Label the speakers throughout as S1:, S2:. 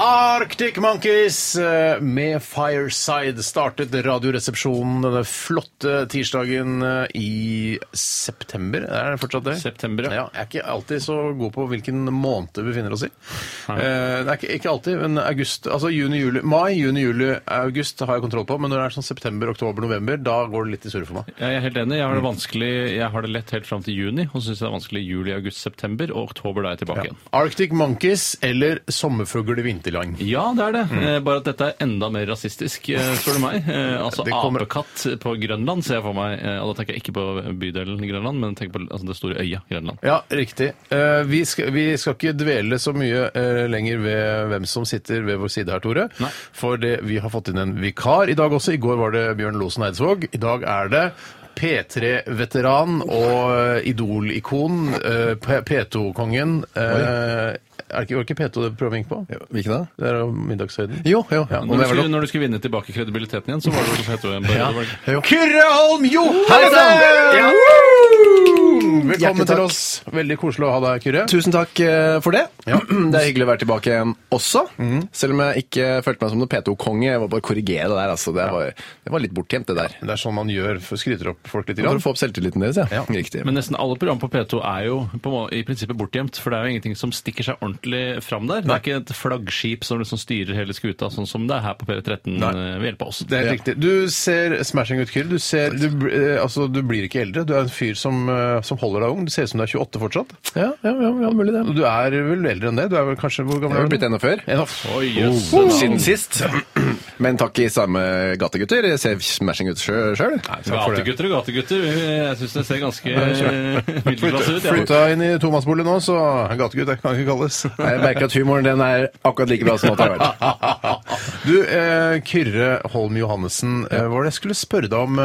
S1: Arctic Monkeys eh, med Fireside startet Radioresepsjonen denne flotte tirsdagen eh, i september. Er det fortsatt det?
S2: September, ja.
S1: ja. Jeg er ikke alltid så god på hvilken måned vi befinner oss i. Eh, det er ikke, ikke alltid, men august, altså juni, juli, mai, juni, juli, august har jeg kontroll på, men når det er sånn september, oktober, november, da går det litt i surre for meg.
S2: Jeg er helt enig. Jeg har det vanskelig, jeg har det lett helt fram til juni, og syns det er vanskelig juli, august, september, og oktober da er jeg tilbake igjen.
S1: Arctic Monkeys eller Sommerfugl i vinterland?
S2: Ja, det er det.
S1: Mm.
S2: Eh, Bare at dette er enda mer rasistisk, eh, spør du meg. Eh, Altså
S1: Det kommer-
S2: apekatt på Grønland ser jeg for meg. eh, Og da tenker jeg ikke på bydelen Grønland, men tenker på altså, det store øya Grønland.
S1: Ja, riktig. Eh, vi, skal, vi skal ikke dvele så mye eh, lenger ved hvem som sitter ved vår side her, Tore.
S2: Nei.
S1: For det, vi har fått inn en vikar i dag også. I går var det Bjørn Losen Eidsvåg. I dag er det P3-veteran og eh, Idol-ikon, eh, P- P2-kongen. eh, er det ikke, var det ikke P2 det prøver å vinke på?
S3: Hvilken da?
S1: Det er jo middagshøyden.
S3: Jo, jo.
S1: Ja,
S2: Når du,
S1: det er vel
S2: skulle, når du skulle vinne tilbake kredibiliteten igjen, så var det også hett ja.
S3: jo.
S1: Kyrre Holm Johansen!
S3: Ja.
S1: Woo! Velkommen
S3: Hjertelig
S1: til
S3: takk.
S1: oss. Veldig koselig å ha deg, Kyrre.
S3: Tusen takk eh, for det. Det er hyggelig å være tilbake igjen også.
S1: Mhm.
S3: Selv om jeg ikke følte meg som noen P2-konge. Jeg må bare korrigere det der. Altså. Det, var, det var litt bortgjemt, det der.
S1: Det er sånn man gjør, for- skryter opp folk litt.
S3: For
S1: Grann.
S3: å få opp selvtilliten deres, ja.
S1: Ja.
S3: Riktig.
S2: Men nesten alle program på P2 er jo på, en må- i prinsippet bortgjemt, for det er jo ingenting som stikker seg ordentlig fram der. Det er ikke et flaggskip som liksom styrer hele skuta, sånn som det er her på P13 eh, ved hjelp av oss.
S1: Det er helt riktig. Du ser smashing ut, Kyrre. Du, ser- du, bl- eh, altså, du blir ikke eldre. Du er en fyr som, eh, som holder deg ung. Du ser ut som du er 28 fortsatt.
S3: Ja, ja, ja, ja, mulig det.
S1: Og Du er vel eldre enn det? Du er vel kanskje Hvor
S3: Jeg
S1: gammel
S3: har
S1: er
S3: vel
S1: du?
S3: blitt ennå før.
S1: En off.
S2: Oi, jøss.
S3: Siden sist. Men takk i samme gate, gutter. Jeg ser smashing ut sjøl.
S1: for det.
S2: Gategutter og gategutter. Jeg syns det ser ganske eh, middelklasse ut. jeg.
S1: Flytta inn i tomannsbolig nå, så gategutt det kan ikke kalles.
S3: Jeg merker at humoren den er akkurat like bra som at det har vært.
S1: Du, eh, Kyrre Holm Johannessen, eh, hva var det jeg skulle spørre deg om?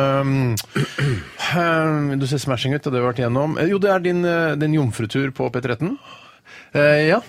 S1: eh, eh, du ser smashing ut, og det har vi vært igjennom. Eh, jo, det er din, eh, din jomfrutur på P13. mhm.
S3: Eh, ja.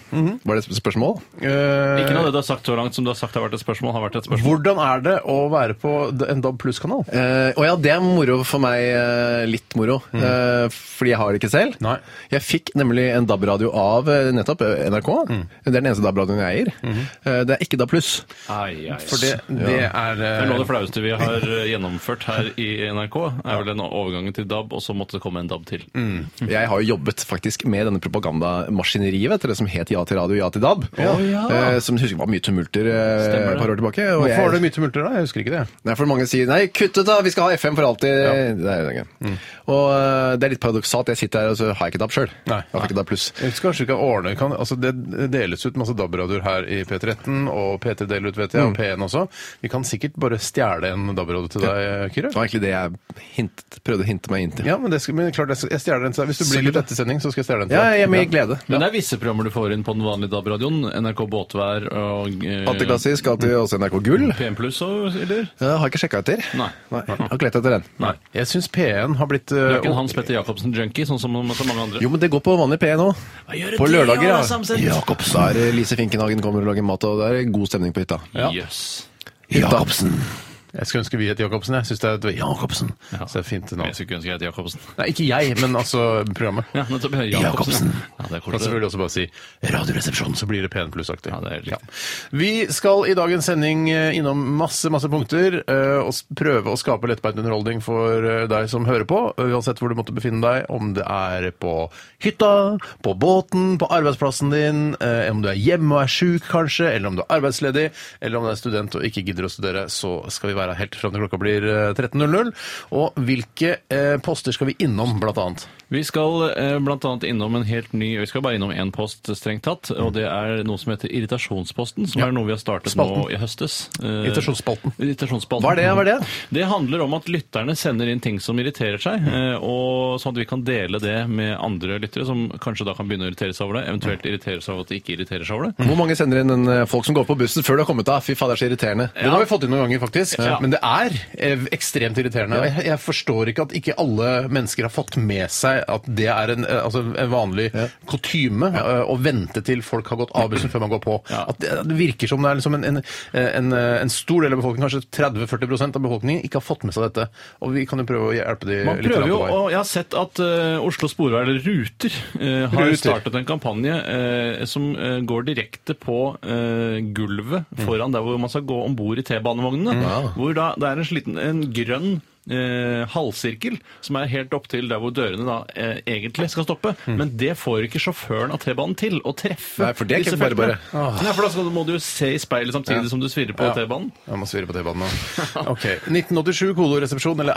S3: Var det et sp- spørsmål?
S1: Eh,
S2: Ikke noe av det du har sagt så langt som du har sagt har vært et spørsmål, har vært et spørsmål.
S1: Hvordan er det å være på en DAB pluss-kanal?
S3: Eh, og ja, det er moro for meg. eh, litt moro. Eh, fordi jeg har det ikke selv.
S1: Mm. Nei.
S3: Jeg fikk nemlig en DAB-radio av eh, nettopp eh, NRK.
S1: Mm.
S3: Det er den eneste DAB-radioen jeg eier.
S1: Mm-hmm.
S3: Eh, det er ikke DAB pluss.
S2: Ai, ai, ai.
S1: For det, det er
S2: Det er noe av det
S1: eh,
S2: flaueste vi har eh, gjennomført her i NRK. er vel den overgangen til DAB, og så måtte det komme en DAB til.
S1: Mm.
S3: Jeg har jo jobbet faktisk med denne propagandamaskineriet, vet dere, som het Ja til radio, ja til DAB.
S2: Å, ja.
S3: Eh, som husker var mye tumulter eh,
S2: Stemmer det.
S3: et par år tilbake. og
S1: Hvorfor
S3: jeg-
S1: var det mye tumulter da? Jeg husker ikke det.
S3: Nei, for mange sier nei, kutt ut da, vi skal ha FM for alltid. Det er jo det ikke.
S1: Mm.
S3: Og øh, det er litt paradoksalt, jeg sitter her og så har jeg ikke DAB sjøl.
S1: Nei.
S3: Jeg har ikke DAB pluss.
S1: Jeg husker kanskje ikke ordne kan, altså Det deles ut masse DAB-radioer her i P13, og P3 deler ut, vet jeg,
S3: Mm.
S1: og P1 også. Vi kan sikkert bare stjele en DAB-radio til deg, Kyrre.
S3: Det var egentlig det jeg hintet, prøvde å hinte meg inn til.
S1: Ja, men, det skal, men klart, jeg skal- jeg stjeler den til deg. Hvis du blir litt etter sending, så skal jeg stjele den til
S3: Ja,
S1: deg.
S3: jeg med glede.
S2: Men det er visse programmer du får inn på den vanlige DAB-radioen. NRK Båtvær og eh,
S3: Alltid klassisk,
S1: Mm.
S3: alltid også NRK Gull.
S2: PM Pluss og eller?
S3: Jeg har ikke sjekka etter.
S2: Nei.
S3: Jeg har ikke lett etter den.
S2: Nei.
S1: Jeg syns P1 har blitt
S2: Du
S1: eh,
S2: er ikke en Hans Petter Jacobsen-junkie, sånn som så mange andre?
S3: Jo, men det går på vanlig P nå.
S2: gjør
S3: På
S2: det,
S3: lørdager,
S2: Ola
S3: ja.
S2: Samset?
S3: Jacobs. Da er det Lise Finkenhagen kommer og lager mat, og det er god stemning på hytta.
S2: Jøss. Yes.
S3: Jacobsen.
S1: Jeg skulle ønske vi het Jacobsen. Jeg syns det er et Jacobsen.
S2: Ja.
S1: Så det er fint navn.
S2: Jeg skulle ikke ønske jeg het Jacobsen.
S1: Nei, ikke jeg, men altså programmet.
S2: Ja, nettopp.
S3: Jacobsen.
S2: Ja, det er
S1: Kan
S2: koselig.
S1: selvfølgelig også bare si Radioresepsjon, så blir det P1 pluss-aktig.
S2: Ja, det er riktig.
S1: Vi skal i dagens sending eh, innom masse masse punkter eh, og s- prøve å skape lettbeint underholdning for eh, deg som hører på, eh, uansett hvor du måtte befinne deg. Om det er på hytta, på båten, på arbeidsplassen din, eh, om du er hjemme og er sjuk kanskje, eller om du er arbeidsledig, eller om du er student og ikke gidder å studere, så skal vi være helt fram til klokka blir eh, 13.00. Og hvilke eh, poster skal vi innom, blant annet?
S2: Vi skal eh, blant annet innom en helt ny Vi skal bare innom én post, strengt tatt.
S3: Mm.
S2: Og det er noe som heter Irritasjonsposten, som er noe vi har startet
S1: Spalten.
S2: nå i høstes. Eh,
S1: Irritasjonsspalten.
S2: Irritasjonsspalten.
S3: Hva er det? Hva er det?
S2: Det handler om at lytterne sender inn ting som irriterer seg,
S3: Mm.
S2: eh, og sånn at vi kan dele det med andre lyttere, som kanskje da kan begynne å irritere seg over det,
S3: Mm.
S2: eventuelt irritere seg over at de ikke irriterer seg over det.
S3: Hvor mange sender inn en, eh, folk som går på bussen før du har kommet av? Fy fader, det er så irriterende.
S1: Den har vi fått inn noen ganger, faktisk. Eh, Men det er eh, ekstremt irriterende. og Jeg, jeg forstår ikke at ikke alle mennesker har fått med seg at det er en, eh, altså en vanlig kutyme eh, å vente til folk har gått av bussen før man går på. At det, det virker som det er liksom en, en, en, en stor del av befolkningen, kanskje 30-40 av befolkningen, ikke har fått med seg dette. Og vi kan jo prøve å hjelpe de
S2: Man
S1: litt
S2: prøver
S1: grann
S2: jo,
S1: på vei.
S2: og jeg har sett at eh, Oslo Sporveier eller Ruter eh, har
S1: Ruter.
S2: startet en kampanje eh, som eh, går direkte på eh, gulvet
S1: Mm.
S2: foran der hvor man skal gå om bord i T-banevognene. Hvor da det er en, sliten, en grønn eh, halvsirkel som er helt opp til der hvor dørene da eh, egentlig skal stoppe.
S1: Mm.
S2: Men det får ikke sjåføren av T-banen til å treffe
S3: Nei, for det er ikke
S2: disse
S3: bare
S2: feltene.
S3: bare.
S2: Nei, for da skal, du- må du jo se i speilet samtidig som du svirrer på
S1: Ja.
S2: T-banen.
S1: Jeg må svirre på T-banen nå. Ok. 1987, kodoresepsjon eller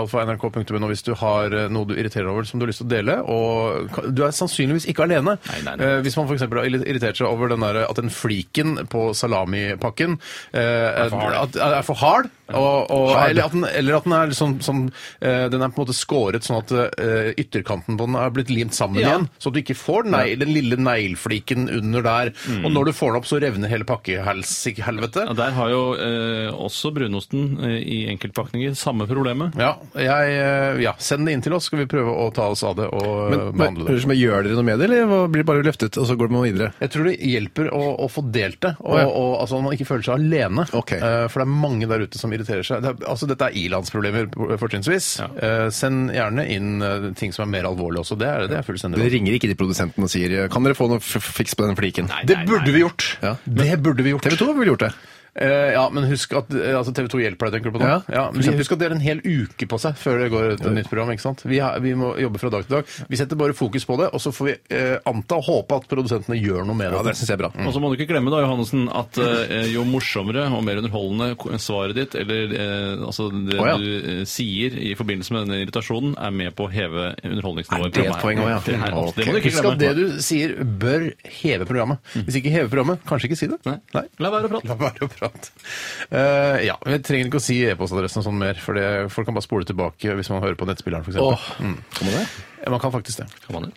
S1: rr.krøllalfa.nrk.no hvis du har eh, noe du irriterer over som du har lyst til å dele. Og ka- du er sannsynligvis ikke alene.
S2: Nei, nei, nei.
S1: Eh, Hvis man f.eks. har irritert seg over den der, at den fliken på salamipakken eh, er
S2: for hard.
S1: at- er for hard. Og, og, Eller, at den, eller at den er sånn, sånn eh, Den er på en måte skåret sånn at eh, ytterkanten på den er blitt limt sammen
S2: Ja.
S1: igjen. Så at du ikke får nei, den lille neglefliken under der. Og når du får den opp, så revner hele pakkehelvete.
S2: Mm. Ja, der har jo eh, også brunosten eh, i enkeltpakninger samme problemet.
S1: Ja, jeg, eh, ja, send det inn til oss, skal vi prøve å ta oss av det og eh,
S3: Men, men,
S1: behandle det.
S3: men gjør dere noe med det, eller hva- blir det bare løftet, og så går man videre?
S1: Jeg tror det hjelper å, å få delt det, og,
S3: Å, ja.
S1: og altså, at man ikke føler seg alene.
S3: Ok.
S1: Eh, for det er mange der ute som irriterer seg. Det er, altså, dette er ilandsproblemer, fortrinnsvis. Eh, send gjerne inn eh, ting som er mer alvorlige også. Det er det jeg fullstendig
S3: Dere ringer ikke til produsenten og sier kan dere få noe f- fiks på den fliken?
S2: Nei,
S1: Det burde vi gjort!
S3: Ja.
S1: Det burde vi gjort.
S3: TV 2 har vel gjort det?
S1: Eh, ja, men husk at eh, altså TV 2 hjelper deg, tenker du på nå?
S3: Ja,
S1: Ja, men husk at det er en hel uke på seg før det går et nytt program. ikke sant? Vi, har, vi må jobbe fra dag til dag. Vi setter bare fokus på det, og så får vi eh, anta og håpe at produsentene gjør noe med det. Mm.
S3: det synes jeg er bra.
S2: Og så må du ikke glemme da, Johannessen, at eh, jo morsommere og mer underholdende ko- svaret ditt, eller eh, altså det
S3: Å, ja.
S2: du eh, sier i forbindelse med denne irritasjonen, er med på å heve underholdningsnivået.
S3: Er det et
S2: i programmet.
S3: poeng også, ja?
S2: Det, er, det må du
S1: Husk
S2: ikke
S1: at det
S2: glemme.
S1: du sier, bør heve programmet.
S3: Mm.
S1: Hvis ikke heve programmet, kanskje ikke si det.
S2: Nei. La være å prate.
S1: La være å prate. Eh, ja, vi trenger ikke å si e-postadressen og sånn mer, for det, folk kan bare spole tilbake hvis man hører på nettspilleren, f.eks.
S3: Åh,
S1: eksempel. Mm.
S3: kan man det?
S1: Eh, Man kan faktisk det.
S2: Kan man det?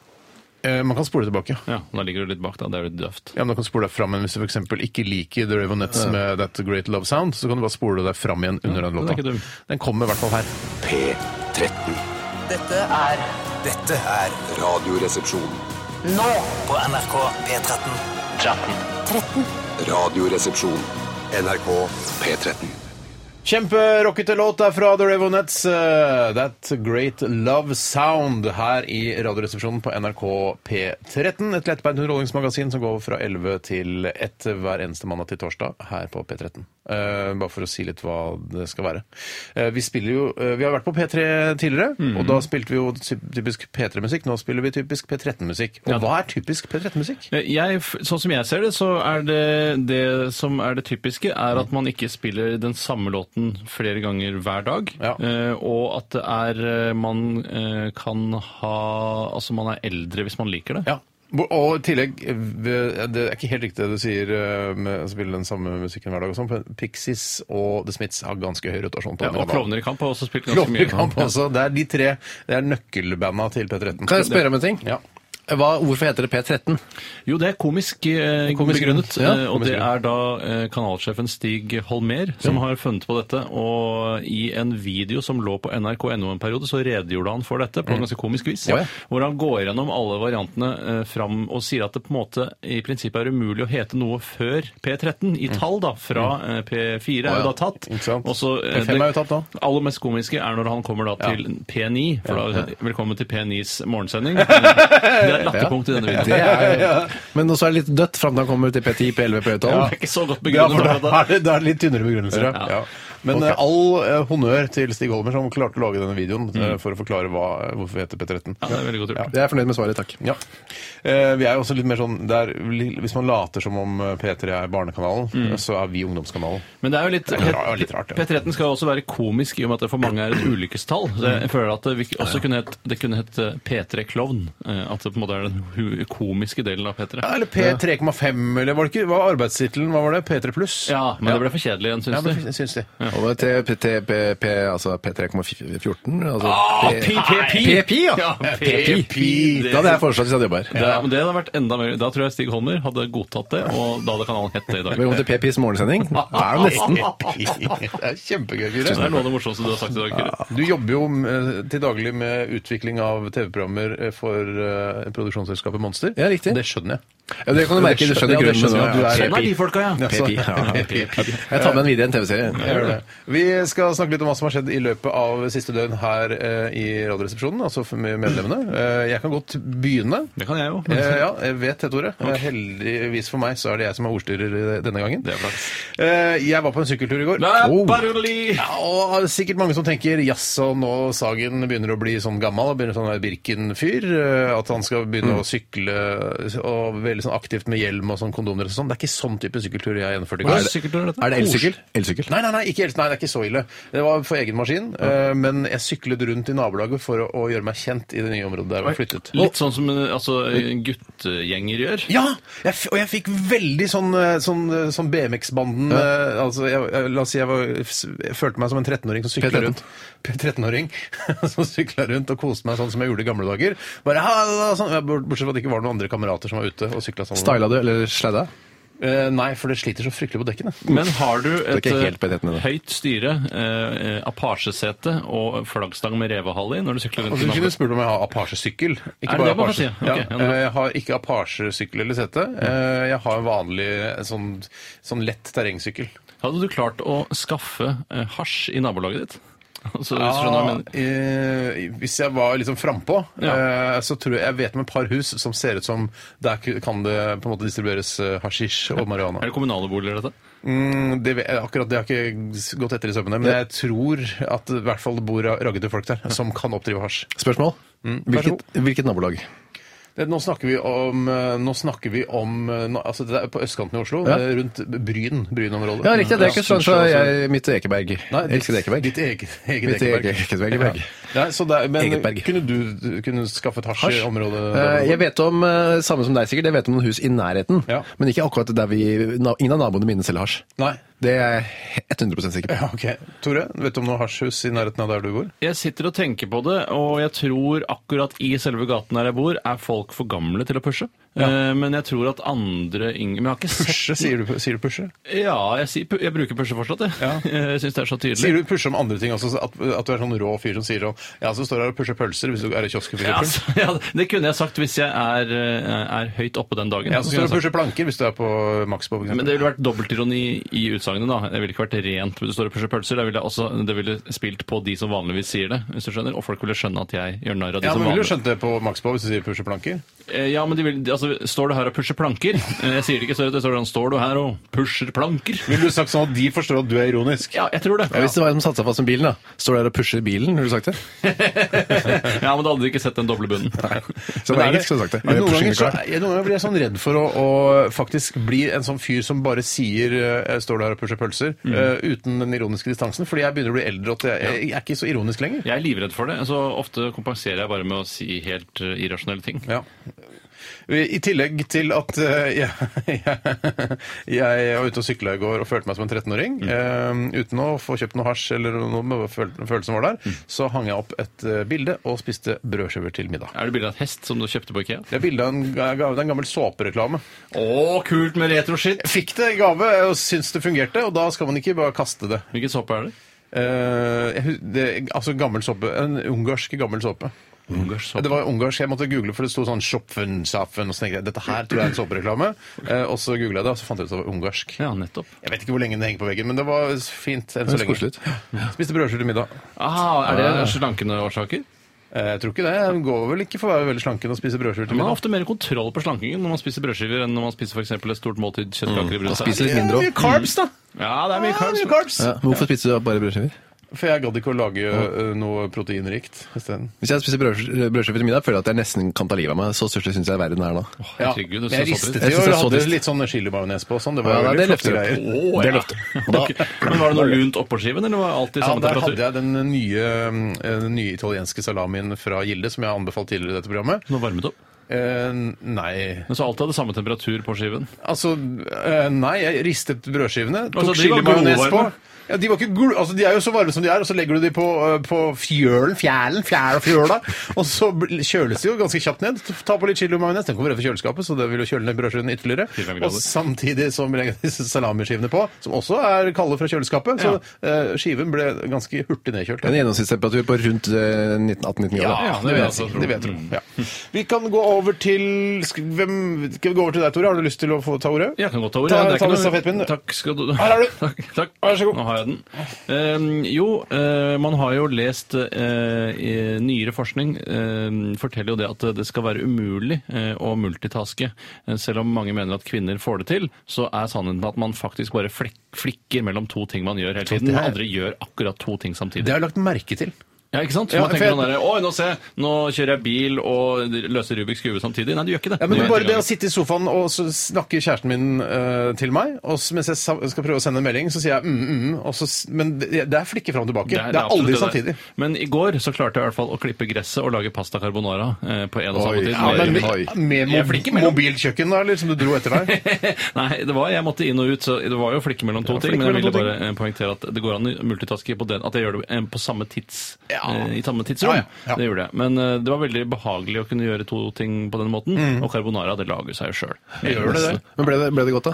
S1: Eh, man kan spole tilbake, ja.
S2: Ja, da ligger du litt bak, da. Det er jo litt døvt.
S1: Ja, men da kan du spole deg fram igjen Hvis du for eksempel ikke liker The Ravenettes med That Great Love Sound, så kan du bare spole deg fram igjen under den
S2: den er ikke
S1: låta.
S2: dum.
S1: Den kommer i hvert fall her.
S4: P13.
S5: Dette er
S6: Dette er
S4: Radioresepsjon.
S5: nå på NRK P13.
S4: Radioresepsjon. NRK P13.
S1: Kjemperockete låt er fra The Ravenettes. eh, That Great Love Sound her i Radioresepsjonen på NRK P13. Et lettbeint underholdningsmagasin som går fra 11 til 1 hver eneste mandag til torsdag her på P13. Eh, bare for å si litt hva det skal være. Eh, vi spiller jo eh, Vi har vært på P3 tidligere, og da spilte vi jo typ- typisk P3-musikk. Nå spiller vi typisk P13-musikk. Og hva er typisk P13-musikk?
S2: Eh, Jeg, f- sånn som jeg ser det, så er det det som er det typiske, er at man ikke spiller den samme låten flere ganger hver dag.
S1: Ja.
S2: Eh, og at det er eh, Man eh, kan ha Altså, man er eldre hvis man liker det.
S1: Ja. Hvor- Og i tillegg, eh, ved- det er ikke helt riktig det du sier eh, med å spille den samme musikken hver dag, og sånn, for Pixies og The Smiths har ganske høy rotasjon. på
S2: Ja, og
S1: andre band.
S2: Klovner i kamp altså. har også spilt ganske mye.
S1: Klovnekamp også. Det er de tre det er nøkkelbanda til P13.
S3: Kan jeg spørre om en ting?
S1: Ja.
S3: Hva, hvorfor heter det P13?
S2: Jo, det er komisk, eh,
S1: Komisk
S2: begrunnet.
S1: grunn. Ja,
S2: eh, og
S1: komisk
S2: det er da eh, kanalsjefen Stig Holmer som har funnet på dette. Og i en video som lå på nrk.no en periode, så redegjorde han for dette på en ganske komisk vis.
S1: Mm. Ja, ja.
S2: Hvor han går gjennom alle variantene eh, fram og sier at det på en måte i prinsippet er umulig å hete noe før P13 i
S1: Mm.
S2: tall, da. Fra eh, P4 er jo da tatt.
S1: Ikke sant.
S2: Og så, eh,
S1: P5 er jo tatt da.
S2: aller mest komiske er når han kommer da til P9. For da, sånn, velkommen til P9s morgensending. Det er et latterpunkt i denne videoen.
S3: Men også er det litt dødt fram til han kommer til P10, P11, P12.
S2: Det er ikke så godt
S1: Ja, for
S2: begrunnet.
S1: da
S2: akkurat
S1: er det, da er det litt tynnere begrunnelser, ja.
S2: Ja.
S1: ja. Men eh, all eh, honnør til Stig Holmer, som klarte å lage denne videoen eh, for å forklare hva, hvorfor vi heter P13.
S2: da. Mm. Ja, det er veldig godt gjort.
S3: Jeg er fornøyd med svaret, takk.
S1: Ja. Eh, vi er jo også litt mer sånn der, Hvis man later som om eh, P3 er barnekanalen,
S2: Mm.
S1: så er vi ungdomskanalen.
S2: Men det er jo litt,
S1: Det er ra- litt rart, ja.
S2: P13 skal jo også være komisk i og med at det for mange er et ulykkestall. Så jeg føler at det vi også kunne hett, det kunne hett eh, P3 Klovn. eh, At det på en måte er den hu- komiske delen av P3.
S1: Ja, eller P3,5, eller var det ikke, hva var arbeidstittelen? Hva var det? P3 pluss?
S2: Ja, men det ble for kjedelig igjen,
S1: Ja,
S2: syns
S1: men
S2: du?
S1: syns de.
S2: Ja.
S3: Og det er T- P- P- P- altså P3,14 altså
S2: Ah,
S3: P-
S2: PPP!
S3: PPP, ja!
S2: Ja,
S3: PPP.
S2: PPP.
S3: Da hadde jeg foreslått hvis jeg hadde jobba
S2: Det,
S3: her.
S2: er- men det hadde vært enda mer Da tror jeg Stig Holmer hadde godtatt det, og da hadde kanalen hett det i dag.
S3: Velkommen til PPs morgensending. Det er jo nesten.
S1: Det er kjempegøy,
S2: Det er
S1: Kyrre.
S2: noe av det morsomste du har sagt i dag, Kyrre.
S1: Du jobber jo eh, til daglig med utvikling av TV-programmer eh, for eh, produksjonsselskapet Monster.
S3: Ja, riktig.
S1: Det skjønner jeg.
S3: Ja, det kan du merke, du
S1: Ja,
S3: skjønner
S1: det
S3: grunnen.
S1: skjønner jeg.
S3: nå, ja.
S1: Du er-
S3: PPP.
S1: Sånn er de
S2: folka, ja.
S3: PPP, ja. Jeg tar med den videre i en TV-serie.
S1: Vi skal snakke litt om hva som har skjedd i løpet av siste døgn her eh, i Radioresepsjonen, altså for med medlemmene. Eh, Jeg kan godt begynne.
S2: Det kan jeg jo.
S1: Eh, ja, jeg vet det, Tore. Eh, Heldigvis for meg så er det jeg som er ordstyrer i denne gangen.
S2: Det er flaks.
S1: Eh, Jeg var på en sykkeltur i går.
S2: Oh.
S1: Ja, og det er sikkert mange som tenker jaså, nå Sagen begynner å bli sånn gammel og begynner sånn der Birken-fyr. eh, At han skal begynne
S2: Mm.
S1: å sykle og veldig sånn aktivt med hjelm og sånn kondomer og sånn. Det er ikke sånn type sykkeltur jeg gjennomførte i
S2: Hva
S1: går.
S2: er sykkeltur, dette?
S3: Er det elsykkel? Elsykkel.
S1: Nei, nei, nei, ikke helt, nei, det er ikke så ille. Det var for egen maskin, eh, men jeg syklet rundt i nabolaget for å, å gjøre meg kjent i det nye området der jeg var flyttet.
S2: Litt sånn som eh, altså, guttegjenger gjør.
S1: Ja! Jeg, f- og jeg fikk veldig sånn, eh, sånn, eh, sånn BMX-banden eh, altså, jeg, jeg, La oss si jeg, var, jeg følte meg som en 13-åring som sykla
S3: P13.
S1: rundt. P- 13-åring som syklet rundt og koste meg sånn som jeg gjorde i gamle dager. Bare «Halla», sånn, ja, bort- Bortsett fra at det ikke var noen andre kamerater som var ute og sykla sammen.
S3: Styla du, eller sladda?
S1: Eh, nei, for det sliter så fryktelig på dekkene.
S2: Men har du et
S3: er ikke helt på
S2: eh,
S3: enheten, det.
S2: høyt styre, eh, eh, apasjesete og flaggstang med revehale i når du sykler rundt
S1: Altså, du
S2: i
S1: kunne
S2: nabolaget?
S1: spurt om jeg har Apache-sykkel. Ikke
S2: Er det
S1: bare
S2: det man
S1: Apache.
S2: kan si? Ok, ja,
S1: ja,
S2: bra.
S1: eh, jeg har ikke Apache-sykkel eller sete.
S3: Mm.
S1: Eh, Jeg har en vanlig eh, sånn, sånn lett terrengsykkel.
S2: Hadde du klart å skaffe eh, hasj i nabolaget ditt? Altså, hvis du skjønner hva jeg mener.
S1: eh, hvis jeg var liksom frampå,
S2: Ja.
S1: eh, så tror jeg jeg vet om et par hus som ser ut som der ku- kan det på en måte distribueres eh, hasjisj og marihuana.
S2: Er det kommunale boliger, dette?
S1: Mm, det, vet- akkurat det har jeg ikke gått etter i sømmene, men jeg tror at i hvert fall det bor raggete folk der som kan oppdrive hasj.
S3: Spørsmål?
S1: vær så
S3: Hvilket, hvilket nabolag?
S1: Det, nå snakker vi om, eh, nå snakker vi om eh, nå- altså det er på østkanten i Oslo,
S3: Ja.
S1: eh, rundt Bryn, Brynområdet.
S3: Ja, riktig. Det er ikke sånn så
S1: Sundsjø, altså.
S3: jeg mitt Ekeberg.
S1: Nei,
S3: Jeg elsker Ekeberg.
S1: Ditt eget, eget
S3: Mitt
S1: Ekeberg.
S3: eget Ekeberg.
S1: Ja. Nei, så det, er- men
S3: Eget berg.
S1: kunne du kunne du skaffet hasj, i området?
S3: Eh, Jeg vet om, eh, samme som deg sikkert, jeg vet om noen hus i nærheten,
S1: Ja.
S3: men ikke akkurat der vi, na- ingen av naboene mine selger hasj.
S1: Nei.
S3: Det er jeg 100 sikker på.
S1: Ja, ok. Tore, vet du om noe hasjhus i nærheten av der du bor?
S2: Jeg sitter og tenker på det, og jeg tror akkurat i selve gaten der jeg bor, er folk for gamle til å pushe. Eh, Men jeg tror at andre yngre Men jeg har ikke sett
S1: Pushe, sier du, sier du pushe?
S2: Ja, jeg, sier, pu- jeg bruker pushe fortsatt, jeg.
S1: Ja.
S2: Jeg syns det er så tydelig.
S1: Sier du pushe om andre ting også? så At, at du er sånn rå fyr som sier sånn Ja, så står du her og pusher pølser hvis du er i kiosken, for
S2: ja,
S1: eksempel.
S2: altså, ja, det kunne jeg sagt hvis jeg er, eh, er høyt oppe den dagen.
S1: Ja, så står du og pusher planker hvis du er på Maxbo, for eksempel.
S2: Men det ville vært dobbeltironi i utsagnet, da. Det ville ikke vært rent hvis det står og pusher pølser. Det ville, også, det ville spilt på de som vanligvis sier det, hvis du skjønner. Og folk ville skjønne at jeg gjør narr av de
S1: Ja,
S2: som
S1: men Ville du
S2: vanligvis
S1: skjønt det på Maxbo hvis du sier pusher planker?
S2: Eh, Ja, men de vil, de- altså, står du her og pusher planker? Eh, Jeg sier det ikke, så det står sånn, står du her og pusher planker?
S1: Ville du sagt sånn at de forstår at du er ironisk?
S2: Ja, jeg tror det.
S3: Ja, hvis det var en som satte seg fast med bilen, da. Står der og pusher bilen, ville du sagt det?
S2: Ja, men da hadde de ikke sett den doble bunnen.
S3: Så på
S1: Men er
S3: engelsk, skulle du sagt det.
S1: Men
S3: Are you
S1: noen,
S3: pushing
S1: ganger, så,
S3: the car?
S1: jeg, noen ganger blir jeg sånn redd for å, å faktisk bli en sånn fyr som bare sier eh, 'står du her og pusher pølser', eh, uten den ironiske distansen. Fordi jeg begynner å bli eldre og at jeg, jeg, er ikke så ironisk lenger.
S2: Jeg er livredd for det, så ofte kompenserer jeg bare med å si helt eh, irrasjonelle ting.
S1: Ja. I tillegg til at eh, jeg, jeg, jeg var ute og sykla i går og følte meg som en 13-åring. eh, uten å få kjøpt noe hasj eller noe med føl- følelsen var der, så hang jeg opp et eh, bilde og spiste brødskiver til middag.
S2: Er det bilde av et hest som du kjøpte på Ikea?
S1: Det er bilde av en, ga- det er en gammel såpereklame.
S2: Å, kult med retroshit!
S1: Jeg fikk det i gave og syntes det fungerte, og da skal man ikke bare kaste det.
S2: Hvilken såpe er det?
S1: Eh, jeg hus- det altså gammel såpe. En ungarsk gammel såpe.
S2: Ungarsk
S1: Det var ungarsk, Jeg måtte google, for det sto sånn Schopfen, Safen, og så tenkte jeg dette her tror jeg er en såpereklame. Eh, og så googla jeg det, og så fant jeg ut at det var ungarsk.
S2: Ja, nettopp.
S1: Jeg vet ikke hvor lenge den henger på veggen, men det var fint enn så lenge.
S3: Det er koselig ut.
S1: Ja. Spiste brødskive til middag.
S2: Ah, er det slankende årsaker?
S1: Eh, jeg tror ikke det. Jeg går vel ikke for å være veldig slanken og spise brødskive til
S2: Man har
S1: middag.
S2: ofte mer kontroll på slankingen når man spiser brødskiver enn når man spiser for eksempel et stort måltid kjøttkaker i
S3: Mm. Spiser
S2: brødskive.
S3: litt mindre
S1: mye
S3: òg.
S1: carbs, da!
S2: Ja, det er
S1: Ja,
S2: mye
S1: mye
S2: carbs.
S1: carbs.
S3: Ja, men hvorfor spiser du bare brødskiver?
S1: For jeg gadd ikke å lage eh, noe proteinrikt isteden.
S3: Hvis jeg spiser brødsk- brødskiver til middag, føler jeg at jeg nesten kan ta livet av meg. Så stusslig syns jeg verden er nå.
S1: Ja,
S2: Herregud,
S1: men
S2: det
S1: jeg
S2: ser så
S1: ristet
S2: trist.
S1: det
S3: Jeg
S1: jo
S3: synes
S1: og
S3: det er så
S1: hadde
S3: trist.
S1: litt sånn chilimajones på og sånn. Det
S3: Ja,
S1: var
S3: nei,
S1: veldig
S3: det
S1: flotte
S3: løfter
S1: greier.
S3: jeg. Å,
S2: Det
S3: ja.
S2: løfter. Men var det noe lunt oppå skiven, eller var det alltid
S1: Ja,
S2: samme
S1: der hadde
S2: temperatur?
S1: jeg den nye, eh, den nye italienske salamien fra Gilde, som jeg har anbefalt tidligere i dette programmet.
S2: Noe varmet opp?
S1: Eh, nei
S2: Men så alt hadde samme temperatur på skiven.
S1: Altså, eh, nei, jeg ristet brødskivene, tok
S2: Altså, de
S1: chili
S2: var
S1: majones på.
S2: glovarme?
S1: Ja, de, var ikke gul, altså, de er jo så varme som de er, og så legger du de på, eh, på fjølen, fjælen, fjæl og fjøla, og så bl- kjøles de jo ganske kjapt ned. Ta på litt chili og majones, den kommer rett fra kjøleskapet, så det vil jo kjøle ned brødskivene ytterligere.
S2: 25 grader.
S1: Og samtidig som vi legger disse salamiskivene på, som også er kalde fra kjøleskapet, så eh, skiven ble ganske hurtig nedkjølt.
S3: En gjennomsnittstemperatur på rundt eh, 18-19 grader.
S1: Ja,
S2: Ja,
S1: det
S2: det vil jeg altså.
S1: vet jeg.
S2: Mm. også tro.
S1: Det vet jeg. Ja. Vi kan gå over til sk- hvem, Skal vi gå over til deg, Tore? Har du lyst til å få ta ordet?
S2: Jeg kan godt ta ordet.
S1: Ta-
S2: det er
S1: ta
S2: ikke
S1: med
S2: noe-
S1: stafettpinnen, du.
S2: Takk skal du
S1: Her er du.
S2: Takk, takk.
S1: Vær så god.
S2: Nå har jeg den. Ehm, jo, eh, man har jo lest eh, i Nyere forskning eh, forteller jo det at det skal være umulig eh, å multitaske. Eh, Selv om mange mener at kvinner får det til, så er sannheten at man faktisk bare flek, flikker mellom to ting man gjør hele tiden.
S1: det er-
S2: Andre gjør akkurat to ting samtidig.
S1: Det har jeg lagt merke til.
S2: Ja, ikke sant? Så
S1: Ja,
S2: man tenker
S1: for
S2: sånn der, Oi, nå se, nå kjører jeg bil og løser Rubiks kube samtidig. Nei, du gjør ikke det.
S1: Ja, men
S2: Du gjør
S1: Bare
S2: en
S1: det
S2: gang.
S1: å sitte i sofaen og så snakker kjæresten min eh, til meg, og så, mens jeg sa- skal prøve å sende en melding, så sier jeg mm, mm, og så, s- Men det, det er flikke fram og tilbake. Det er,
S2: absolutt
S1: aldri
S2: det der.
S1: samtidig.
S2: Men i går så klarte jeg i hvert fall å klippe gresset og lage pasta carbonara eh, på en og
S3: Oi,
S2: samme tid.
S1: Ja, men
S2: Med-
S3: Oi.
S1: med, med
S2: Jeg er flink
S1: mob
S2: imellom.
S1: mobilkjøkken, da, eller som du dro etter deg?
S2: Nei, det var, jeg måtte inn og ut, så det var jo flikke mellom
S1: Ja,
S2: to ting.
S1: flikke
S2: Men jeg
S1: mellom to
S2: ville bare eh, poengtere at det går an å multitaske på den, at jeg gjør det eh, på samme tids,
S1: Ja.
S2: eh, i samme tidsrom.
S1: Ja, ja, ja.
S2: Det gjorde jeg. Men eh, det var veldig behagelig å kunne gjøre to ting på den måten. Og carbonara, det lager seg jo sjøl.
S1: Gjør Mm. det det?
S3: Men ble det, ble det godt, da?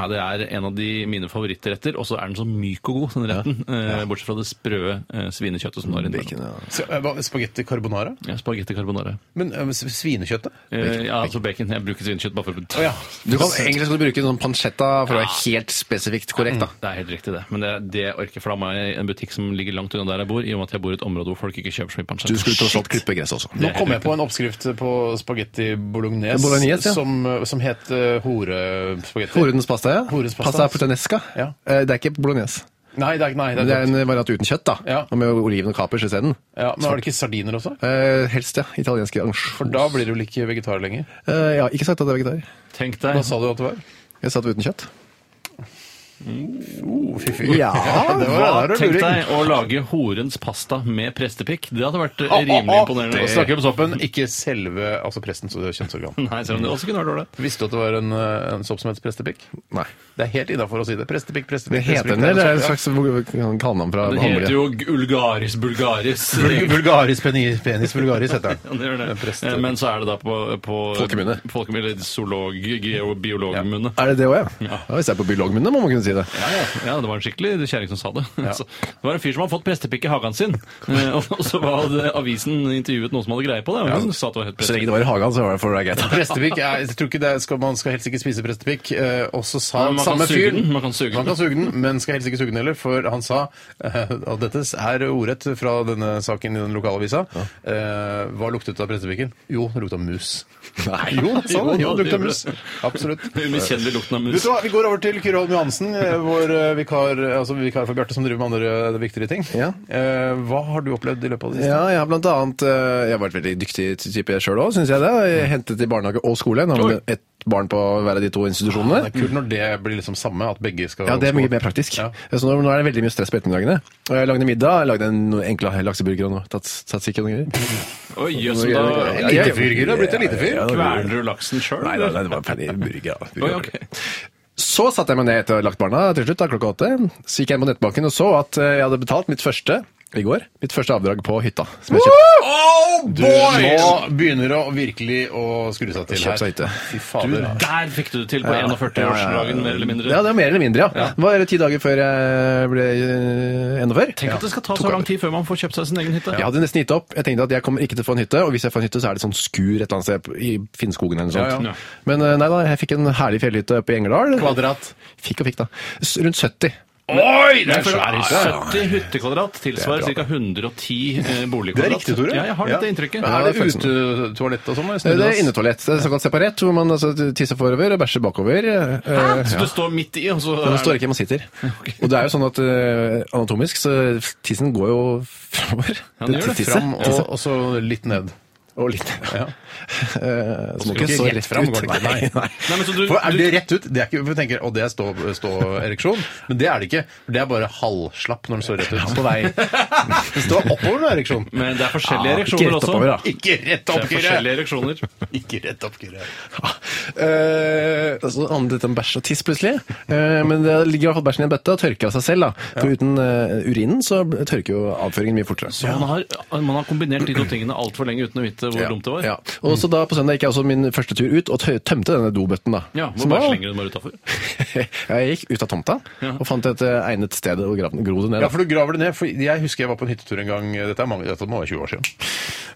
S2: Ja, Det er en av de mine favorittretter, og så er den så myk og god, den retten. Eh, bortsett fra det sprø eh, svinekjøttet
S1: Mm,
S2: som du har inni. den.
S1: Så, eh, hva, Spagetti carbonara?
S2: Ja, Spagetti carbonara.
S1: Men eh, s- svinekjøttet?
S2: Eh, ja, altså bacon. Jeg bruker svinekjøtt bare for
S1: Å ja.
S3: Du kan egentlig skulle bruke sånn pancetta for å være helt spesifikt korrekt.
S1: Mm.
S3: da.
S2: Det er helt riktig, det. Men det, det orker for da må jeg i en butikk som ligger langt unna der jeg bor, i og med at jeg bor i et område hvor folk ikke kjøper så mye
S3: Du
S2: pancetta.
S3: skulle tross alt klippe gresset også.
S1: Nå kom jeg på en oppskrift på spagetti bolognese,
S3: Bolognese, ja.
S1: som, eh, som het eh, horespagetti.
S3: Horens pasta, ja.
S1: Horens pasta.
S3: pasta er portanesca.
S1: Ja.
S3: Eh, Det er ikke bolognese.
S1: Nei, det er, nei, det er,
S3: Men det er en eh, variant uten kjøtt, da.
S1: Ja.
S3: Og med oliven og kapers isteden.
S1: ja, men har du ikke sardiner også?
S3: Eh, helst, ja. Italienske ansjos.
S1: For da blir du vel ikke vegetar lenger?
S3: Eh, jeg har ikke sagt at det er vegetar.
S2: Tenk
S1: Da
S2: deg.
S1: sa du at det var?
S3: Jeg sa det uten kjøtt.
S1: Mm. Oh, Fy fy.
S3: Ja,
S1: det var-
S2: Hva,
S1: det var
S2: tenk
S1: luring.
S2: deg å lage horens pasta med prestepikk. Det hadde vært eh, rimelig imponerende.
S1: Det snakker vi om soppen, ikke selve altså prestens kjønnsorgan.
S2: Nei, selv om det også kunne vært ålreit.
S1: Visste du at det var en, eh, en sopp som het prestepikk?
S3: Nei.
S1: Det er helt innafor å si det. Prestepikk,
S3: Det
S1: prestepikk,
S3: heter den,
S1: prestepikk.
S3: eller
S1: Ja.
S3: er det en slags kallenavn fra
S2: Den
S3: Hamre?
S2: heter jo Ulgaris Bulgaris.
S1: Vul- Vulgaris penis, penis vulgaris heter
S2: Ja, det gjør det.
S1: den. Prest-
S2: Eh, Men så er det da på, på
S3: Folkemunne.
S2: Folkemunne, eller zoolog, geo- biologmunne.
S3: Er det det òg, ja? ja? Hvis det er på biologmunne, må man kunne si det.
S2: Ja, ja. ja, det var en skikkelig kjerring som sa det. Så, det var en fyr som hadde fått prestepikk i hagen sin, eh, og så hadde avisen intervjuet noen som hadde greie på det. Og hun sa at det var helt
S3: Så lenge
S2: prestepikk.
S3: det var i hagen, så var det for det er greit.
S1: Prestepikk, er- jeg tror ikke det er- skal, Man skal helst ikke spise prestepikk. eh, Og så sa
S2: Men man kan
S1: samme
S2: suge
S1: fyr
S2: den, man kan suge den.
S1: den, men skal helst ikke suge den heller, for han sa eh, Og dette er ordrett fra denne saken i den lokale avisa. eh, Hva luktet det av prestepikken? Jo, det lukta mus.
S3: Nei.
S1: Jo, det sa det. Jo, det
S2: det
S1: lukta
S2: gjorde
S1: mus.
S2: det.
S1: Absolutt.
S2: Umiskjennelig lukten av
S1: Vet
S2: mus.
S1: du hva, Vi går over til Kyrre Holm Johansen, eh, vår eh, vikar, altså vikar for Bjarte, som driver med andre eh, viktigere ting.
S3: Ja.
S1: Eh, Hva har du opplevd i løpet av det siste?
S3: Ja, jeg har blant annet eh, Jeg har vært veldig dyktig type sjøl òg, syns jeg det. Jeg hentet i barnehage og skole. Nå har
S2: Oi.
S3: man ett barn på hver av de to institusjonene.
S1: Ah, Det er kult når det blir liksom samme, at begge skal
S3: Ja, det er mye
S1: skal-
S3: mer praktisk.
S1: Ja.
S3: Så nå, nå er det veldig mye stress på ettermiddagene. Og jeg lagde middag, jeg lagde en noen enkle lakseburger og noe tats- tzatziki og noe greier.
S2: Oi, jøss, men da
S1: Elitefyr, Kyrre. Du har blitt elitefyr.
S3: Ja, ja, ja.
S2: kveler du laksen sjøl?
S3: Nei, nei, nei, det var ferdig burger.
S2: Oi,
S3: da. burger.
S2: ok.
S3: Så satte jeg meg ned etter å ha lagt barna til slutt, da, klokka åtte. Så gikk jeg inn på nettbanken og så at eh, jeg hadde betalt mitt første i går, mitt første avdrag på hytta. Som jeg kjøpte.
S1: Du Oh, nå begynner å virkelig å skru seg til her.
S3: Kjøp seg hytte.
S1: Fy fader.
S2: Der fikk du det til på
S3: Ja.
S2: 41-årsdagen, mer eller mindre.
S3: Ja, det var mer eller mindre, ja. Det var ti dager før jeg ble eh, enda før.
S2: Tenk at det skal ta så lang tid før man får kjøpt seg sin egen hytte.
S3: Jeg hadde nesten gitt opp. Jeg tenkte at jeg kommer ikke til å få en hytte, og hvis jeg får en hytte, så er det sånn skur et eller annet sted i Finnskogen eller noe sånt.
S2: Ja, ja.
S3: Men eh, nei da, jeg fikk en herlig fjellhytte oppe i Engerdal.
S1: Kvadrat.
S3: Fikk og fikk, da. S- Rundt 70.
S2: Oi! Det er
S1: Det er svær hytte.
S2: 70 hyttekvadrat tilsvarer
S3: Det er
S2: ca. 110 eh,
S1: Det er
S2: boligkvadrat.
S1: riktig, Tore.
S2: Ja, jeg har
S1: Ja.
S2: dette inntrykket.
S1: Er det
S3: Ja, faktisk.
S1: utetoalett og sånn?
S3: Det er innetoalett. Det er såkalt separert, hvor man altså, tisser forover og bæsjer bakover. Eh,
S2: Så du står midt i, og så
S3: Men man
S2: er
S3: står ikke, man sitter. Og det er jo sånn at eh, anatomisk, så tissen går jo framover.
S2: Ja, den gjør det.
S3: Tisset.
S1: Fram og, og så litt ned.
S3: Og Og litt ja. Eh, så må
S1: skal
S3: ikke
S1: ikke
S3: så
S1: rett
S3: rett
S1: frem,
S3: ut.
S1: går det meg? Nei.
S2: Nei, men så du-
S1: For er
S2: du-
S1: det rett ut? Det er ikke, for jeg tenker, og det er stå- stå-ereksjon, men det er det ikke. For det er bare halvslapp når den står rett ut.
S3: på vei.
S1: Det står oppover med ereksjon.
S2: Men det er forskjellige
S3: Ja, ikke
S2: ereksjoner
S3: rett
S2: også.
S3: oppover, da.
S1: Ikke rett
S2: Det
S1: opp,
S2: er
S1: Kyrre!
S2: forskjellige ereksjoner.
S1: Ikke rett opp, Kyrre.
S3: Eh, så handlet dette om bæsj og tiss plutselig. Eh, men det ligger i hvert fall bæsjen i en bøtte og tørker av seg selv. da. For uten eh, urinen så tørker jo avføringen mye fortere.
S2: Så man har, man har kombinert de to tingene altfor lenge uten å vite hvor
S3: Ja,
S2: dumt det var.
S3: Ja. Og så da på søndag gikk jeg også min første tur ut og tø- tømte denne dobøtten. da.
S2: Ja,
S3: Så
S2: Hvor bare
S3: da-
S2: slenger du den bare utafor?
S3: jeg gikk ut av tomta
S2: Ja.
S3: og fant et eh, egnet sted og grav, gro det ned.
S1: Ja,
S3: da.
S1: for du graver det ned. For jeg husker jeg var på en hyttetur en gang, dette, er mange, dette må være 20 år siden,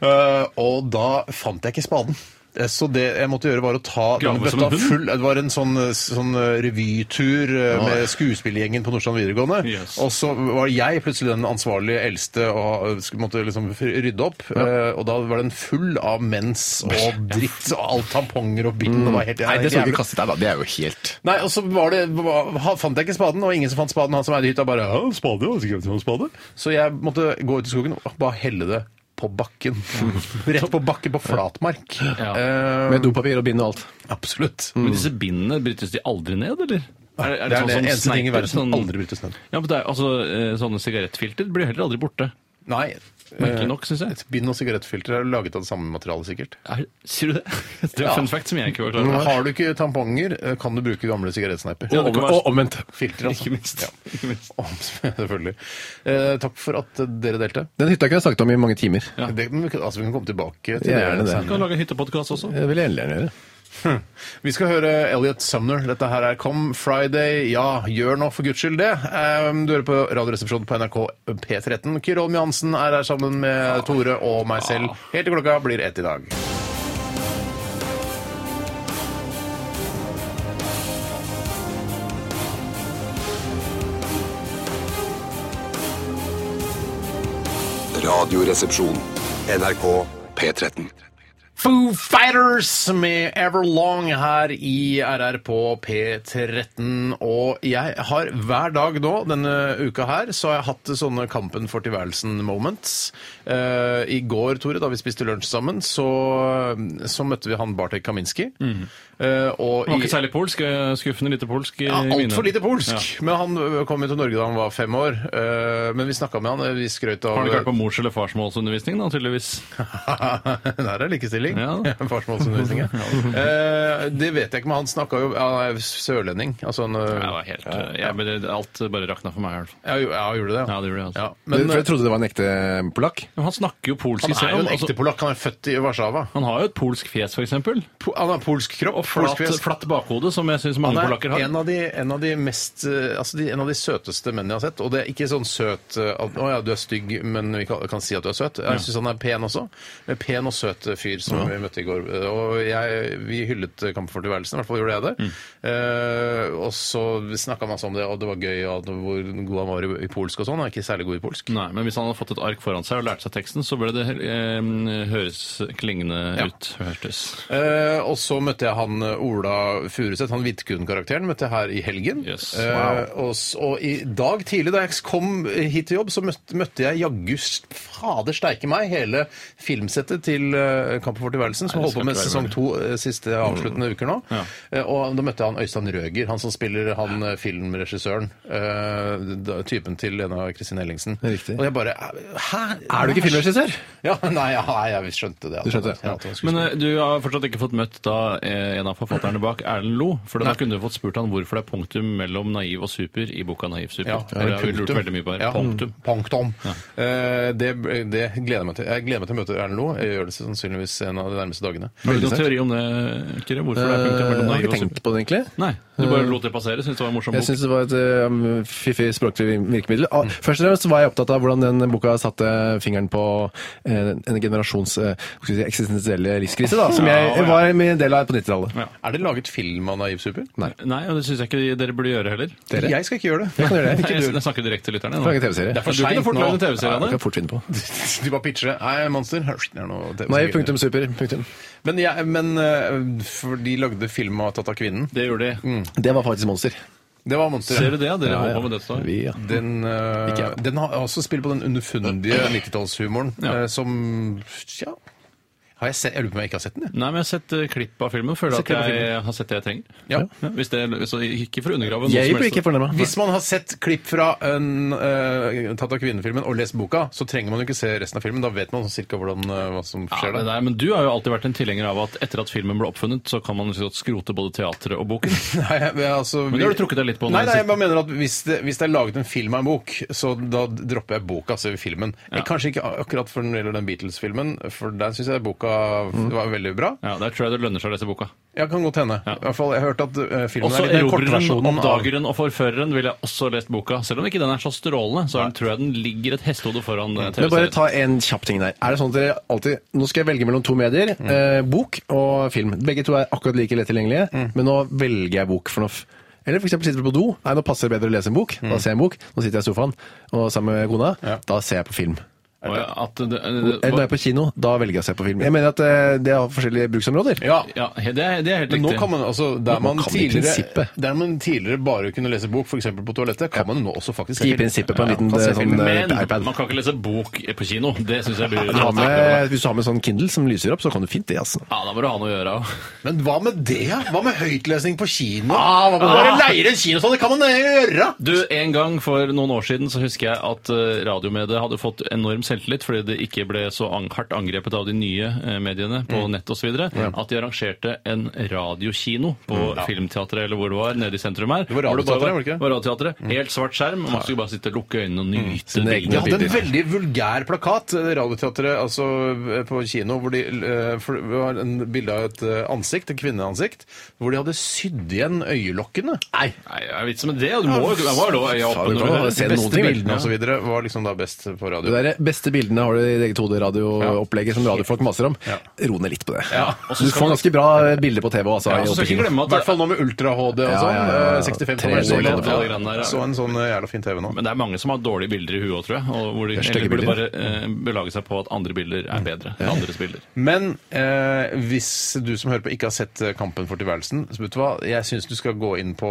S1: Eh, og da fant jeg ikke spaden. Eh, Så det jeg måtte gjøre, var å ta den
S2: Grave som en
S1: bøtta
S2: hund?
S1: full Det var en sånn, eh, sånn eh, revytur eh, med skuespillergjengen på Nordstrand videregående.
S2: Yes.
S1: Og så var jeg plutselig den ansvarlige eldste og eh, skulle- måtte liksom f- rydde opp. eh, Og da var den full av mens og dritt og alt tamponger og bind. og var helt,
S3: Mm. Nei, det
S1: helt
S3: skal du
S1: jævlig.
S3: ikke kaste deg, da. Det er jo helt
S1: Nei, og så var det, var- ha- fant jeg ikke spaden, og ingen som fant spaden. Han som eide hytta bare ja, spade, jeg vet ikke hvem som har spade. Så jeg måtte gå ut i skogen og bare helle det på bakken. Rett på bakken på flatmark.
S2: Ja.
S1: Eh,
S3: Med dopapir og bind og alt.
S1: absolutt.
S2: Men disse bindene brytes de aldri ned, eller? Er,
S1: Det er det
S2: sånn
S1: eneste ting i
S2: sniper,
S1: verden som
S2: sånn-
S1: aldri brytes ned.
S2: Ja, men det er, altså, eh, Sånne sigarettfilter blir heller aldri borte.
S1: Nei. Eh,
S2: Merkelig nok, synes jeg.
S1: Et bind og sigarettfilter er laget av det samme materialet, sikkert.
S2: Er, sier du det? Det er
S1: Ja.
S2: en fun fact som jeg ikke var klar over.
S1: Har du ikke tamponger, eh, kan du bruke gamle sigarettsneiper.
S2: Ja, det kan være-
S1: omvendt. Filter, altså.
S2: Ikke minst.
S1: Ja.
S2: Ikke minst.
S1: Om- Selvfølgelig. Eh, takk for at dere delte.
S3: Den hytta kunne jeg snakket om i mange timer.
S2: Ja.
S1: Det, men vi kan- altså, vi kan komme tilbake til
S3: Gjerne det.
S2: Du kan lage en hyttepodkast også.
S1: Eh,
S3: Det vil jeg gjerne gjøre.
S1: Vi skal høre Elliot Sumner. Dette her er Come Friday. Ja, gjør nå for guds skyld det. Ehm, Du hører på Radioresepsjonen på NRK P13. Kyrre Holm Johansen er her sammen med Tore og meg selv. Helt til klokka blir ett i dag.
S4: Radioresepsjon. NRK P13.
S1: Foo Fighters med Everlong her i RR på P13. Og jeg har hver dag nå denne uka her, så har jeg hatt sånne Kampen for tilværelsen-moments. Eh, I går, Tore, da vi spiste lunsj sammen, så, så møtte vi han Bartek Kaminski. Eh, og
S2: Det var
S1: i-
S2: ikke særlig polsk. eh, Skuffende lite polsk. i
S1: ja,
S2: mine-
S1: Altfor lite polsk!
S2: Ja.
S1: Men han ø, kom jo til Norge da han var fem år. eh, Men vi snakka med han, eh, vi skrøt av
S2: Har han ikke vært på mors- eller farsmålsundervisning, da, tydeligvis?
S1: Der er likestilling.
S2: Ja.
S1: Farsmålsundervisning, ja. Eh, Det vet jeg ikke, men han snakka jo Han er sørlending. Altså han ø,
S2: Jeg var helt, eh, ja, men det, alt bare rakna for meg. i hvert fall.
S1: ja, jo- ja, gjorde det?
S2: Ja, det gjorde det, altså.
S1: Ja,
S3: Men, eh,
S1: Men
S3: for
S1: ø,
S3: jeg trodde det var en ekte polakk.
S2: Men han snakker jo polsk
S1: han er
S2: selv.
S1: jo en
S2: altså-
S1: ekte polakk. Han er født i Warszawa.
S2: han har jo et polsk fjes, f.eks.
S1: Po- Han har polsk kropp.
S2: Og
S1: polsk
S2: flatt,
S1: fjes.
S2: flatt bakhode, som jeg syns mange
S1: Han
S2: polakker
S1: er
S2: har.
S1: en av, de, en, av de mest, eh, altså de, en av de søteste mennene jeg har sett. Og det er ikke sånn søt eh, at å ja, du er stygg, men vi kan, kan si at du er søt. Jeg syns han er pen også. En pen og søt eh, fyr som vi møtte i går. Eh, Og jeg, vi hyllet eh, Kampen for tilværelsen, i hvert fall gjorde jeg det.
S2: Mm.
S1: Eh, og så snakka masse om det, og det var gøy og at hvor god han var i, i polsk og sånn. Han er ikke særlig god i polsk.
S2: Nei, men hvis han hadde fått et ark foran seg og lært seg teksten, så ble det eh, høres klingende
S1: Ja.
S2: ut. Hørtes.
S1: Eh, og så møtte jeg han eh, Ola Furuseth, han Vidkun-karakteren, møtte jeg her i helgen.
S2: Yes.
S1: Eh, og, s- og i dag tidlig, da jeg kom hit til jobb, så møtte, møtte jeg jaggu s- fader steike meg hele filmsettet til eh, Kampen for tilværelsen, som
S2: Nei, det
S1: holdt på med
S2: skal
S1: sesong
S2: ikke
S1: to eh, siste
S3: Mm.
S1: avsluttende uker nå. Eh, og da møtte jeg han Øystein Røger, han som spiller han eh, filmregissøren. eh, da, typen til Lena Kristin Ellingsen.
S3: Riktig.
S1: Og jeg bare Hæ?
S3: Er du ikke filmregissør?
S1: Ja, nei, ja, nei, jeg skjønte det.
S3: Du skjønte det?
S1: Ja, at han skulle
S2: Men eh, du har fortsatt ikke fått møtt da eh, en av forfatterne bak, Erlend Lo. For da kunne du fått spurt han hvorfor det er punktum mellom naiv og super i boka Naiv super.
S1: Ja,
S2: For det har vi
S1: punktum.
S2: lurt veldig mye på her.
S1: Ja,
S2: Punktum.
S1: punktum. Eh, det, det gleder jeg meg til. Jeg gleder meg til å møte Erlend Loe. Jeg gjør det sannsynligvis en av de nærmeste dagene.
S2: Har du noen teori om det, Kyrre? Hvorfor det er punktum
S3: Eh,
S2: mellom
S3: jeg har
S2: naiv
S3: ikke
S2: og
S3: tenkt
S2: super?
S3: på det, egentlig.
S2: Nei, du bare lot det passere? Syns det var en morsom
S3: Jeg
S2: bok?
S3: syns det var et eh, fiffig språklig virkemiddel. Ah, Først og fremst var jeg opptatt av hvordan den boka satte fingeren på eh, en generasjons eh, hva skal vi si, eksistensielle livskrise, da, som
S2: Ja, ja.
S3: jeg var med en del av på 90-tallet.
S2: Ja.
S1: Er det laget film av Naiv Super?
S2: Nei, og det syns jeg ikke dere burde gjøre heller.
S3: Dere?
S1: Jeg skal ikke gjøre det.
S3: Jeg kan gjøre det.
S2: Nei, jeg, jeg snakker direkte til lytterne. nå.
S3: Lage TV-serie.
S1: Det er for
S2: Du kunne
S1: seint
S2: fort
S1: nå.
S2: lagd en TV-serie
S3: Ja,
S2: av
S3: det
S2: det.
S3: kan jeg fort finne på.
S1: De bare pitcher det. Nei, monster. Hysj, det er noe- det er
S3: Nei,
S1: så gøy.
S3: punktum super. Punktum.
S1: Men, jeg- men eh, for de lagde film av Tatt av kvinnen.
S2: Det gjorde de.
S3: Det var faktisk Monster.
S1: Det var monster.
S2: Ser du det? Dere
S3: Ja,
S2: holder
S3: ja.
S2: på med dette. da.
S3: Vi, ja.
S1: Den, eh,
S3: Ikke jeg.
S1: den har også spilt på den underfundige 90-tallshumoren
S2: Ja.
S1: eh, som Tja. eh, Har jeg, sett, jeg lurer på om jeg ikke har sett den. Jeg.
S2: Nei, men jeg har sett eh, klipp av filmen. Føler
S1: Sett
S2: at
S1: klipp av
S2: jeg har sett det jeg trenger.
S1: Ja.
S2: hvis det, så ikke for å undergrave noe
S3: Jeg
S2: som
S3: blir ikke
S2: helst.
S3: fornærma.
S1: Hvis man har sett klipp fra en, eh, tatt av kvinnefilmen og lest boka, så trenger man jo ikke se resten av filmen. Da vet man sånn cirka hvordan, eh, hva som
S2: Ja,
S1: skjer
S2: men,
S1: der.
S2: nei, men du har jo alltid vært en tilhenger av at etter at filmen ble oppfunnet, så kan man jo godt skrote både teatret og boken.
S1: Nei, jeg- jeg- altså,
S2: Men det har du trukket deg litt på nå
S1: Nei,
S2: i det
S1: nei, jeg
S2: siste.
S1: bare mener at hvis det, hvis det er laget en film av en bok, så da dropper jeg boka, altså filmen. Jeg, kanskje ikke akkurat for når det gjelder den Beatles-filmen, for der syns jeg boka var veldig bra.
S2: Ja, Der tror jeg det lønner seg å lese boka.
S1: Jeg kan godt hende. I hvert fall, jeg hørte at eh, filmen
S2: Også
S1: er litt den
S2: erobreren,
S1: kortversjonen av-
S2: oppdageren og forføreren ville jeg også lest boka. Selv om ikke den er så strålende, så er den, tror jeg den ligger et hestehode foran eh,
S3: Men bare
S2: TV-serien.
S3: ta en kjapp ting der. Er det sånn at dere alltid Nå skal jeg velge mellom to medier.
S1: Mm.
S3: Eh, bok og film. Begge to er akkurat like lett tilgjengelige,
S1: Mm.
S3: men nå velger jeg bok. for nå f- eller for eksempel sitter du på do. Nei, nå passer det bedre å lese en bok.
S1: Mm.
S3: Da ser jeg en bok. Nå sitter jeg i sofaen og sammen med kona. Da ser jeg på film.
S2: Og ja, at det,
S3: Eller når jeg
S2: det,
S3: er på kino, da velger jeg å se på film. Jeg mener at eh, det har forskjellige bruksområder.
S1: Ja,
S2: ja, det, er- det er helt
S1: Men nå
S2: riktig.
S1: kan man altså, der
S3: Nå
S1: man,
S3: kan man i
S1: tidligere,
S3: prinsippet.
S1: der man tidligere bare kunne lese bok, f.eks. på toalettet, kan man nå også faktisk se
S3: I
S1: film.
S3: prinsippet på en
S1: Ja,
S3: liten
S1: kan se
S3: eh, sånn
S1: film.
S3: eh,
S2: Men
S3: iPad.
S2: man kan ikke lese bok på kino. Det syns jeg blir
S3: Du har med, hvis du har med sånn Kindle som lyser opp, så kan du fint det, altså.
S2: Ja, da må du ha noe å gjøre òg.
S1: Men hva med det? Hva med høytlesning på kino? Ah, hva med det? Bare leier en kino sånn, det kan man gjøre!
S2: Du, En gang for noen år siden så husker jeg at eh, radiomediet hadde fått enorm selvtillit fordi det ikke ble så ang hardt angrepet av de nye eh, mediene på
S1: Mm.
S2: nett osv. videre At de arrangerte en radiokino på Filmteatret eller hvor det var, nede i sentrum her.
S1: Mm. Det var
S2: Hvor bare
S1: Radioteatret, var det ikke? Mm.
S2: var radioteatret. Helt svart skjerm. og Man skulle bare sitte og lukke øynene og nyte
S3: Sine
S2: bildet.
S3: egne
S1: De hadde en
S3: bilder.
S1: veldig vulgær plakat, eh, Radioteatret, altså eh, på kino, hvor de eh, for det var en bilde av et eh, ansikt, et kvinneansikt, hvor de hadde sydd igjen øyelokkene.
S2: Nei, Nei, det er vits med det. Du må jo det må jo lov å øye
S3: Faen, du kan jo
S2: opp.
S3: se
S1: De
S3: noen
S1: beste
S3: ting, vel?
S1: bildene
S2: altså.
S1: osv. var liksom da best på
S3: Det
S1: radio.
S3: der beste bildene har du i eget hode, radioopplegget som radiofolk maser om.
S1: Ja.
S3: Ro ned litt på det.
S2: Ja, og så
S3: Du
S2: skal
S3: får
S2: man-
S3: ganske bra bilder på TV også.
S2: Ja,
S3: i
S2: og så skal vi
S3: oppbyggingen.
S2: ikke glemme
S1: I
S2: at
S1: hvert fall nå med ultra-HD og
S3: Ja,
S1: sånn.
S3: ja, ja, ja.
S1: eh, 65 tommer
S3: Tre-
S1: så,
S2: tre-
S1: langt.
S2: tre- alle greiene der, ja.
S1: så en sånn eh, jævla fin TV nå.
S2: Men det er mange som har dårlige bilder i huet òg, tror jeg. Og hvor de
S3: er
S2: eller
S3: stygge
S2: burde bare eh, belage seg på at andre bilder er bedre enn andres bilder.
S1: Men eh, hvis du som hører på ikke har sett eh, Kampen for tilværelsen, så vet du hva, jeg syns du skal gå inn på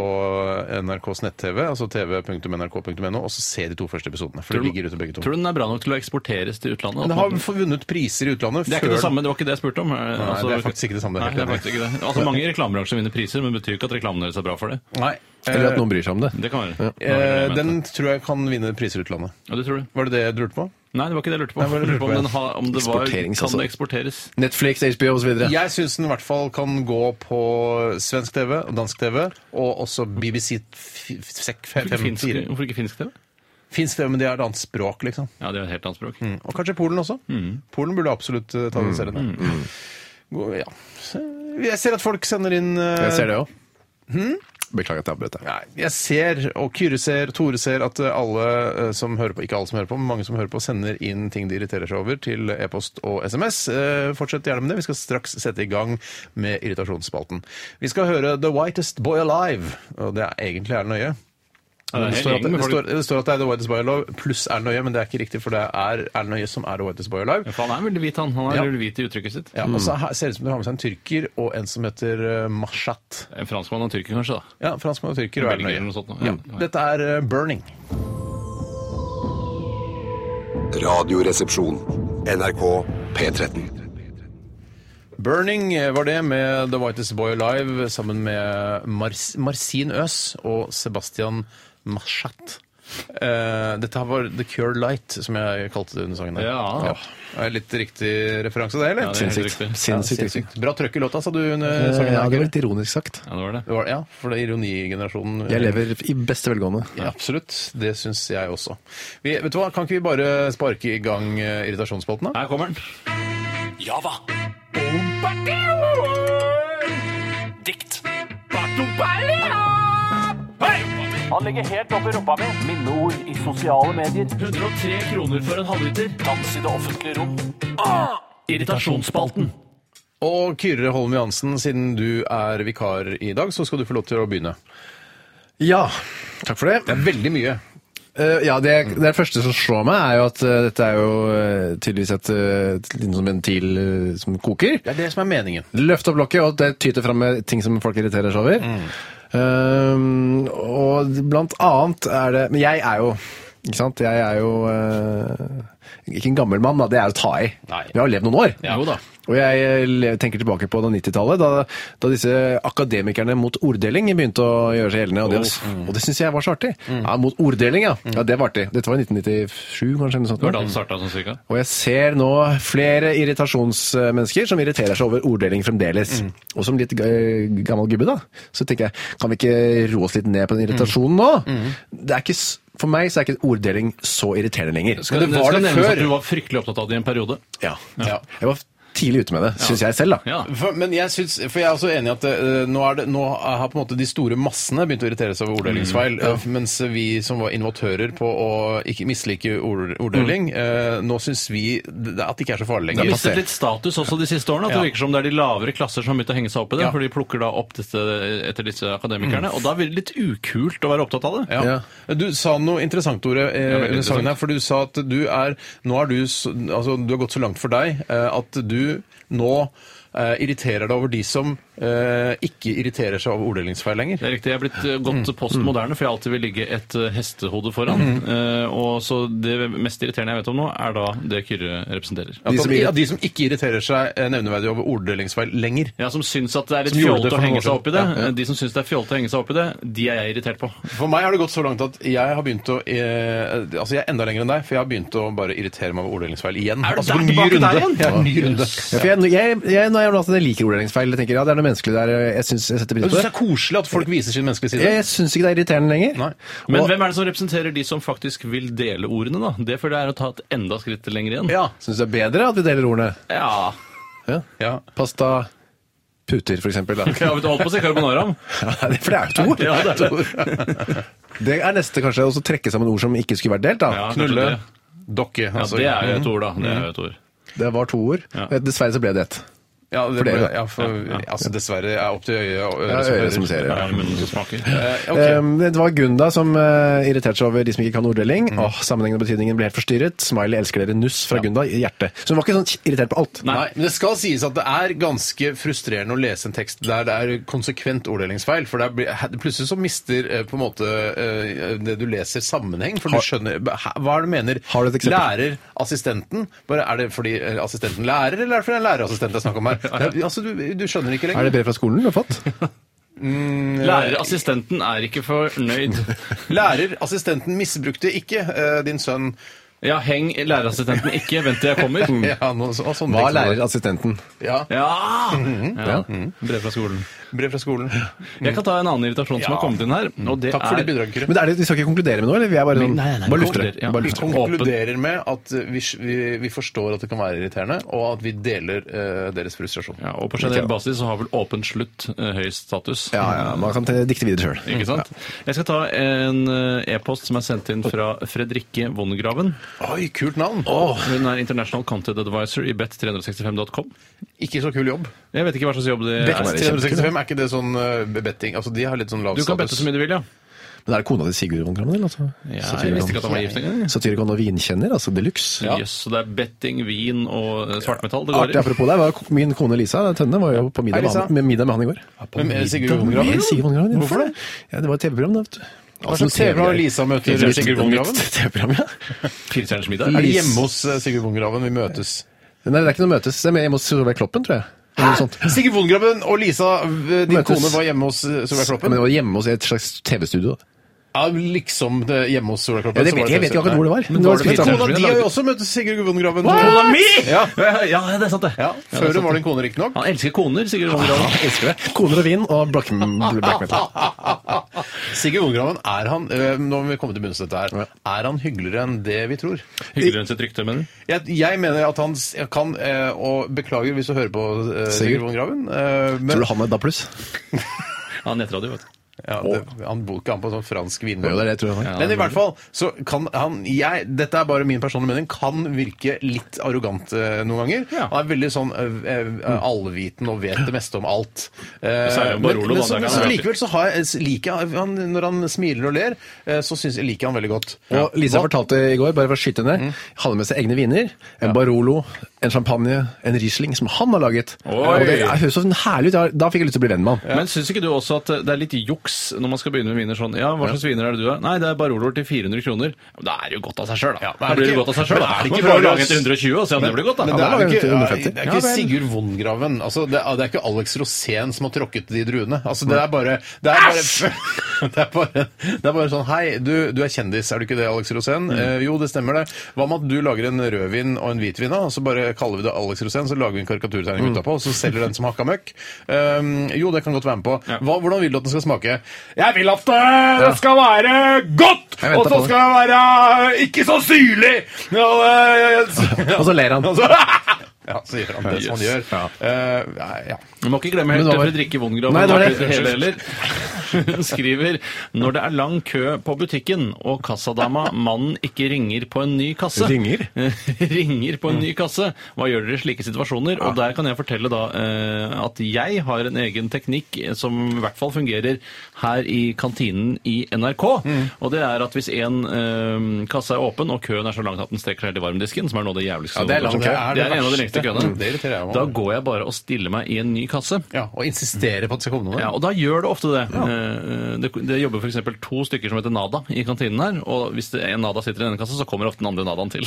S1: eh, NRKs nett-TV, altså tv.nrk.no, og så se de to første episodene. For
S2: Tror
S1: de
S2: du-
S1: ligger ute begge to.
S2: Tror du den er bra nok til å eksporteres til utlandet?
S1: Men det
S2: At
S1: har
S2: man-
S1: vunnet priser i utlandet
S2: det er ikke det samme, det var ikke det jeg spurte om. Nei,
S1: det er faktisk ikke det samme, det er
S2: Nei,
S1: helt
S2: det er
S1: enig.
S2: faktisk ikke det. Altså, mange reklamebransjer vinner priser, men det betyr ikke at reklamen deres er bra for det.
S1: Nei.
S3: Eller at
S1: Eh,
S3: noen bryr seg om det.
S2: Det kan være. Det var det
S1: eh,
S2: jeg mente.
S1: den tror jeg kan vinne priser i utlandet.
S2: Ja, det tror du.
S1: Var det det du lurte på?
S2: Nei, det var ikke det jeg lurte på.
S1: Nei, hva er det du
S2: jeg lurte på
S1: lurer på?
S2: om, den har, om det var,
S3: Eksporterings,
S2: kan det
S3: altså.
S2: eksporteres?
S3: Netflix, HBO osv.
S1: Jeg syns den i hvert fall kan gå på svensk TV og dansk TV, og også BBC f- f- Sek
S2: Hvorfor ikke finsk,
S1: 54.
S2: hvorfor ikke finsk TV?
S1: Mm. Finsk TV, men de har et annet språk, liksom.
S2: Ja, det er et helt annet språk.
S1: Og kanskje Polen også. Polen burde absolutt eh, ta den serien. der. Gå- Ja. Så, Jeg ser at folk sender inn eh,
S3: Jeg ser det òg. Beklager at jeg avbrøt deg.
S1: Nei, jeg ser, og Kyrre ser, Tore ser, at eh, alle eh, som hører på, ikke alle som hører på, men mange som hører på, sender inn ting de irriterer seg over til e-post og SMS. Eh, Fortsett gjerne med det. Vi skal straks sette i gang med irritasjonsspalten. Vi skal høre The Whitest Boy Alive, og det er egentlig er nøye.
S2: Ja, det er
S1: Det
S2: helt
S1: står, at,
S2: gjeng med
S1: det,
S2: folk.
S1: står, det står at det er The Whitest Boy Alive pluss Erlend Øye, men det er ikke riktig, for det er Erlend Øye som er The Whitest Boy Alive.
S2: Ja, for han er veldig hvit, han. Han er
S1: Ja.
S2: veldig hvit i uttrykket sitt.
S1: Ja, og så her- ser det ut som de har med seg en tyrker og en som heter eh, Mashat.
S2: En franskmann og en tyrker, kanskje, da.
S1: Ja, franskmann og tyrker og Erlend
S2: Belgier
S1: Øye.
S2: eller noe sånt. nå.
S1: Ja,
S2: Ja.
S1: dette er eh, Burning.
S4: Radioresepsjon. NRK P13.
S1: Burning var det med The Whitest Boy Alive sammen med Mars Marcin Øs og Sebastian Machat. Eh, dette her var The Cure Light, som jeg kalte det under sangen. der.
S2: Ja.
S1: Er det litt riktig referanse, det, eller?
S2: Ja, det er helt
S3: Sinnssykt.
S2: riktig.
S3: Sinnssykt. riktig.
S1: Bra trøkk i låta, sa du under
S3: Eh,
S1: sangen.
S3: Ja, det
S1: her,
S3: var
S1: Kyrre.
S3: litt ironisk sagt.
S2: ja, det var det.
S1: Det var, ja, for det er ironigenerasjonen.
S3: Jeg lever i beste velgående.
S1: Ja, absolutt. Det syns jeg også. Vi, vet du hva, Kan ikke vi bare sparke i gang eh, irritasjonsspalten, da?
S2: Her kommer den.
S5: Java. Dikt. Han ligger helt oppi rumpa mi. Minneord i sosiale medier.
S2: 103 kroner for en halvliter. Ah!
S5: Dans i det offentlige rom.
S2: Irritasjonsspalten.
S1: Og Kyrre Holm Johansen, siden du er vikar i dag, så skal du få lov til å begynne.
S3: Ja, takk for det.
S1: Det er veldig mye.
S3: Eh, ja, det, det første som slår meg, er jo at eh, dette er jo eh, tydeligvis et, eh, et liten sånn ventil eh, som koker.
S1: Det er det som er meningen.
S3: Løft opp lokket, og det tyter fram med ting som folk irriterer seg Ehm, over. Um, og blant annet er det Men jeg er jo Ikke sant? Jeg er jo eh, ikke en gammel mann, da. det er å ta i.
S2: Nei.
S3: Men jeg har levd noen år.
S2: Jo da.
S3: Og jeg eh, le- tenker tilbake på da 90-tallet, da, da disse akademikerne mot orddeling begynte å gjøre seg gjeldende. Og det, og det syns jeg var så artig. Ja, mot orddeling, ja. ja. Det var artig. Dette var i 1997, kanskje. eller noe sånt.
S2: Det var da det starta sånn cirka.
S3: Og jeg ser nå flere irritasjonsmennesker som irriterer seg over orddeling fremdeles.
S1: Mm.
S3: Og som litt eh, gammel gubbe, da, så tenker jeg kan vi ikke roe oss litt ned
S1: Mm.
S3: på den irritasjonen nå? Det er ikke, s- for meg så er ikke orddeling så irriterende lenger.
S2: Skal,
S3: Men det var
S2: skal
S3: det
S2: nevnes at
S3: før.
S2: du var fryktelig opptatt av det i en periode.
S3: Ja. ja. Jeg var tidlig ute med det, syns jeg selv, da.
S2: Ja.
S1: For, men jeg syns, for jeg er også enig i at eh, nå, er det, nå har på en måte de store massene begynt å irritere seg over orddelingsfeil, eh, mens vi som var innovatører på å ikke mislike ord, orddeling, eh, nå syns vi d- at det ikke er så farlig
S2: Det har
S1: lenger.
S2: mistet litt status også de siste årene. at
S1: Ja.
S2: Det virker som det er de lavere klasser som har begynt å henge seg opp i det.
S1: Ja. Mm.
S2: For de plukker da opp dette etter disse akademikerne. Og da blir det litt ukult å være opptatt av det.
S1: Ja. Du sa noe interessant, Tore, eh,
S2: veldig
S1: under sangen her, for du sa at du er Nå er du så- Altså, du har gått så langt for deg eh, at du nå eh, irriterer deg over de som eh, ikke irriterer seg over orddelingsfeil lenger.
S2: Det er riktig. Jeg er blitt eh, godt
S1: Mm.
S2: postmoderne, for jeg alltid vil ligge et eh, hestehode foran. Eh, og så Det mest irriterende jeg vet om nå, er da det Kyrre representerer.
S1: At
S3: De som
S1: man-
S3: irri-
S1: ja, de som ikke irriterer seg eh, nevneverdig over orddelingsfeil lenger.
S2: Ja, Som syns at det er litt
S1: Som gjorde det
S2: fjolte
S1: for noen
S2: å
S1: år
S2: henge seg
S1: siden.
S2: opp i det.
S1: Ja, ja.
S2: De som syns det er fjolte å henge seg opp i det, de er jeg irritert på.
S1: For meg har det gått så langt at jeg har begynt å eh, Altså, jeg er enda lenger enn deg, for jeg har begynt å bare irritere meg over orddelingsfeil igjen.
S2: Er du
S1: altså,
S2: der
S1: på ny
S2: tilbake der
S1: runde.
S2: igjen?
S1: Ja, ny runde.
S3: Ja, for jeg, jeg, jeg, når jeg, nå at jeg liker orddelingsfeil. Jeg tenker ja, det er noe menneskelig der. eh, Jeg syns jeg setter
S1: Men
S3: pris
S1: Du
S3: på
S1: syns det
S3: det.
S1: er koselig at folk viser sin menneskelige side?
S3: Jeg, jeg syns ikke det er irriterende lenger.
S1: Nei.
S2: Men
S3: Og-
S2: hvem er det som representerer de som faktisk vil dele ordene, da? Det føler jeg er å ta et enda skritt lenger igjen.
S1: Ja.
S3: Syns det er bedre at vi deler ordene.
S2: Ja.
S1: ja.
S3: Pasta, puter, for eksempel. Da.
S2: Jeg har holdt på å si carbonara.
S3: Ja, det- for det er jo to ord.
S2: Ja, det er det.
S3: Det er neste kanskje å trekke sammen ord som ikke skulle vært delt. da.
S2: Ja, kanskje
S1: Knulle.
S2: det.
S1: Dokke.
S2: Ja,
S1: altså.
S2: det er jo et ord, da. Det er jo et ord.
S3: Det var to ord. Eh,
S2: Ja.
S3: Dessverre så ble det ett.
S1: Ja, det
S3: For det,
S1: ble,
S3: da.
S1: ja, for, altså, dessverre er opp til øyet og
S3: Ja,
S1: øret som
S3: øret
S1: hører.
S3: som ser, ja.
S2: Det er munnen som smaker.
S1: Eh, ok.
S3: Ehm, Det var Gunda som eh, irriterte seg over de som ikke kan orddeling.
S2: Mm.
S3: Åh, sammenhengen og betydningen ble helt forstyrret. Smiley elsker dere. Nuss fra Gunda i hjertet. Så hun var ikke sånn irritert på alt.
S1: Nei, men Det skal sies at det er ganske frustrerende å lese en tekst der det er konsekvent orddelingsfeil. For det er, bli- plutselig så mister eh, på en måte eh, det du leser, sammenheng. For du skjønner hæ, Hva er det du mener?
S3: Har du et eksempel?
S1: Lærer, assistenten. Bare, er det fordi eh, assistenten lærer, eller er det fordi det er en lærerassistent det er snakk om her? Det er- Altså, du, du skjønner ikke
S3: Er
S1: lenger.
S3: det brev fra skolen du har fått?
S2: Lærerassistenten Eh, er ikke fornøyd.
S1: Lærer, assistenten misbrukte ikke eh, din sønn.
S2: Ja, heng lærerassistenten ikke, vent til jeg kommer.
S1: Ja, noe, så, og sånn sånne ting
S3: Hva er
S1: som det-
S3: lærerassistenten?
S1: Ja,
S2: Ja! ja. Brev fra skolen.
S1: brev fra skolen.
S2: Jeg kan ta en annen irritasjon som har kommet inn her. Og det
S1: Takk for
S2: er
S1: ditt bidrag, Kyrre.
S3: Men er det, Vi skal ikke konkludere med noe? eller? Vi er bare sånn,
S2: Nei, nei, nei,
S3: bare lufter
S2: konkluder, ja.
S3: det. Bare
S1: Vi
S3: lufter.
S1: konkluderer med at vi, vi, vi forstår at det kan være irriterende, og at vi deler eh, deres frustrasjon.
S2: ja, Og på generell basis så har vel åpen slutt eh, høy status.
S3: Ja, ja, Man kan te- dikte videre sjøl.
S2: Ikke sant? Jeg skal ta en eh, e-post som er sendt inn fra Fredrikke Vonnegraven.
S1: Oi, kult navn!
S2: Hun er International Content Advisor i bet365.com.
S1: Ikke så kul jobb.
S2: Jeg vet ikke hva slags jobb det
S1: Bet
S2: er.
S1: 365, er ikke det sånn eh, betting Altså, de har litt sånn lav
S2: Du kan bette så mye du vil, ja.
S3: Men er det kona til Sigurd von Grammen? eller, Altså?
S2: ja jeg
S3: Satyricon.
S2: visste ikke at han var gift engang.
S3: Satyricon og vinkjenner, altså de luxe.
S2: Jøss, så det er betting, vin og eh, svartmetall det går
S3: Artig
S2: i.
S3: apropos deg, var min kone Lisa Tønne var jo på middag,
S1: Hei, Lisa.
S3: med, han- med, middag med han i går.
S1: Hvem er Sigurd Von Graven?
S3: Med Sigurd Von Graven, ja.
S1: Hvorfor det?
S3: Ja, det var et TV-program, da. vet du.
S1: Hva slags TV har Lisa møter Sigurd Von Graven?
S3: TV-program, ja.
S2: Firestjerners
S1: Er
S2: middag.
S1: det
S2: Er det
S1: hjemme hos eh, Sigurd von Graven vi møtes?
S3: Nei, det er ikke noe møtes. Det er med hjemme hos Solveig Kloppen, tror jeg. Eller noe sånt.
S1: Sigurd von Graven og Lisa, eh, din
S3: Møtes.
S1: kone, var hjemme hos eh, Solveig
S3: Ja, men
S1: Kloppen?
S3: det var hjemme hos et slags TV-studio. da.
S1: Ja, liksom det, hjemme hos Solveig Kloppen.
S3: Ja, det
S1: så
S3: vet,
S1: var
S3: jeg vet ikke akkurat hvor det var.
S2: Men var det
S3: Men det var
S2: Firestjerners
S1: Kona di har jo også møtt Sigurd von Graven.
S2: Kona mi!
S1: Ja.
S2: ja, det er sant, det.
S1: Ja,
S2: det er
S1: Før hun
S2: sant.
S1: var din kone, riktignok.
S2: Han elsker koner, Sigurd Von Graven.
S3: jeg elsker det. Koner og vin og black, black metal.
S1: Sigurd Vongraven, er han øh, nå må vi komme til bunns i dette her, er han hyggeligere enn det vi tror?
S2: Hyggelig rundt sitt rykte, mener du?
S1: Jeg, jeg mener at han s- kan, øh, og beklager hvis du hører på øh, Sigurd
S3: Sigurd.
S1: Vongraven, øh, men
S3: Tror du han er da pluss?
S2: Han heter det, vet du.
S1: ja, det, han bor ikke han på sånn fransk
S3: Jo, det
S1: vinbord.
S3: er det, tror jeg.
S1: Men i hvert fall, så kan han jeg, Dette er bare min personlige mening. Kan virke litt arrogant øh, noen ganger.
S2: Ja.
S1: Han er veldig sånn øh, øh, allviten og vet det meste om alt. Eh,
S2: Særlig om
S1: men,
S2: Barolo,
S1: men,
S2: da,
S1: så,
S2: der
S1: men
S2: kan
S1: så
S2: han-
S1: likevel så har jeg, liker jeg han, Når han smiler og ler, eh, så syns jeg liker jeg han veldig godt.
S3: Og Lisa
S1: Hva-
S2: Mm.
S3: fortalte i går, bare for å skyte ned, hadde med seg egne viner. En Barolo, en champagne, en Riesling, som han har laget.
S2: Oi!
S3: Og det det høres så herlig ut. Jeg- Da fikk jeg lyst til å bli venn med han.
S2: Men syns ikke du også at det er litt juks når man skal begynne med viner sånn Ja, hva slags viner er det du er? Nei, det er Barolo til 400 kroner. Men Da er det jo godt av seg sjøl, da.
S1: men
S2: da
S1: er det
S2: blir det
S1: ikke-
S2: godt av seg
S1: men
S2: sjøl, da.
S1: er det
S2: Man
S1: ikke
S2: prøver å
S1: bare
S2: lage
S1: oss-
S2: til 120 og se om det blir godt,
S1: Men
S2: da.
S1: det
S3: da
S1: er,
S3: lager
S1: jo ikke,
S3: vi til 150.
S1: det er ikke
S3: Ja, vel.
S1: Sigurd Vongraven. Altså, det, er, det er ikke Alex Rosén som har tråkket de druene. Altså, det er bare det er bare, det er bare, det er bare sånn Hei, du, du er kjendis, er du ikke det, Alex Rosén?
S2: Mm.
S1: Eh, jo, det stemmer det. Hva med at du lager en rødvin og en hvitvin, da? Og så bare kaller vi det Alex Rosén, så lager vi en karikaturtegning
S2: Mm.
S1: utapå, og så selger den som hakka møkk? Um, jo, det kan godt være med på. Hva, hvordan vil du at den skal smake? Jeg vil at det skal være godt!
S3: Jeg venter
S1: Og
S3: på
S1: så
S3: det.
S1: skal det være eh, ikke så syrlig! Ja, eh, det-
S3: Og så ler han.
S1: og så- ja, så gjør han det som han gjør.
S2: Yes. Ja.
S1: Eh, nei, ja.
S2: Du må ikke glemme
S3: Men
S2: helt
S3: det
S2: det
S3: var-
S2: Fredrikke Wongrav
S3: Nei, det var det.
S2: hele heller. Hun skriver når det er lang kø på butikken og kassadama mannen ikke ringer på en ny kasse
S3: Ringer?
S2: Ringer på en ny kasse. Hva gjør dere i slike situasjoner? Og der kan jeg fortelle da eh, at jeg har en egen teknikk som i hvert fall fungerer her i kantinen i NRK.
S1: Mm.
S2: Og det er at hvis en eh, kasse er åpen og køen er så lang at den strekker seg til varmdisken, som er noe av det jævligste
S1: Ja, det er lang kø.
S2: Det er,
S1: Det er det
S2: en av de
S1: verste.
S2: lengste køene.
S1: Mm, det irriterer jeg meg
S2: Da
S1: over.
S2: går jeg bare og stiller meg i en ny kasse.
S1: ja. Og insistere på at det skal komme noe.
S2: Ja, og da gjør det ofte det. Eh, Det, det jobber f.eks. to stykker som heter Nada i kantinen her. Og hvis det er en Nada sitter i denne kassa, så kommer ofte den andre Nadaen til.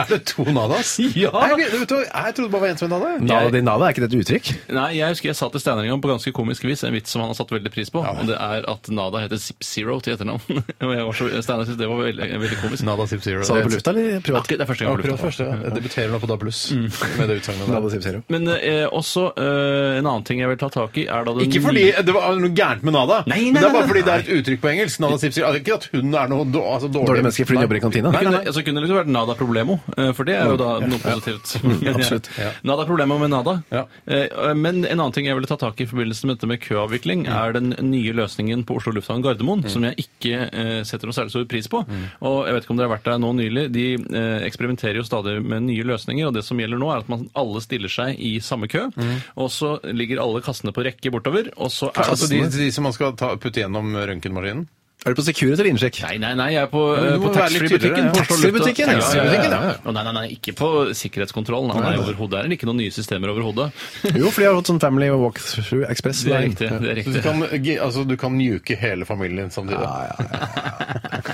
S1: Er det to nadas?
S2: Ja.
S1: Nei, vet du hva, jeg trodde det bare var én som het nada. jeg.
S3: Nada di nada, er ikke det et uttrykk?
S2: Nei, jeg husker jeg sa til Steinar en gang på ganske komisk vis en vits som han har satt veldig pris på, og det er at Nada heter Zip Zero til etternavn. Og jeg var så, Steinar syntes det var veldig, veldig komisk.
S1: Nada Zip Zero.
S3: Sa du på lufta, eller
S2: Ja,
S3: privat?
S2: Det
S3: Mm.
S2: er første
S1: Ja,
S2: gang jeg har
S1: akkurat
S2: brukt det.
S1: først, ja. Jeg debuterer nå på Da Pluss med det utsagnet der.
S3: Nada Zip Zero.
S2: Men eh, også eh, en annen ting jeg vil ta tak i, er da den
S1: Ikke fordi det var noe gærent med Nada,
S2: Nei, nei,
S1: men det er
S2: nei,
S1: bare
S2: nei.
S1: fordi det er et uttrykk på engelsk. Nada Zip Zero. Altså, Ikke at hun er noe dår- altså, dårlig
S3: Dårlige mennesker fordi de jobber i kantina?
S2: Kunne, altså, kunne det liksom vært Nada Problemo, eh, for det er jo da noe positivt.
S3: absolutt.
S2: Ja. Nada Problemo med Nada.
S1: Mm, Ja.
S2: Eh, Men en annen ting jeg ville ta tak i i forbindelse med dette med køavvikling,
S1: Mm.
S2: er den nye løsningen på Oslo lufthavn Gardermoen, som jeg ikke eh, setter noe særlig stor pris på.
S1: Mm.
S2: Og jeg vet ikke om dere har vært der nå nylig. De eh, eksperimenterer jo stadig med nye løsninger, og det som gjelder nå, er at man alle stiller seg i samme kø,
S1: Mm.
S2: og så ligger alle kassene på rekke bortover, og så er
S1: Altså, de, de som man skal ta, putte gjennom røntgenmaskinen?
S3: Er du på Security eller innsjekk?
S2: Nei, nei, nei, jeg er på,
S1: men
S2: eh,
S1: du
S2: på
S1: må være litt
S2: taxfree-butikken.
S1: tydeligere.
S2: på Oslo Lufthavn.
S3: Taxfree-butikken, ja.
S1: Taxfree-butikken, ja.
S2: Å, Nei, nei, nei, ikke på sikkerhetskontrollen. Nei, overhodet er det ikke noen nye systemer overhodet.
S3: Jo, for de har fått sånn Family Walkthrough Express.
S2: Det er
S3: Nei.
S2: riktig. det
S1: Så Du
S2: er riktig.
S1: kan, gi- altså, du kan mjuke hele familien din samtidig.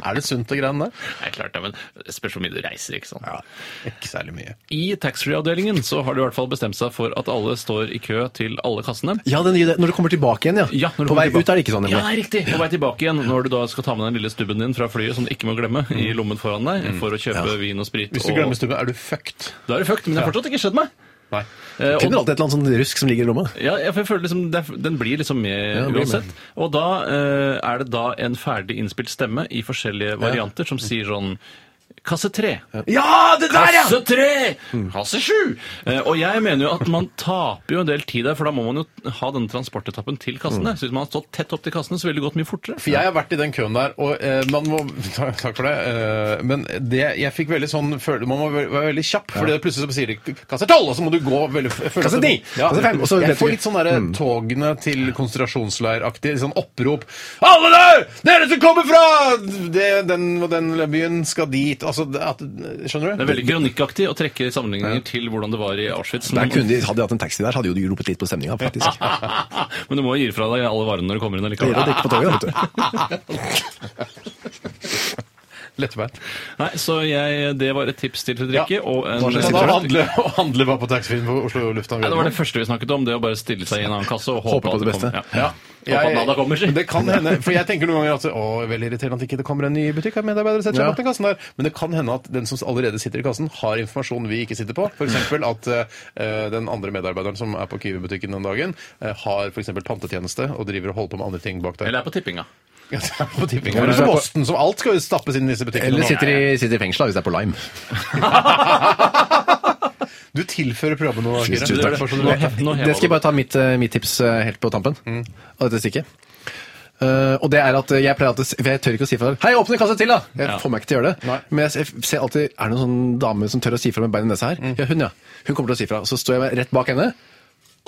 S1: Er det sunt og greiene der?
S2: Nei, klart det, men det spørs hvor mye du reiser, ikke sant.
S1: Ikke særlig mye.
S2: I taxfree-avdelingen så har de i hvert fall bestemt seg for at alle står i kø til alle kassene.
S3: Ja, den nye, det- når du kommer tilbake igjen, ja.
S2: Ja, når du
S3: På
S2: kommer
S3: vei
S2: tilbake.
S3: ut er det ikke sånn.
S2: Ja,
S3: nemlig.
S2: nei, riktig. På vei tilbake igjen når du da skal ta med den lille stubben din fra flyet, som du ikke må glemme,
S3: Mm.
S2: i lommen foran deg for å kjøpe vin og sprit.
S1: Hvis du
S2: og-
S1: glemmer stubben, er du fucked.
S2: Da er det fucked, men det har fortsatt ikke skjedd meg.
S1: Nei.
S2: Eh, og
S3: Finner alltid et eller annet sånn rusk som ligger i rommet.
S2: Ja, jeg jeg føler liksom, det er- Den blir liksom med
S3: den blir
S2: uansett. Og da eh, er det da en ferdig innspilt stemme i forskjellige varianter som sier sånn Kasse tre.
S3: Ja, Mm. det
S2: Kasse tre! Kasse sju! Eh, Og jeg mener jo at man taper jo en del tid der, for da må man jo ha denne transportetappen til
S3: Mm.
S2: kassene. Så hvis man har stått tett opp til kassene, så ville det gått mye fortere.
S1: For jeg har vært i den køen der, og eh, man må ta- Takk for det. Eh, men det, jeg fikk veldig sånn følelse Man må være være veldig kjapp, for plutselig så sier de 'kasse 12', og så må du gå veldig f- følelse-
S3: Kasse 10,
S1: Ja.
S3: kasse 5, og så Mm.
S1: Jeg
S3: vet du
S1: får
S3: ikke.
S1: litt sånn derre togene til konsentrasjonsleiraktig sånn opprop. 'Alle der! Dere som kommer fra det, den og den byen, skal dit' Altså, det- at, skjønner du?
S2: Det er veldig kronikkaktig å trekke sammenligninger til hvordan det var i Auschwitz.
S3: Der
S2: men-
S3: kunne de, hadde de hatt en taxi der, så hadde jo de ropet litt på stemninga, faktisk.
S2: Men du må jo gi fra deg alle varene når du kommer inn
S3: Det
S2: allikevel.
S3: gjelder å drikke på toget, vet du.
S1: Lettbeint.
S2: Nei, så jeg, det var et tips til Fredrikke.
S1: Ja.
S2: Og en,
S1: Så da handle, å handle bare på taxfree-en på Oslo lufthavn.
S2: Nei, det var det første vi snakket om, det å bare stille seg i en annen kasse og håpe
S3: Håpe på
S2: at
S3: det
S2: kommer.
S3: beste.
S2: Ja. Håpe at Nada kommer.
S1: Men Det kan hende, for jeg tenker noen ganger at å, veldig irriterende at ikke det kommer en ny butikkmedarbeider og setter seg
S3: Ja.
S1: bak den kassen der. Men det kan hende at den som allerede sitter i kassen, har informasjon vi ikke sitter på. F.eks. at eh, den andre medarbeideren som er på Kiwi-butikken den dagen, eh, har for eksempel pantetjeneste og driver og holder på med andre ting bak der.
S2: Eller er på tippinga.
S1: Ja, det er på tipping. Eller
S3: Eller så
S1: som
S3: er det på-
S1: Osten, som alt skal jo stappes inn i disse butikkene.
S3: Eller
S1: nå.
S3: sitter i, sitter i fengsel da, hvis det er på Lime.
S1: Du tilfører programmet noe. Kyrre.
S3: Tusen takk.
S1: Derfor så du-
S2: Nå hev- nå hever
S3: Det skal jeg
S2: du.
S3: bare ta mitt, eh, mitt tips eh, helt på tampen
S1: Mm.
S3: av dette stikket. Eh, og det er at jeg pleier alltid, for jeg tør ikke å si fra Hei, åpne kassa til, da! Jeg
S2: Ja.
S3: får meg ikke til å gjøre det.
S1: Nei.
S3: Men jeg s- ser alltid
S1: Mm.
S3: Er det noen sånn dame som tør å si fra med bein i nesa her? Ja, hun, ja. Hun kommer til å si fra. Så står jeg rett bak henne.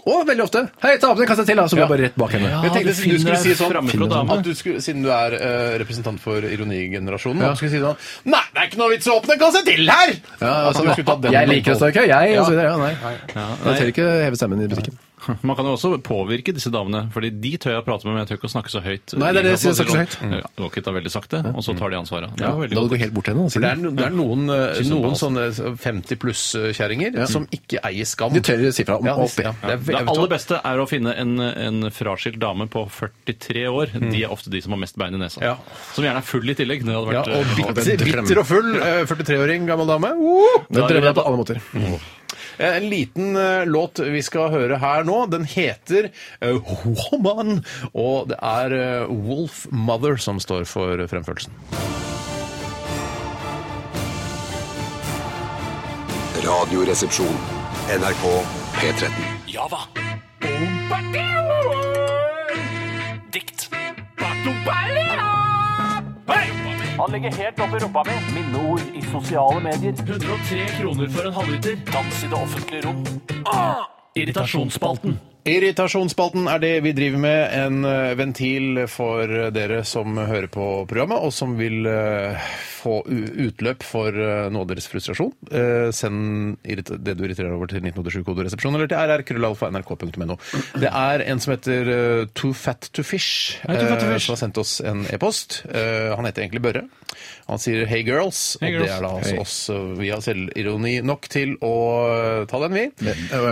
S3: Og veldig ofte. Hei, ta opp den kassa til, da! Så går jeg bare rett bak henne.
S1: Jeg tenkte du
S2: du finner
S1: skulle si sånn
S2: fremme fra dame.
S1: at du skulle, Siden du er eh, representant for ironigenerasjonen, at du skulle si sånn Nei, det er ikke noe vits å åpne en kasse til her! At du skulle tatt den
S3: jeg liker å stå i kø, jeg. Og så videre. Ja, nei.
S2: nei.
S3: Jeg tør ikke heve stemmen i butikken.
S2: Man kan jo også påvirke disse damene, fordi de tør jeg å prate med, men jeg tør ikke å snakke så høyt.
S3: Nei, det er det jeg sier, snakke så høyt.
S2: Ja, det går ikke ta veldig sakte, og så tar de ansvaret. Det
S3: Da
S2: var veldig
S3: hadde
S2: godt.
S3: du gått helt bort til henne. og
S1: For
S3: si
S1: det er, no, det er noen, eh,
S2: Synes
S1: noen
S2: sånn
S1: sånne 50 pluss-kjerringer som ikke eier skam.
S3: De tør å si fra om
S1: Ja, de-
S3: alt, de.
S1: ja, det. Er,
S2: Det
S1: jeg vet
S2: aller
S1: hva-
S2: beste er å finne en, en fraskilt dame på 43 år. De er ofte de som har mest bein i nesa.
S1: Ja.
S2: Som gjerne er full i tillegg. Det hadde
S1: ja,
S2: vært,
S1: og
S2: eh,
S1: bitter, bitter og full eh, 43-åring gammel dame. Woo!
S3: Den drømmer jeg på alle måter.
S1: Eh, En liten eh, låt vi skal høre her nå, den heter eh, Woman, og det er eh, Wolf Mother som står for fremførelsen.
S4: Radioresepsjon. NRK P13.
S5: Java. Dikt. Han ligger helt oppi rumpa mi. Minneord i sosiale medier. 103 kroner for en halvliter. Dans i det offentlige rom. Ah! Irritasjonsspalten.
S1: Irritasjonsspalten er det vi driver med, en eh, ventil for dere som hører på programmet, og som vil eh, få u- utløp for eh, noe av deres frustrasjon. Eh, Send irrit- det du irriterer over til 1987-koderesepsjon, eller til rrkrøllalfa.nrk.no. Det er en som heter eh, Too Fat to Fish,
S2: Hei, Too Fat
S1: eh,
S2: to Fish.
S1: som har sendt oss en e-post. Eh, Han heter egentlig Børre. Han sier 'Hey girls',
S2: Hey,
S1: og det
S2: girls.
S1: er da altså
S3: Hey.
S1: oss. eh, Vi har selvironi nok til å eh, ta den, vi.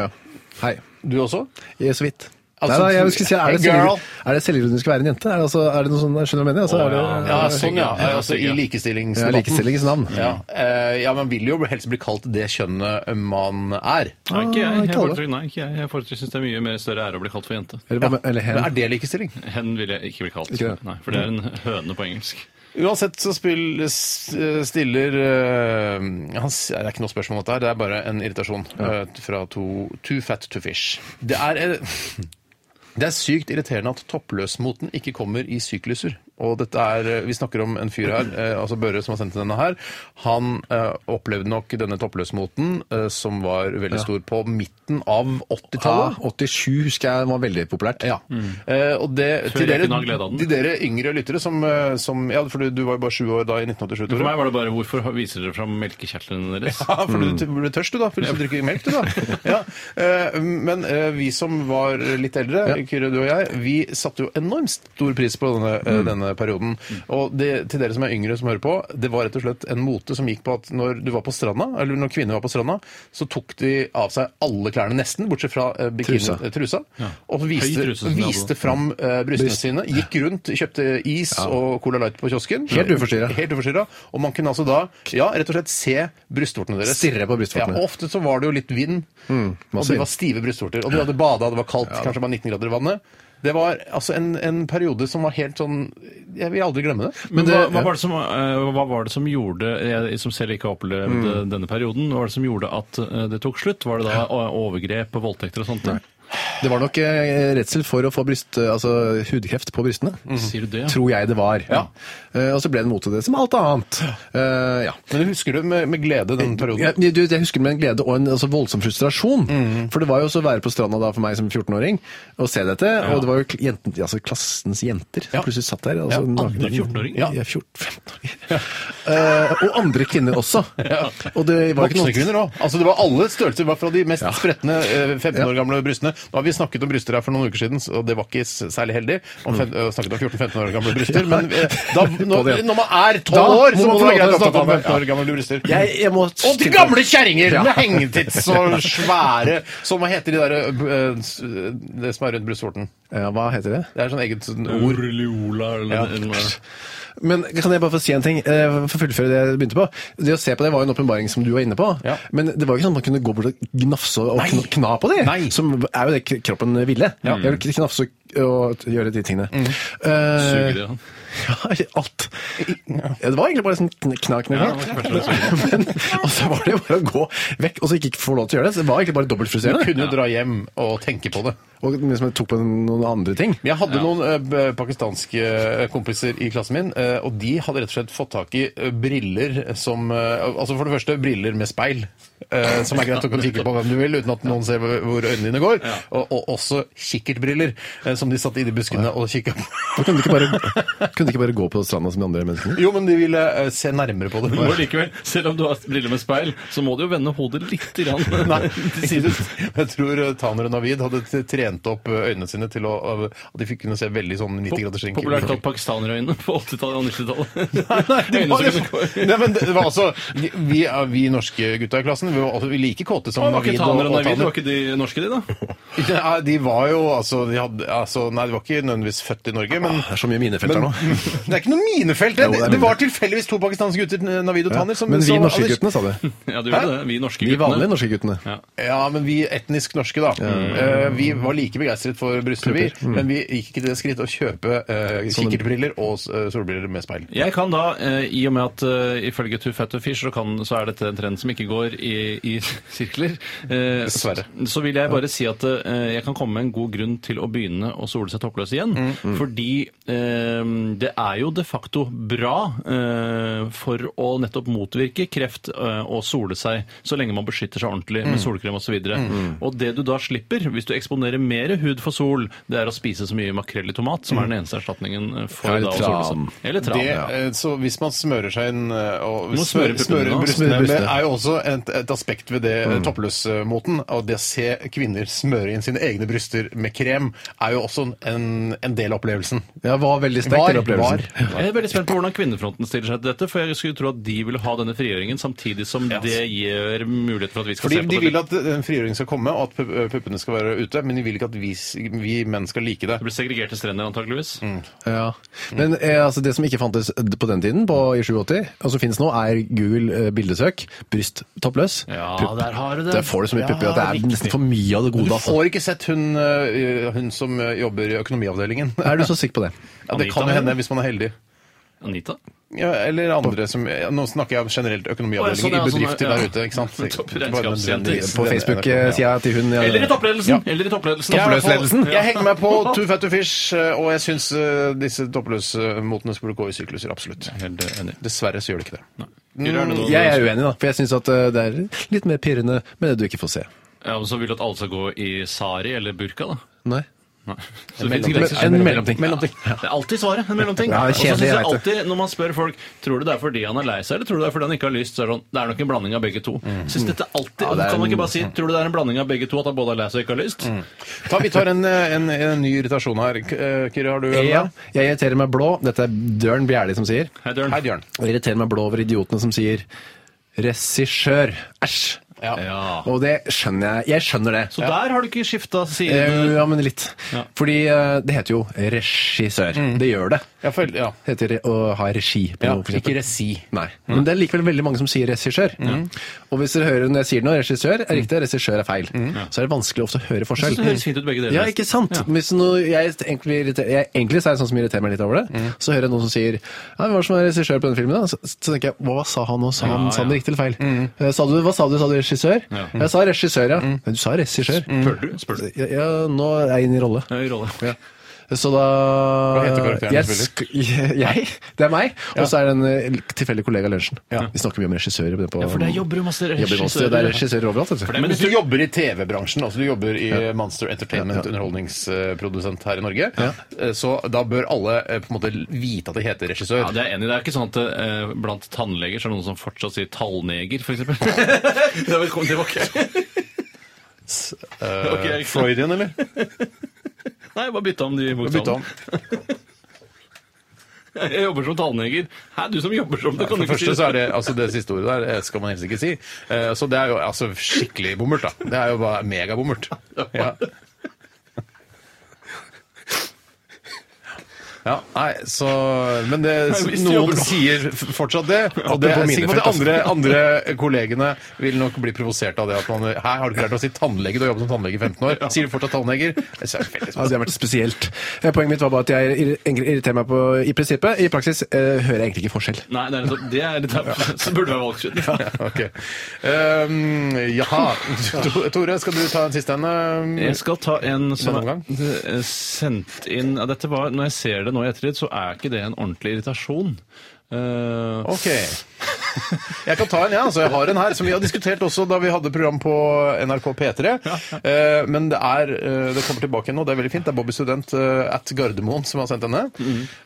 S3: Hei.
S1: Du også?
S3: Ja, så vidt.
S1: Altså,
S3: Nei, da, jeg skulle si, er det
S1: hey, girl.
S3: selv- er det selvironisk å være en jente? Er det, altså, er det noe sånn, skjønner du hva jeg mener? Altså, er det,
S1: Ja, sånn, ja.
S2: Ja,
S1: Altså, I
S2: ja.
S3: Ja,
S1: likestillingsdebatten.
S3: likestillingens navn.
S1: Ja. eh, ja, man vil jo helst bli kalt det kjønnet man er.
S2: Nei, ikke jeg. jeg
S3: ikke alle.
S2: foretrekker- nei, ikke jeg. Jeg foretrekker- synes det er mye mer større ære å bli kalt for jente.
S3: Eller, hva med- eller hen.
S1: Men er det likestilling?
S2: Hen vil jeg ikke bli kalt.
S3: Ikke det?
S2: Nei, for det er en høne på engelsk.
S1: Uansett så spill, s- stiller eh, han, s- Det er ikke noe spørsmål om dette, her, det er bare en irritasjon eh, fra to, Too Fat to Fish. Det er, eh, det er sykt irriterende at toppløsmoten ikke kommer i sykluser. Og dette er, eh, Vi snakker om en fyr her, eh, altså Børre som har sendt denne her. Han eh, opplevde nok denne toppløsmoten, eh, som var veldig stor på midten av 80-tallet.
S3: Ja, 87 husker jeg var veldig populært. Mm.
S1: Ja. Eh, og det,
S2: Før
S1: til
S2: jeg
S1: dere,
S2: kunne ha glede av den.
S1: til dere yngre lyttere som, eh, som Ja, for du, du var jo bare sju år da i 1987.
S2: For
S1: Tore.
S2: meg var det bare hvorfor viser dere fram melkekjertlene deres?
S1: Ja, for du ble tørst, du da. For du drikker melk, du da. Ja. Eh, Men eh, vi som var litt eldre, Kyrre, du og jeg, vi satte jo enormt stor pris på denne, eh, denne perioden. Og det, til dere som er yngre som hører på, det var rett og slett en mote som gikk på at når du var på stranda, eller når kvinner var på stranda, så tok de av seg alle klærne nesten, bortsett fra eh, bikini,
S3: Trusa.
S1: eh, trusa og
S2: Høy
S1: viste,
S2: truse som de hadde.
S1: viste fram
S3: Mm.
S1: eh, brystene sine, gikk rundt, kjøpte is og Cola Light på kiosken.
S3: Helt uforstyrret.
S1: Helt uforstyrra. Og man kunne altså da ja, rett og slett se brystvortene deres.
S3: Stirre på brystvortene.
S1: Ja, og ofte så var det jo litt vind, og
S3: masse
S1: det
S3: vind.
S1: var stive brystvorter. Og du hadde bada, det var kaldt, kanskje bare 19 grader i vannet. Det var altså en, en periode som var helt sånn Jeg vil aldri glemme det.
S2: Men
S3: det-
S2: hva, hva, var det som, eh, hva var det som gjorde Jeg som selv ikke har opplevd
S1: Mm.
S2: eh, denne perioden, hva var det som gjorde at eh, det tok slutt? Var det da eh, overgrep, voldtekter og sånt?
S3: Det var nok eh, redsel for å få bryst, eh, altså, hudkreft på brystene.
S1: Mm.
S2: Sier du det?
S3: Tror jeg det var. Eh, og så ble det mote det som alt annet. Eh, ja.
S1: Men du husker det med, med glede den
S3: Ja,
S1: perioden?
S3: du, jeg husker med en glede og en altså, voldsom frustrasjon.
S1: Mm.
S3: For det var jo også å være på stranda da for meg som 14-åring og se dette. Og det var jo kl- jenten, altså, klassens jenter som
S1: Ja.
S3: plutselig satt der. Altså,
S1: Ja,
S2: andre 14-åringer?
S3: Ja, 14-15-åringer. Eh, og andre kvinner også. Og det var ikke
S1: Voksne
S3: noe
S1: kvinner òg. Altså, det var alle størrelser. Det var fra de mest spretne eh, 15 år gamle brystene. Nå har vi snakket om bryster her for noen uker siden, og det var ikke s- særlig heldig. Om fem, eh, snakket om 14-15 år gamle bryster. Men eh, da, når, når man er 12
S3: Da
S1: år, så
S3: må
S1: må det være
S3: man få lov til
S1: greit
S3: å
S1: å snakke om
S3: snakke om det.
S1: 15 år gamle bryster.
S3: Jeg, jeg må
S1: Og de gamle kjerringer
S3: Ja.
S1: med hengetits og svære Som hva heter de der eh, s- Det som er rundt brystvorten.
S3: ja, Hva heter det?
S1: Det er sånn eget sånn ord.
S2: Orliola eller noe.
S3: Men kan jeg bare få si en ting, eh, for å fullføre det jeg begynte på? Det å se på det var jo en åpenbaring som du var inne på,
S1: Ja.
S3: men det var jo ikke sånn at man kunne gå bort og gnafse og kn kna på det,
S1: Nei.
S3: som er jo det k- kroppen ville. Jeg vil ikke knafse og- og gjøre de tingene.
S1: Mm.
S3: Eh,
S2: Suger det, han.
S3: ja, alt. Ja, det var egentlig bare sånn kn- knak, knak,
S2: Ja, det var kanskje det
S3: knak. Men, og så var det jo bare å gå vekk, og så ikke få lov til å gjøre det, så det var egentlig bare dobbelt
S1: Du
S3: frustrerende.
S1: kunne jo dra hjem og tenke på det.
S3: Og liksom jeg tok på noen andre ting.
S1: Men Jeg hadde noen eh, b- pakistanske eh, kompiser i klassen min eh, eh, og de hadde rett og slett fått tak i eh, briller som eh, Altså for det første briller med speil, eh, som er greit å kunne kikke på hvem du vil uten at noen ser hvor hvor øynene dine går. Og, og også kikkertbriller, eh, som de satt i de buskene og kikka på.
S3: Da kunne de ikke bare, kunne de ikke bare gå på stranda som de andre menneskene?
S1: Jo, men de ville eh, se nærmere på det.
S2: Du må likevel, Selv om du har briller med speil, så må du jo vende hodet litt grann.
S1: Nei, til siden. Jeg tror eh, Taner og Navid hadde t- trent opp eh, øynene sine til å, av- at de fikk kunne se veldig sånn 90 graders vinkel.
S2: Populært kalt pakistanerøyne på 80-tallet og 90-tallet.
S1: Nei, det
S2: Øyne
S1: var,
S2: som kunne-
S1: liksom- Nei, men det var altså Vi, er- vi norske gutta i klassen vi var altså like kåte som
S2: Var ikke
S1: Navid og,
S2: taner og
S1: og
S2: navid,
S1: Taner.
S2: var ikke de norske, de, da?
S1: Nei, de var jo altså, de hadde, altså Nei, de var ikke nødvendigvis født i Norge, men
S3: Ah, Det er så mye minefelt her
S1: men,
S3: nå.
S1: det er ikke noe minefelt. Det,
S3: Jo, det er
S1: det var
S3: minefelt.
S1: tilfeldigvis to pakistanske gutter, eh, Navid og Taner. Som,
S3: Men vi
S1: som-
S3: norske guttene, sa du.
S2: Ja, du gjorde det. Vi norske
S3: Vi vanlige
S2: guttene.
S3: norske guttene.
S1: Ja, men vi etnisk norske, da. Eh, vi var like begeistret for bryster, vi.
S3: Mm.
S1: Men vi gikk ikke til det skritt å kjøpe eh, kikkertbriller og eh, solbriller med speil.
S2: Jeg kan da, eh, i og med at eh, ifølge Too Fat to Fish så, kan, så er dette en trend som ikke går i, i sirkler, eh,
S1: Dessverre.
S2: så- så vil jeg bare si at eh, jeg kan komme med en god grunn til å begynne å sole seg toppløs igjen. Fordi eh, det er jo de facto bra eh, for å nettopp motvirke kreft eh, og sole seg, så lenge man beskytter seg ordentlig med solkrem osv. Og, mm. og det du da slipper, hvis du eksponerer mer hud for sol, det er å spise så mye makrell i tomat, som er den eneste erstatningen eh, for
S3: Eller
S2: da å sole
S3: tran.
S2: seg. Eller tran.
S1: Det, eh, så hvis man smører seg inn eh, og
S2: må smøre puppene, da.
S1: brystene,
S3: Smøre
S1: det
S3: brystene.
S1: er jo også et, et aspekt ved det mm. toppløsmoten. Og det å se kvinner smøre inn sine egne bryster med krem er jo også en, en del av opplevelsen.
S3: Ja, var veldig sterk,
S1: Var,
S3: den opplevelsen. Mm.
S1: var.
S2: Jeg er veldig spent på hvordan kvinnefronten stiller seg til dette. For jeg skulle tro at de ville ha denne frigjøringen, samtidig som det gir mulighet for at vi skal
S1: Fordi
S2: se på
S1: De
S2: det.
S1: vil at den frigjøringen skal komme, og at pu- eh, puppene skal være ute, men de vil ikke at vi, s- vi menn skal like det.
S2: Det blir segregerte strender, antakeligvis.
S1: Mm.
S3: Ja. Men eh, altså, det som ikke fantes på den tiden, på, i 87, og som finnes nå, er Google eh, bildesøk. Bryst toppløs.
S2: Ja,
S3: Pupp.
S2: der har du det.
S3: Der får du så mye
S1: Ja,
S3: pupper at det er
S1: riktig.
S3: nesten for mye av det
S1: Du
S3: gode. Altså.
S1: får ikke sett hun, øh, hun som øh, jobber i økonomiavdelingen.
S3: Er du så sikker på det?
S1: Ja, det kan jo hende hvis man er heldig.
S2: Anita?
S1: Ja, eller andre som ja, Nå snakker jeg om generelt
S2: Å, ja, sånn,
S1: økonomiavdelingen
S2: ja,
S1: i
S2: sånn,
S1: bedrifter
S2: ja.
S1: der ute. ikke sant?
S2: Topp
S1: Ikke bare
S2: regnskapsjenter.
S1: nødvendigvis
S3: På
S1: denne NRK, ja.
S3: Facebook-sida til hun ja.
S2: Eller i
S1: Eh,
S2: toppledelsen!
S1: Ja.
S2: Eller i toppledelsen.
S1: Jeg er i hvert fall-
S3: Toppløsledelsen?
S1: Jeg henger meg på Too Fat to Fish, øh, og jeg syns disse toppløsmotene skulle gå i sykluser, absolutt.
S2: Helt enig.
S1: Dessverre så gjør de ikke det.
S2: Gjør gjerne noe-
S3: Jeg er uenig, da. For jeg syns at eh, det er litt mer pirrende med det du ikke får se.
S2: Ja, og så vil du at alle skal gå i sari eller burka, da.
S3: Nei.
S2: Nei. Så det
S3: mellomting.
S2: finnes grenser.
S3: En mellomting.
S2: Ja. Det er alltid svaret. En mellomting.
S3: Ja,
S2: og
S3: det er
S2: så synes
S3: kjedelig,
S2: jeg
S3: jeg vet
S2: alltid, når man spør folk Tror du det er fordi han er lei seg, eller tror du det er fordi han ikke har lyst, så er det sånn Det er nok en blanding av begge to. Synes dette alltid,
S3: Mm.
S2: Kan
S3: det er
S2: man
S3: en- Mm.
S2: ikke bare si Tror du det er en blanding av begge to, at han både er lei seg og ikke har lyst?
S1: Ta, vi tar en, øh, en, en ny irritasjon her. K- øh, Kyrre, har du en?
S3: Ja, jeg irriterer meg blå. Dette er Dørn Bjerli som sier.
S2: Hei, Dørn.
S1: Hei, Bjørn.
S3: Og irriterer meg blå over idiotene som sier regissør. Æsj.
S2: Ja.
S3: Og det skjønner jeg. Jeg skjønner det.
S2: Så der har du ikke skifta side?
S3: Eh, Ja, men litt.
S2: Ja. Mm.
S3: Fordi eh, det heter jo regissør. Det gjør det.
S1: Ja, føl- ja.
S3: Det heter å ha regi på
S1: Ja,
S3: noe. for eksempel.
S1: ikke resi.
S3: Nei.
S2: Mm.
S3: Men det er likevel veldig mange som sier regissør. Og hvis dere hører når jeg sier noe, regissør er riktig, regissør er feil, så er det vanskelig ofte å
S2: Mm.
S3: høre
S2: Jeg
S3: forskjell.
S2: synes det høres fint ut begge deler.
S3: Ja, ikke sant?
S2: Ja.
S3: Men Hvis noe, jeg, egentlig, blir irriter- jeg, egentlig så er det sånn som irriterer meg litt over det.
S2: Mm.
S3: Så hører jeg noen som sier ja, 'Hvem var det som var regissør på den filmen?' da? Så, så tenker jeg 'Hva sa han nå? Sa han,
S2: Ja,
S3: sa han
S2: ja. Mm.
S3: det riktig eller feil?' Eh, Sa du, 'Hva sa du? Sa du regissør?'
S2: Ja. Mm.
S3: Jeg sa regissør, ja. Men du sa regissør.
S2: Spør du? Spør du?
S3: mm. Ja, ja, nå er jeg inne i rolle.
S2: Ja, i rolle.
S3: Så da
S1: Hva heter karakteren
S3: jeg,
S1: du spiller?
S3: sk- jeg? Det er meg. Og så er det en eh, tilfeldig kollega Lunsjen.
S1: Ja.
S3: Vi snakker mye om regissører. på-
S2: Ja, for der jobber jo masse
S3: Jobber i Monster, Det er
S2: regissører.
S3: regissører overalt. vet du.
S2: Men
S1: Men hvis
S2: jeg
S1: du jobber i TV-bransjen, altså du jobber i Monster Entertainment, underholdningsprodusent her i Norge, eh, så da bør alle eh, på en måte vite at de heter regissør.
S2: Ja, det er jeg enig. i. Det er ikke sånn at eh, blant tannleger så er det noen som fortsatt sier tallneger, f.eks. det var ikke ok.
S1: Eh,
S2: ok, ikke sant.
S1: Freudian, eller?
S2: Nei, bare bytte om de
S1: Bytte om.
S2: bokstavene. Jeg jobber som tallneger. Hæ, du som jobber som
S1: For
S2: det, kan du
S1: det
S2: ikke si
S1: første så er det altså det siste ordet der, eh, skal man helst ikke si. Eh, Så det er jo altså skikkelig bommert, da. Det er jo bare megabommert. Ja. Ja, nei, så Men det,
S2: hvis de jobber
S1: noen
S2: nå.
S1: sikker f- fortsatt det. Og det
S3: Apropos
S1: er jeg sikker på at de andre,
S3: minefelt, altså.
S1: andre kollegene vil nok bli provosert av det. At man Her har du klart å si tannlege, du har jobbet som tannlege i 15 år. Sier du fortsatt tannleger? Det er veldig
S3: Ja, det har vært spesielt. Eh, Poenget mitt var bare at jeg irri- irriterer meg på i prinsippet. I praksis eh, hører jeg egentlig ikke forskjell.
S2: Nei, det er nettopp det. Er, det er, så burde det være valgskjønn.
S1: Ja, ok. Um, jaha. To- Tore, skal du ta en siste en? um,
S2: Jeg skal ta en som
S1: Denne
S2: er sendt inn ja, Dette var, Når jeg ser det, det nå i ettertid, så er ikke det en ordentlig irritasjon. Eh,
S1: Ok. Jeg kan ta en, ja. Altså, jeg har en her som vi har diskutert også da vi hadde program på NRK P3. Eh, Men det er eh, Det kommer tilbake nå, det er veldig fint. Det er Bobby Student eh, at Gardermoen som har sendt denne.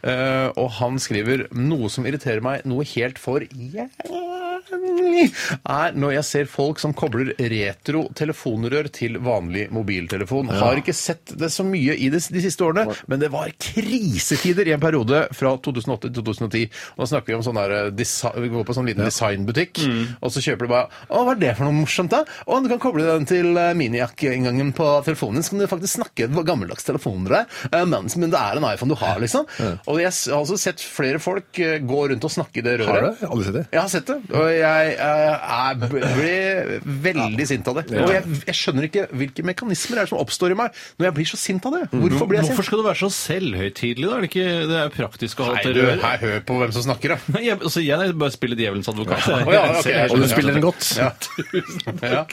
S1: Eh, Og han skriver noe som irriterer meg noe helt for jævlig, er når jeg ser folk som kobler retro telefonrør til vanlig mobiltelefon. Har ikke sett det så mye i det, de siste årene, men det var krisetider i en periode fra 2008 til 2010. Og da snakker vi om sånn der eh, desi- Vi går på sånn liten designbutikk,
S3: Mm.
S1: og så kjøper du bare Å, hva er det for noe morsomt, da? Å, du kan koble den til eh, minijakkeinngangen på telefonen, så kan du faktisk snakke med gammeldags telefoner der. eh, Mens, men det er en iPhone du har, liksom. Og jeg s- har også sett flere folk eh, gå rundt og snakke i det røret.
S3: Har du det? Jeg har Aldri sett det?
S1: Jeg har sett det, og jeg, eh, er- ble veldig sint av det. Og jeg, jeg skjønner ikke hvilke mekanismer det er som oppstår i meg når jeg blir så sint av det. Hvorfor blir jeg
S2: Hvorfor
S1: sint?
S2: skal du være så selvhøytidelig, da? Er det ikke det er jo praktisk å ha
S1: Nei,
S2: et
S1: du,
S2: rør?
S1: hei, hør på hvem som snakker, da.
S2: Nei, jeg, altså, jeg bare spiller djevelens advokat. jeg.
S1: Å, ja, ok, jeg
S3: Og
S1: skjønner,
S3: du spiller den godt.
S1: Ja. Ja.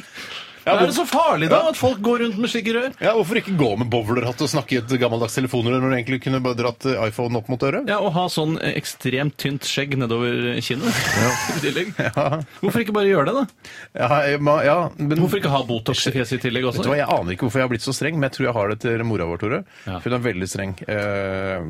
S1: Ja,
S2: er
S1: hvor,
S2: det så farlig, da? At folk går rundt med slike rør?
S1: ja, hvorfor ikke gå med bowlerhatt og snakke i et gammeldags telefonrør når du egentlig kunne bare dratt eh, iPhone opp mot øret?
S2: Ja, Og ha sånn eh, ekstremt tynt skjegg nedover kinnet. I tillegg. Hvorfor ikke bare gjøre det, da?
S1: Ja, jeg- ma- ja, men
S2: Hvorfor ikke ha Botox i fjeset i tillegg
S1: Vet du hva,
S2: også?
S1: Jeg aner ikke hvorfor jeg har blitt så streng, men jeg tror jeg har det til mora vår, Tore.
S2: Ja.
S1: For hun er veldig streng. eh,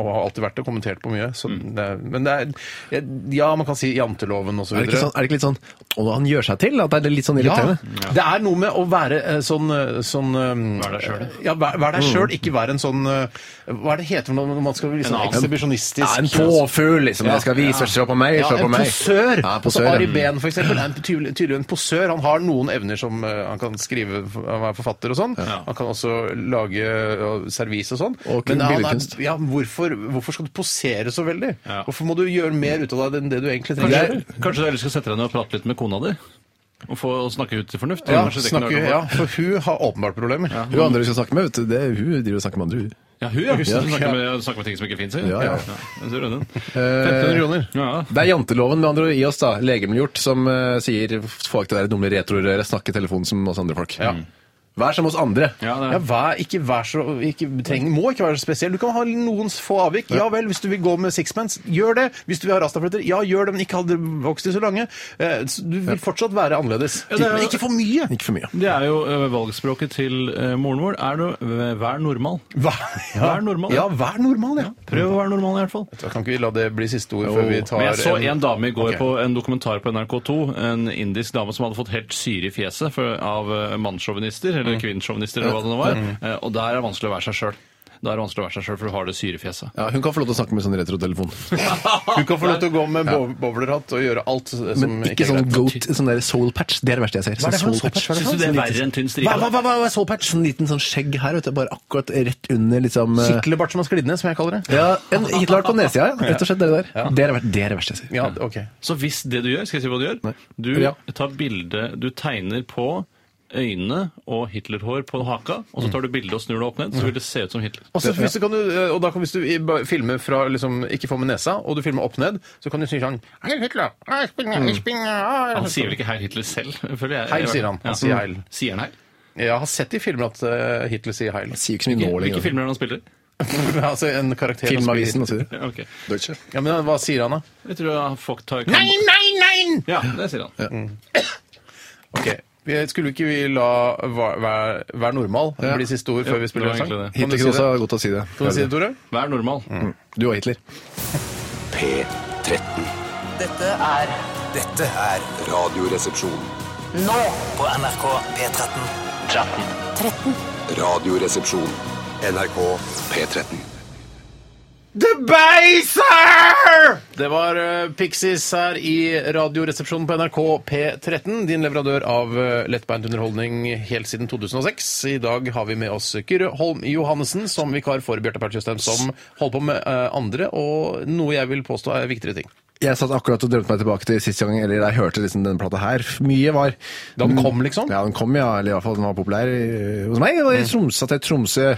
S1: og har alltid vært det, og kommentert på mye. Så
S2: Mm.
S1: det, er- men det er Ja, man kan si janteloven og så
S3: Er det, ikke
S1: videre.
S3: sånn, er det ikke litt sånn Å, han gjør seg til? At det er litt sånn
S1: Ja,
S3: irriterende?
S1: det er noe med å være eh, sånn, eh, sånn eh,
S2: Vær deg selv.
S1: Ja, vær, vær deg
S3: Mm.
S1: sjøl, ikke vær en sånn eh, Hva er det heter når man skal bli sånn
S2: annen.
S1: ekshibisjonistisk?
S3: Ja, en påfugl, liksom. Jeg skal vise, se på meg,
S1: Ja,
S3: se på
S1: en
S3: meg.
S1: posør.
S3: Ja,
S1: altså
S3: posør.
S1: Ari Behn, for eksempel, er en tydelig, tydelig en posør. Han har noen evner som eh, han kan skrive, han er forfatter og sånn. Han kan også lage eh, servis og sånn.
S3: Og
S1: Men han
S3: billedkunst.
S1: er, ja, hvorfor, hvorfor skal du posere så veldig?
S2: Ja.
S1: Hvorfor må du gjøre mer ut av deg enn det du egentlig
S2: Kanskje,
S1: trenger?
S2: kanskje du heller skal sette deg ned og prate litt med kona di? Og få og snakke ut til fornuft?
S1: Ja,
S2: Kanskje det kan
S1: snakke,
S2: være noe
S1: ja,
S2: for-
S1: for hun har åpenbart problemer.
S3: Hun andre du skal snakke med, vet du, det er hun driver og snakker med andre. hun.
S2: ja, hun,
S1: Ja.
S2: ja.
S1: Eh,
S2: Hun snakker med, snakker med ting som ikke fins.
S3: Ja, ja.
S2: jeg ser den.
S1: 1500 kroner.
S2: Ja.
S3: Det er janteloven med andre ord i oss, da, legemiddelgjort, som eh, sier få ikke det der dumme retrorøret, snakke i telefonen som oss andre folk.
S2: Mm.
S3: Vær som oss andre.
S2: Ja, det
S1: Ja,
S2: er.
S1: vær, ikke vær så ikke, treng, Må ikke være så spesiell. Du kan ha noens få avvik. Ja vel, hvis du vil gå med sixpence, gjør det. Hvis du vil ha rastafletter, ja, gjør det, men ikke ha det vokst i så lange. Eh, så Du vil fortsatt være annerledes.
S2: Ja, det er-
S1: Men ikke for mye!
S3: Ikke for mye.
S2: Det er jo ø, valgspråket til ø, moren vår. Er du, vær normal. Vær normal,
S1: Ja,
S2: ja.
S1: vær normal, ja.
S2: Prøv å være normal, i hvert fall.
S1: Da Kan ikke vi la det bli siste ord før vi tar
S2: Men jeg så en, dame i går
S1: Ok.
S2: på en dokumentar på NRK2. En indisk dame som hadde fått helt syre i fjeset for, av eh, mannssjåvinister, eller
S1: Mm.
S2: kvinnesjåvinister, eller hva det nå var. Eh, Og der er det vanskelig å være seg sjøl. Da er det vanskelig å være seg sjøl, for du har det syre i fjeset.
S3: Ja, hun kan få lov til å snakke med sånn retrotelefon.
S1: Hun kan få lov til å gå med bow- bowlerhatt og gjøre alt som
S3: Men ikke
S1: er
S3: sånn
S1: greit.
S3: goat, sånn der soul patch. Det er det verste jeg ser.
S1: Hva er det for
S3: Sånn
S1: noe
S3: soul patch?
S1: soul patch?
S2: Syns du det er verre enn tynn stripe?
S3: Hva, hva, hva, hva er soul patch? Sånn liten sånn skjegg her, vet du. Bare akkurat rett under, liksom eh,
S1: Kitlebart som har sklidd ned, som jeg kaller det.
S3: Ja, en Hitler på nedsida, ja. Rett og slett, det der. Det, er det, ver- det er det verste jeg ser.
S1: Ja, ok.
S2: Så hvis det du gjør, skal jeg si hva du gjør?
S3: Nei.
S2: Du
S3: Ja.
S2: tar bilde Du tegner på øynene og Hitlerhår på haka, og så tar du bilde og snur det opp ned, så vil det se ut som Hitler.
S1: Og, så hvis du kan, du- og da kan, hvis du i- ba- filmer fra liksom, ikke får med nesa, og du filmer opp ned, så kan du si sånn Hei, Hitler! Hei, Spinner! Hei, Spinner!
S2: Han sier vel ikke 'Herr Hitler' selv? føler jeg.
S1: Heil, sier han. Han
S2: Ja.
S1: sier heil.
S2: Sier han heil?
S1: Jeg har sett i filmer at eh, Hitler sier heil.
S3: Sier jo ikke så mye nå
S2: Hvilke
S3: lenger.
S2: filmer er det han spiller?
S1: altså en karakter som spiller
S3: Filmavisen og så videre.
S2: Ja, ok.
S3: Deutsche.
S1: Hitler. Ja, men Hva sier han, da?
S2: Jeg tror han folk tar
S1: Nei, nei, nei!
S2: Ja, det sier han.
S1: Ok, vi- Skulle ikke vi la Vær, vær, vær normal bli siste ord før vi spiller en
S2: det var
S1: sang?
S2: egentlig det.
S1: Kan du
S3: Hitler
S1: si
S3: kunne også
S1: det?
S3: ha godt å si det.
S1: Kan du si det, Tore?
S2: Vær normal.
S3: Du og Hitler.
S4: P13.
S7: Dette er Dette er
S4: Radioresepsjon.
S7: Nå på NRK P13
S4: Radioresepsjon. NRK P13.
S1: The Baser! Det var eh, Pixies her i Radioresepsjonen på NRK P13. Din leverandør av eh, lettbeint underholdning helt siden 2006. I dag har vi med oss Kyrre Holm Johannessen som vikar for Bjarte Paul Tjøstheim, som holder på med eh, andre og noe jeg vil påstå er viktigere ting.
S3: Jeg satt akkurat og drømte meg tilbake til siste gang eller jeg hørte liksom denne plata her. Mye var
S1: Da den kom, liksom? Mm.
S3: Ja, den kom, ja. Eller i hvert fall den var populær eh, hos meg. Og i Tromsø at jeg i Tromsø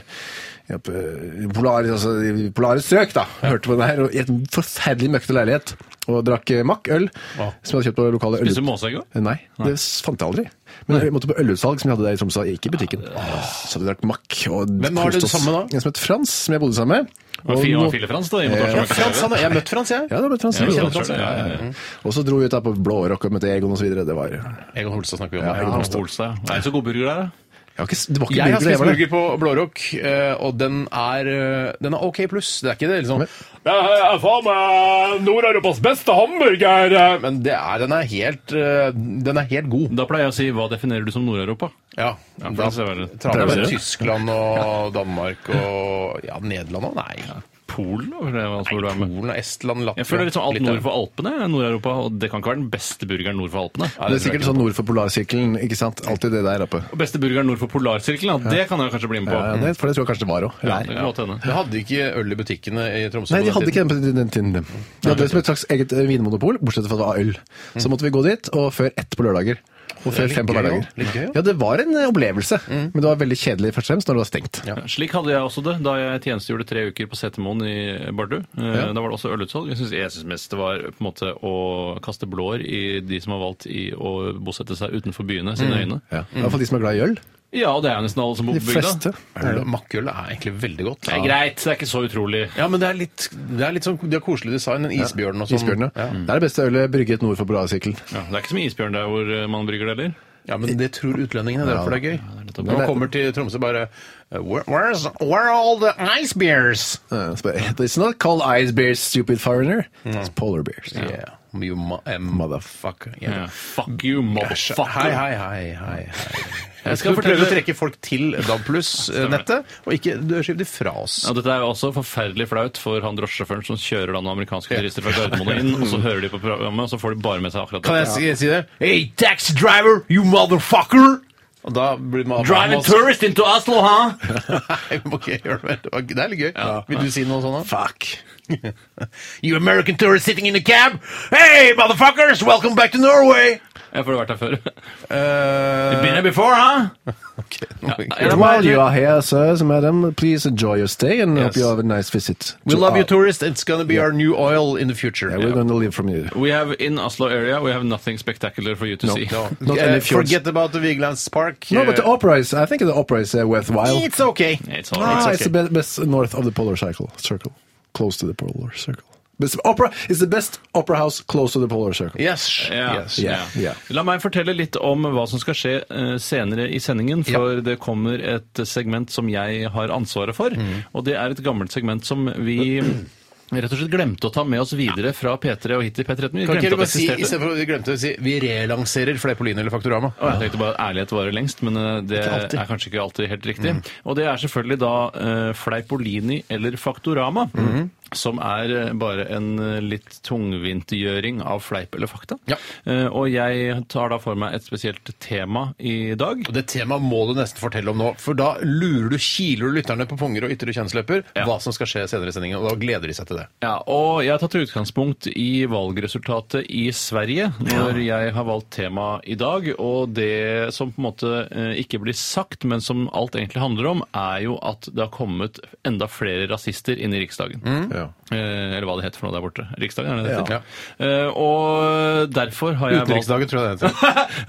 S3: ja, på, eh, polar, altså, i polare strøk, da. Hørte på den her og i en forferdelig møkkete leilighet. Og drakk eh, Mack øl, som jeg hadde kjøpt på lokale øl...
S2: Spiste du måsegg òg?
S3: Nei, det s- fant jeg aldri. Men jeg måtte på ølutsalg som jeg hadde der i Tromsø, ikke i butikken. Så hadde vi drakk Mack og
S1: Ah. Hvem var det
S3: koste oss.
S1: sammen med da?
S3: En som het Frans, som jeg bodde sammen med.
S2: Og fi-
S3: nå-
S2: og Fille-Frans, da. i og med at det
S8: Ja,
S2: var så mye
S8: Frans, han,
S2: TV.
S8: jeg har møtt Frans, jeg.
S3: Ja, det ble trans.
S2: Ja, jeg
S3: det ble
S2: kjenner
S3: trans.
S2: det, ja, ja, ja.
S3: Og så dro vi ut der på blå rock og møtte Egon osv. Det var Jeg
S8: Egon Holstad snakker vi om.
S3: Ja,
S8: her.
S3: Egon
S2: Han holdt seg. Er det så god burger der, da?
S3: har ikke, det var ikke
S8: Jeg har
S3: burger, det
S8: spist
S3: var det.
S8: burger på Blårock, eh, og den er, eh, den er OK pluss. Det er ikke det liksom Det er faen meg Nord-Europas beste hamburger! Men det er, den, er helt, eh, den er helt god.
S2: Da pleier jeg å si hva definerer du som Nord-Europa?
S8: Ja,
S2: Ja, for
S8: da
S2: det ser vel-
S8: traver
S3: Prøver
S8: med
S3: du?
S8: Tyskland og Danmark og ja, Nederland òg? Nei.
S2: Polen? da, for det var altså hvor du er med.
S8: Polen og Estland, Latvia
S2: Jeg føler liksom alt
S8: Litauen.
S2: nord for Alpene er Nord-Europa, og det kan ikke være den beste burgeren nord for Alpene.
S3: Det er sikkert sånn nord for polarsirkelen. ikke sant? Alltid det der oppe.
S2: Og beste burgeren nord for Polarsirkelen, da. det kan jeg kanskje bli med på.
S8: Mm.
S3: Ja, det, for det tror jeg kanskje det var òg.
S2: Ja, det kan godt hende.
S8: De hadde ikke øl i butikkene i Tromsø.
S3: Nei, de
S8: på den
S3: hadde
S8: tiden.
S3: ikke den på den tiden. dem. De hadde det som et slags eget eh, vinmonopol, bortsett fra at det var øl. Så måtte vi gå dit, og før ett på lørdager. Og før
S8: litt
S3: fem på
S8: gøy,
S3: hverdager.
S8: Mm. jo. Litt gøy, jo. Mm.
S3: Ja, det var en eh, opplevelse, men det var veldig kjedelig først og fremst når det var stengt.
S2: Slik hadde jeg også det da jeg tjenestegjorde tre uker på Setermoen i Bardu. Eh, Da var det også ølutsalg. Jeg syns jeg synes mest det var på en måte å kaste blår i de som har valgt i å bosette seg utenfor byene sine øyne.
S3: Mm. Ja. I hvert fall de som er glad i øl.
S2: Ja, og det er jo nesten alle som bor
S3: De
S2: på bygda.
S3: fleste.
S8: Øl og Makkøl er egentlig veldig godt.
S2: Det er greit, det er ikke så utrolig.
S8: Ja, men det er litt, det er litt sånn det er koselig design. En isbjørn og sånn.
S3: Isbjørnene. Det er det beste ølet brygget nord for polarsirkelen.
S2: Ja, det er ikke som isbjørn der hvor eh, man brygger det heller.
S8: Ja, men det tror utlendingene. Det er derfor det er gøy.
S2: nettopp.
S8: Når man kommer til Tromsø, bare Where, where's, where are all the ice beers?
S3: Ja, så bare, Uh, It's not called ice beers, stupid foreigner. It's polar beers.
S8: Yeah. You ma eh, motherfucker. Yeah.
S2: Ja. Fuck you, motherfucker.
S8: Hei, hei, hei, hei, hei. Jeg
S2: skal
S8: skal prøve å
S2: fortelle-
S8: trekke folk til DAB eh, nettet og ikke skyve de fra oss.
S2: Ja, dette er jo også forferdelig flaut for han drosjesjåføren som kjører da noen amerikanske turister fra Gardermoen og inn, og så hører de på programmet, og så får de bare med seg akkurat
S8: Kan jeg
S2: dette.
S8: si- si det? Hey, taxi driver, you motherfucker! Og da blir man
S2: Drive a tourist into Oslo, huh?
S8: Nei, vi må ikke gjøre det. Det var- Det er litt gøy.
S2: Ja.
S8: Vil du si noe sånt da? Fuck. you American tourist sitting in a cab. Hey, motherfuckers, welcome back to Norway!
S2: Jeg får vært her før.
S8: Uh,
S2: Been here before, huh?
S8: okay, nå må vi ikke-
S2: Ja.
S3: While you are here, sirs, madam, please enjoy your stay and hope you have a nice visit.
S8: We love you, tourist. It's gonna be our new oil in the future.
S3: Yeah, we're gonna live from you.
S2: We have in Oslo area, we have nothing spectacular for you to see.
S8: No.
S3: Not
S8: Uh,
S3: any fjords.
S8: forget about the Vigelands Park. Eh,
S3: No,
S8: Uh,
S3: but the opera is, I think the opera is uh, worthwhile.
S8: It's okay.
S2: It's all
S3: Ah,
S2: right.
S3: it's, the best, best north of the polar circle, circle, close to the polar circle. Best opera is the best opera house close to the polar circle.
S8: Yes.
S2: Ja.
S8: yes.
S2: Ja.
S3: ja.
S2: La meg fortelle litt om hva som skal skje eh, senere i sendingen, for det kommer et segment som jeg har ansvaret for,
S8: Mm.
S2: og det er et gammelt segment som vi rett og slett glemte å ta med oss videre fra P3 og hit til P13. Vi
S8: Kan
S2: glemte
S8: ikke du
S2: at det
S8: bare si, i
S2: eksisterte.
S8: stedet for at vi glemte å si, vi relanserer Fleipolini eller Faktorama.
S2: Og jeg tenkte bare at ærlighet varer lengst, men eh, det er kanskje ikke alltid Mm. helt riktig. Og det er selvfølgelig da eh, Fleipolini eller Faktorama, som er eh, bare en eh, litt tungvintgjøring av fleip eller fakta.
S8: Ja.
S2: Eh, og jeg tar da for meg et spesielt tema i dag.
S8: Og Det temaet må du nesten fortelle om nå, for da lurer du, kiler du lytterne på punger og ytre kjønnsløper
S2: Ja.
S8: hva som skal skje senere i sendingen, og da gleder de seg til det.
S2: Ja, og jeg har tatt utgangspunkt i valgresultatet i Sverige når jeg har valgt tema i dag. Og det som på en måte eh, ikke blir sagt, men som alt egentlig handler om, er jo at det har kommet enda flere rasister inn i Riksdagen. Eh, Eller hva det heter for noe der borte. Riksdagen, er det det
S8: Ja.
S2: heter? Eh, Og derfor har jeg valgt
S8: Utenriksdagen, tror jeg det heter.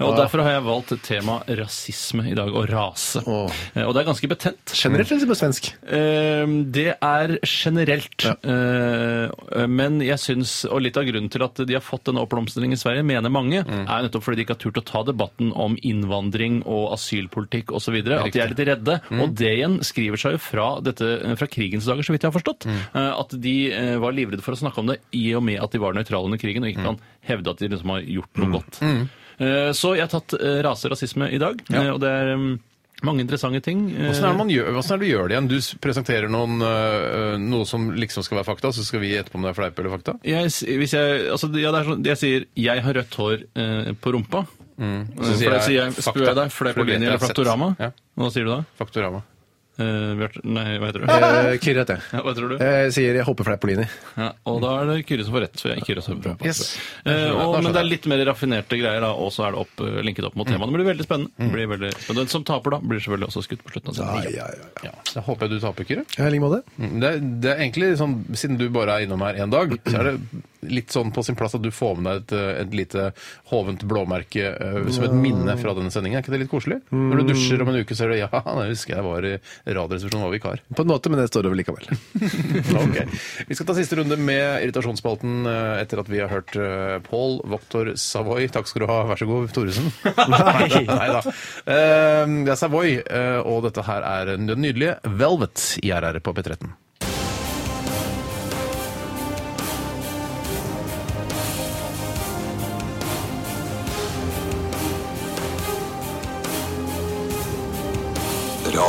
S2: og derfor har jeg valgt temaet rasisme i dag, og rase. Eh, Og det er ganske betent.
S3: Generelt eller på svensk?
S2: Eh, Det er generelt. Eh, Men jeg syns, og litt av grunnen til at de har fått denne oppblomstringen i Sverige, mener mange,
S8: Mm.
S2: er nettopp fordi de ikke har turt å ta debatten om innvandring og asylpolitikk osv. At de er litt redde.
S8: Mm.
S2: Og det igjen skriver seg jo fra, dette, fra krigens dager, så vidt jeg har forstått.
S8: Mm.
S2: eh, At de eh, var livredde for å snakke om det i og med at de var nøytrale under krigen og
S8: Mm.
S2: ikke kan hevde at de liksom har gjort noe godt. Eh, Så jeg har tatt eh, rase og rasisme i dag, eh, og det er eh, mange interessante ting. eh,
S8: Åssen er, det man gjør- hvordan er det du gjør det igjen? Du s- presenterer noen, øh, noe som liksom skal være fakta, så skal vi gjette på om det er fleip eller fakta?
S2: jeg, s- hvis jeg, altså, ja, det er sånn, jeg sier 'jeg har rødt hår eh, på rumpa'. Så
S8: Mm. sier
S2: sier jeg,
S8: jeg,
S2: sier jeg,
S8: «Fakta»,
S2: spør jeg deg, for det er på
S8: for det vet
S2: linje
S8: jeg
S2: eller
S8: har sett.
S2: Fraktorama.
S8: Ja.
S2: Hva sier du da?
S8: Faktorama.
S2: Eh, Bjarte, nei, hva heter du?
S3: Uh, Kyrre heter jeg.
S2: Ja, hva tror du?
S3: Jeg sier jeg håper Fleipolini.
S2: Ja, og da er det Kyrre som får rett, for jeg er ikke rødt hår på rumpa.
S8: Yes.
S2: Eh, og,
S8: Da skjønner
S2: men det er
S8: jeg. Mm.
S2: litt mer raffinerte greier, da, og så er det opp, eh, linket opp mot temaet. Det blir veldig spennende. Det Blir veldig spennende. Den som taper, da, blir selvfølgelig også skutt på slutten av sendingen.
S3: ja, ja.
S8: Ja. Da håper jeg du taper, Kyrre.
S3: I like måte.
S8: Mm, Det, er- det er egentlig sånn, Siden du bare er innom her én dag, så er det
S1: litt sånn på sin plass at du får med deg et, eh, et lite hovent blåmerke eh, som et minne fra denne sendingen. Er ikke det litt koselig? Når du dusjer om en uke, så er det ja, jeg husker jeg var i Radioresepsjonen, var vikar.
S3: På en måte, men det står over likevel.
S1: Ok. Vi skal ta siste runde med irritasjonsspalten eh, etter at vi har hørt eh, Paul Voktor Savoy. Takk skal du ha. Vær så god, Thoresen. Nei da. Eh, Det er Savoy, eh, og dette her er den nydelige Velvet i RR på P13.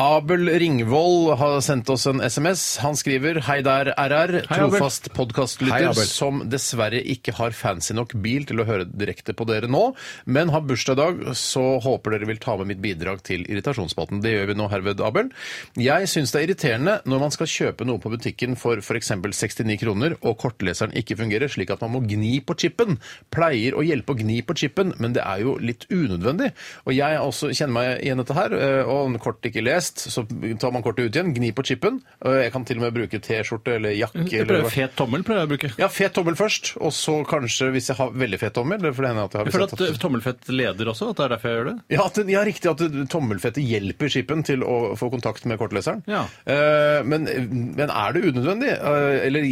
S1: Abel Ringvold har sendt oss en SMS. Han skriver Hei der, RR.
S3: Abel.
S1: Trofast
S3: Hei,
S1: podkastlytter
S3: Abel.
S1: som dessverre ikke har fancy nok bil til å høre direkte på dere nå, men har bursdag i dag, så håper dere vil ta med mitt bidrag til irritasjonsspalten. Det gjør vi nå, herved, Abel. Jeg syns det er irriterende når man skal kjøpe noe på butikken for f.eks. 69 kroner, og kortleseren ikke fungerer, slik at man må gni på chipen. Pleier å hjelpe å gni på chipen, men det er jo litt unødvendig. Og jeg er også kjenner meg igjen i dette her, eh, og om kort ikke lest, så tar man kortet ut igjen, gni på chipen. Eh, Jeg kan til og med bruke T-skjorte eller jakke.
S2: Jeg
S1: eller
S2: prøver
S1: hva-
S2: Fet tommel pleier jeg å bruke.
S1: ja, fet tommel først, og så kanskje hvis jeg har veldig fet tommel. Det er for det hender at jeg har
S2: Jeg føler
S1: sett
S2: at eh, tommelfett leder også, at det er derfor jeg gjør det.
S1: ja, at, det- ja, riktig at det- tommelfettet hjelper skipen til å få kontakt med kortleseren.
S2: Ja.
S1: Eh, men, men er det unødvendig? Eh, eller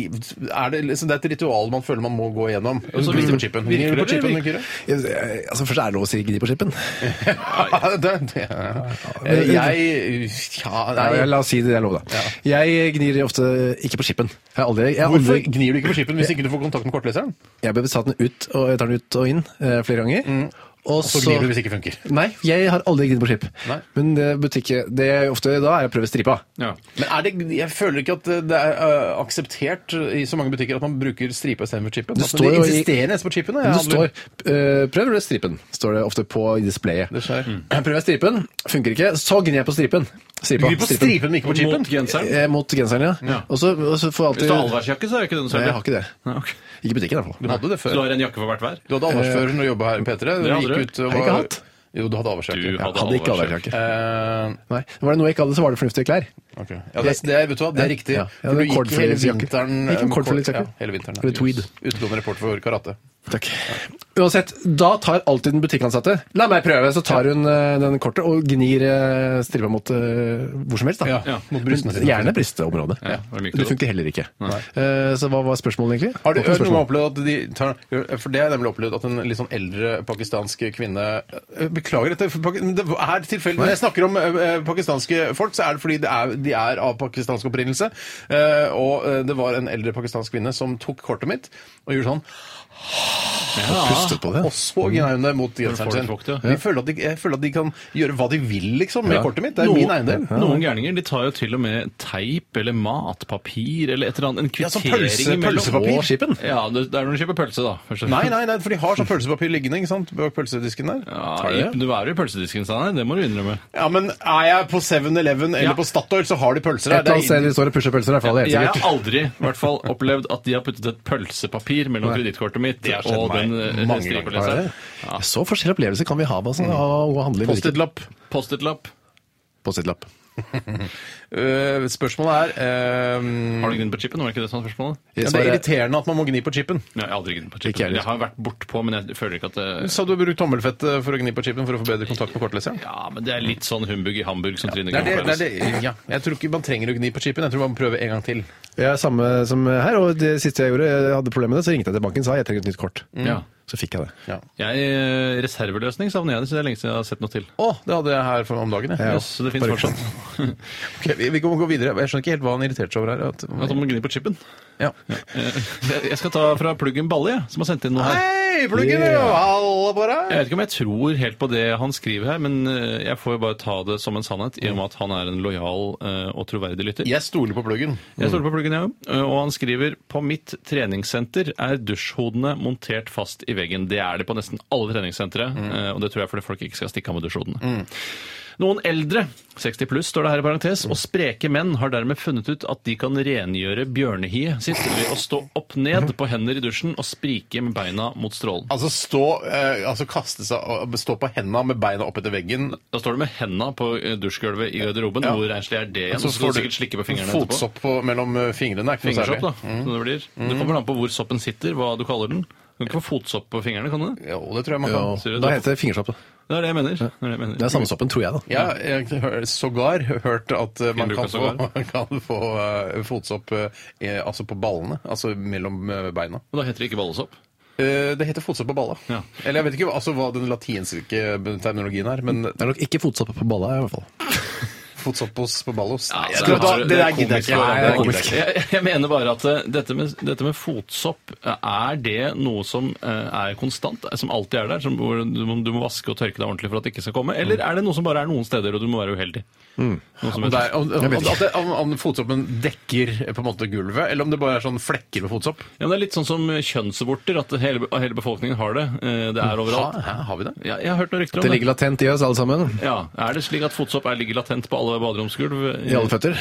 S1: er det, liksom, det er et ritual man føler man må gå igjennom.
S2: så
S1: Gni
S2: hvis-
S1: på chipen. Gni
S2: virker det,
S1: på
S2: eller
S1: chipen,
S2: virker-
S1: Kyrre?
S3: Altså, Først er det lov å si gni på chipen.
S1: Ja, det, det, Eh, jeg ja,
S3: Nei,
S1: nei.
S3: la oss si det. Det er lov, da. Jeg gnir ofte ikke på chipen. Jeg har aldri, jeg har
S1: Hvorfor
S3: aldri
S1: gnir du ikke på chipen hvis ikke du får kontakt med kortleseren?
S3: Jeg ble besatt den ut, og jeg tar den ut og inn eh, flere ganger. Og
S1: Mm. Så gnir du hvis det ikke funker.
S3: Nei, jeg har aldri gnidd på skip.
S1: Nei.
S3: Men det butikket det jeg ofte gjør da, er å prøve stripa.
S2: Ja.
S1: Men er det, jeg føler ikke at det er eh, akseptert i så mange butikker at man bruker stripa istedenfor chipen.
S3: Det
S1: Altså,
S3: står jo i-
S1: de insisterer nesten på chipen. og jeg
S3: Men det
S1: handler-
S3: står eh, 'prøv eller stripen', står det ofte på i displayet.
S1: Det skjer. Mm.
S3: Jeg prøver stripen, funker ikke. Så gnir jeg på stripen.
S1: Du
S3: Stripa.
S1: gnir på stripen, men ikke på chipen.
S2: Mot genseren.
S3: Eh, mot genseren, ja.
S2: Ja.
S3: Og så og så får jeg
S2: Hvis du har
S3: alltid
S2: allværsjakke, så er det ikke den
S3: Nei,
S2: selv.
S3: jeg har ikke det.
S2: Nei, ok.
S3: Ikke i butikken, i hvert fall.
S1: Du hadde det
S2: Så du
S1: før.
S2: har en jakke for hvert vær?
S1: Du hadde avhørsfører når du jobba her i P3. Du
S2: hadde
S1: gikk ut og
S2: du.
S3: Har jeg ikke
S1: var-
S3: hatt?
S1: Jo, du hadde avhørsjakke. Ja.
S2: Du hadde Ah,
S3: Hadde ikke
S2: allværsjakke.
S3: allværsjakke.
S1: Eh,
S3: Nei. Var det noe jeg ikke hadde, så var det fornuftige klær.
S1: ja, det, er- det, er- vet du hva, det er riktig.
S3: Ja.
S1: For du
S3: Jeg hadde
S1: gikk hele
S3: cordflakesjakke.
S1: vinteren
S3: Jeg gikk med
S1: eh, cord-
S3: cordflakesjakke.
S1: Ja, hele vinteren.
S3: Eller tweed.
S1: Utgående rapport for karate.
S3: Takk. Uansett, da tar alltid den butikkansatte La meg prøve! Så tar hun eh, den kortet og gnir eh, stripa mot eh, hvor som helst. da.
S1: Ja, ja, mot brystene sine.
S3: Gjerne brystområdet.
S2: Ja, det er mykt,
S3: det
S2: da.
S3: funker heller ikke. Eh, så hva var spørsmålet, egentlig?
S1: Har du
S3: Det
S1: har
S3: var
S1: du
S3: ikke noe
S1: noen gang
S3: spørsmål.
S1: opplevd at de tar For det har jeg nemlig opplevd at en litt sånn eldre pakistansk kvinne eh, Beklager dette, for Paki- men det er tilfeldig. Når jeg snakker om eh, pakistanske folk, så er det fordi det er, de er av pakistansk opprinnelse. Eh, Og eh, det var en eldre pakistansk kvinne som tok kortet mitt og gjorde sånn
S3: Pustet på det.
S1: Og så gnei hun det mot genseren
S2: får
S1: sin.
S2: du vokt, ja.
S1: De føler at de, jeg føler at de kan gjøre hva de vil, liksom, med
S3: Ja.
S1: kortet mitt. Det er min eiendel.
S2: Noen gærninger de tar jo til og med teip eller matpapir eller et eller annet. En
S1: Ja, sånn
S2: kvittering
S1: pølse-
S2: imellom.
S1: pølsepapir.
S3: Og skipen.
S2: Ja, det det er når du kjøper pølse, da. først og
S1: Nei,
S2: fremst.
S1: nei, nei, for de har sånn pølsepapir liggende ikke sant, bak pølsedisken der.
S2: Ja, i- du er jo i pølsedisken, Steinar. Det må du innrømme.
S1: Ja, men er jeg på 7-Eleven eller
S2: Ja.
S1: på Statoil, så har de pølser
S3: Et
S1: der.
S3: eller annet
S1: Det
S3: sted
S1: er
S3: de står og pusher pølser, i hvert fall. Det er
S2: Jeg
S3: helt
S2: har
S3: sikkert.
S2: aldri i hvert fall opplevd at de har puttet et pølsepapir mellom kredittkortet mitt
S1: har skjedd
S2: og
S1: meg
S2: den eh,
S1: mange
S3: Er
S2: stripeleseren.
S3: det? Så forskjellige opplevelser kan vi ha altså,
S1: Mm.
S3: av å handle i butikken.
S1: Post-it-lapp.
S2: Post-it-lapp.
S3: Post-it-lapp.
S1: Øh, spørsmålet er øh,
S2: Har du gnidd på chipen? Var det ikke det som var spørsmålet?
S1: ja, Det er irriterende at man må gni på chipen.
S2: Nei, jeg har aldri gnidd på
S3: Ikke jeg liksom.
S2: chipen.
S3: heller.
S2: Jeg har vært bortpå, men jeg føler ikke at det
S1: Sa du har brukt tommelfett øh, for å gni på chipen for å få bedre kontakt med kortleseren?
S2: Ja, men det er litt sånn humbug i Hamburg som Trine
S1: Det er det, det
S2: Granberg.
S1: er det, ja. Jeg tror ikke man trenger å gni på chipen. Jeg tror man prøver en gang til.
S3: Ja, samme som her. Og det siste jeg gjorde, jeg hadde problemer med det, så ringte jeg til banken og sa jeg trenger et nytt kort.
S2: Ja.
S3: Så fikk jeg det.
S1: Mm. Ja.
S2: Jeg, eh, reserveløsning savner jeg det, så det er lenge siden jeg har sett noe til.
S1: Å, det hadde jeg her for om dagen. jeg.
S3: Ja.
S2: Yes, det finnes
S3: Bare-
S2: fortsatt.
S1: Ok, vi, vi kan gå videre. Jeg skjønner ikke helt hva han irriterte seg over her. At,
S2: At man gni på chipen.
S1: ja.
S2: Eh, Jeg skal ta fra Pluggen Balle, jeg, som har sendt inn noe her.
S1: Hei, pluggen! Yeah. Halla på deg!
S2: Jeg vet ikke om jeg tror helt på det han skriver her, men eh, jeg får jo bare ta det som en sannhet, i og med at han er en lojal eh, og troverdig lytter.
S1: Jeg stoler på pluggen.
S2: Jeg stoler på pluggen, jeg òg. Og han skriver på mitt treningssenter er dusjhodene montert fast
S1: Mm.
S2: i veggen. Det er det på nesten alle treningssentre, eh, og det tror jeg fordi folk ikke skal stikke av med dusjhodene. Noen eldre, 60 pluss står det her i parentes, og spreke menn har dermed funnet ut at de kan rengjøre bjørnehiet sitt ved å stå opp ned på hender i dusjen og sprike med beina mot strålen.
S1: Altså stå eh, altså kaste seg, og- stå på henda med beina opp etter veggen.
S2: Da står du med henda på eh, dusjgulvet i garderoben.
S1: Ja.
S2: Hvor renslig er det igjen?
S1: Så
S2: Så skal
S1: får
S2: du
S1: du
S2: sikkert slikke på fingrene etterpå.
S1: Fotsopp på, mellom eh, fingrene er ikke noe
S2: Fingersopp,
S1: særlig. Mm.
S2: da. Som det blir. Det kommer an på hvor soppen sitter, hva du kaller den. Du kan ikke få fotsopp på fingrene, kan du?
S1: Jo, det tror jeg man kan.
S2: Sier du
S3: Da
S2: det?
S3: heter det fingersopp. da.
S2: Det er det jeg mener. Det er det jeg mener.
S3: Det er samme soppen, tror jeg, da.
S1: Ja, jeg har sågar hørt at eh, man
S2: Finner du
S1: kan
S2: ikke
S1: få, kan få eh, fotsopp eh, altså på ballene, altså mellom eh, beina.
S2: Men da heter det ikke ballesopp.
S1: Eh, det heter fotsopp på balla.
S2: Ja.
S1: Eller jeg vet ikke altså, hva den latinske terminologien er, men
S3: Det er nok ikke fotsopp på balla, i hvert fall.
S1: fotsoppos på ballos.
S2: Ja,
S1: Nei,
S2: det er-
S1: skal vi ta-
S2: det er komisk.
S1: Nei,
S3: Nei,
S1: det
S3: det er
S1: gidder
S3: komisk.
S1: jeg ikke.
S2: Jeg, jeg mener bare at eh, dette med, dette med fotsopp, eh, er det noe som eh, er konstant? eh, Som alltid er der? Som, hvor du, må- du må vaske og tørke deg ordentlig for at det ikke skal komme? Eller
S1: Mm.
S2: er det noe som bare er noen steder, og du må være uheldig? Noe som
S1: Om, Mm. det er, om, om,
S3: Jeg vet ikke.
S1: at det- om, om fotsoppen dekker eh, på en måte gulvet, eller om det bare er sånn flekker med fotsopp.
S2: ja, men det er litt sånn som eh, kjønnsaborter, at hele, hele befolkningen har det. eh, Det
S1: Ha,
S2: er overalt.
S1: hæ, har vi det?
S2: Ja, jeg har hørt noen rykter
S3: Det
S2: om det.
S3: ligger latent i oss, alle sammen.
S2: Ja, Er det slik at fotsopp er ligger latent på alle baderomsgulv?
S3: I alle føtter.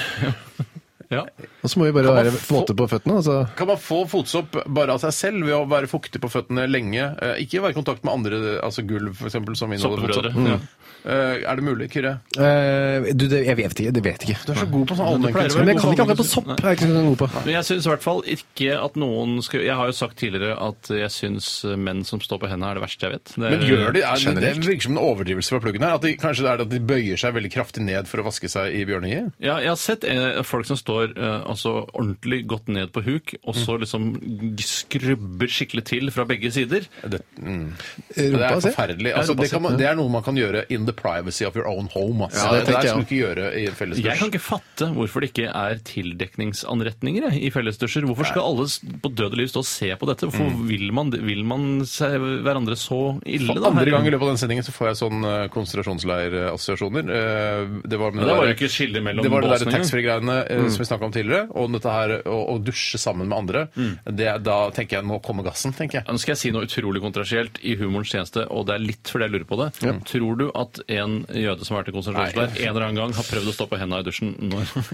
S2: Ja.
S3: Og så må vi bare
S1: man
S3: være
S1: få-
S3: våte på føttene. Altså.
S1: Kan man få fotsopp bare av seg selv ved å være fuktig på føttene lenge? Eh, Ikke være i kontakt med andre, altså gulv for eksempel, som inneholder
S2: Soppebrødre.
S1: fotsopp.
S2: Ja.
S1: Eh, Er det mulig, Kyrre?
S3: Eh, du, det, jeg vet ikke. Det vet ikke.
S1: Du er så god på sånn
S2: pleier å
S1: allmennkunnskap.
S2: være
S3: Men jeg
S2: god
S3: kan ikke
S2: på
S3: akkurat på sopp. Jeg er ikke så god på.
S2: Men jeg syns i hvert fall ikke at noen skal Jeg har jo sagt tidligere at jeg syns menn som står på hendene, er det verste jeg vet. Det er-
S1: Men gjør de, er, det
S3: Generelt.
S1: virker som en overdrivelse fra pluggen her. At de, kanskje det er at de bøyer seg veldig kraftig ned for å vaske seg i bjørnehiet?
S2: Ja, jeg har sett eh, folk som står eh, altså ordentlig godt ned på huk, og
S1: Mm.
S2: så liksom g- skrubber skikkelig til fra begge sider.
S1: Det, mm. det
S3: Rumpa,
S1: er
S3: si.
S1: forferdelig. Altså, det, kan man, det er noe man kan gjøre in the privacy of your own home. Altså.
S3: Ja,
S1: det,
S3: det
S1: der
S3: tenker jeg
S1: skal du ikke gjøre i en felles
S2: Jeg kan
S1: dusj.
S2: ikke fatte hvorfor det ikke er tildekningsanretninger jeg, i fellesdusjer. Hvorfor skal alle s- på død og liv stå og se på dette?
S1: Mm.
S2: Hvorfor vil man, det- vil man se hverandre så ille, da?
S1: Andre
S2: her?
S1: gang i løpet av den sendingen så får jeg sånn eh, konsentrasjonsleireassosiasjoner. Eh, Det var, med
S2: Men det var
S1: der-
S2: jo ikke skille mellom
S1: Det var det der
S2: båsene engang. Mm.
S1: taxfree-greiene eh, som vi snakka om tidligere, og dette her å, å dusje sammen med andre. Det, da tenker jeg nå kommer gassen, tenker
S2: Ja,
S1: jeg.
S2: Nå skal jeg si noe utrolig kontrasielt i humorens tjeneste, og det er litt fordi jeg lurer på det. Tror du at en jøde som har vært i konsentrasjonsleir, en eller annen gang har prøvd å stå på henda i dusjen når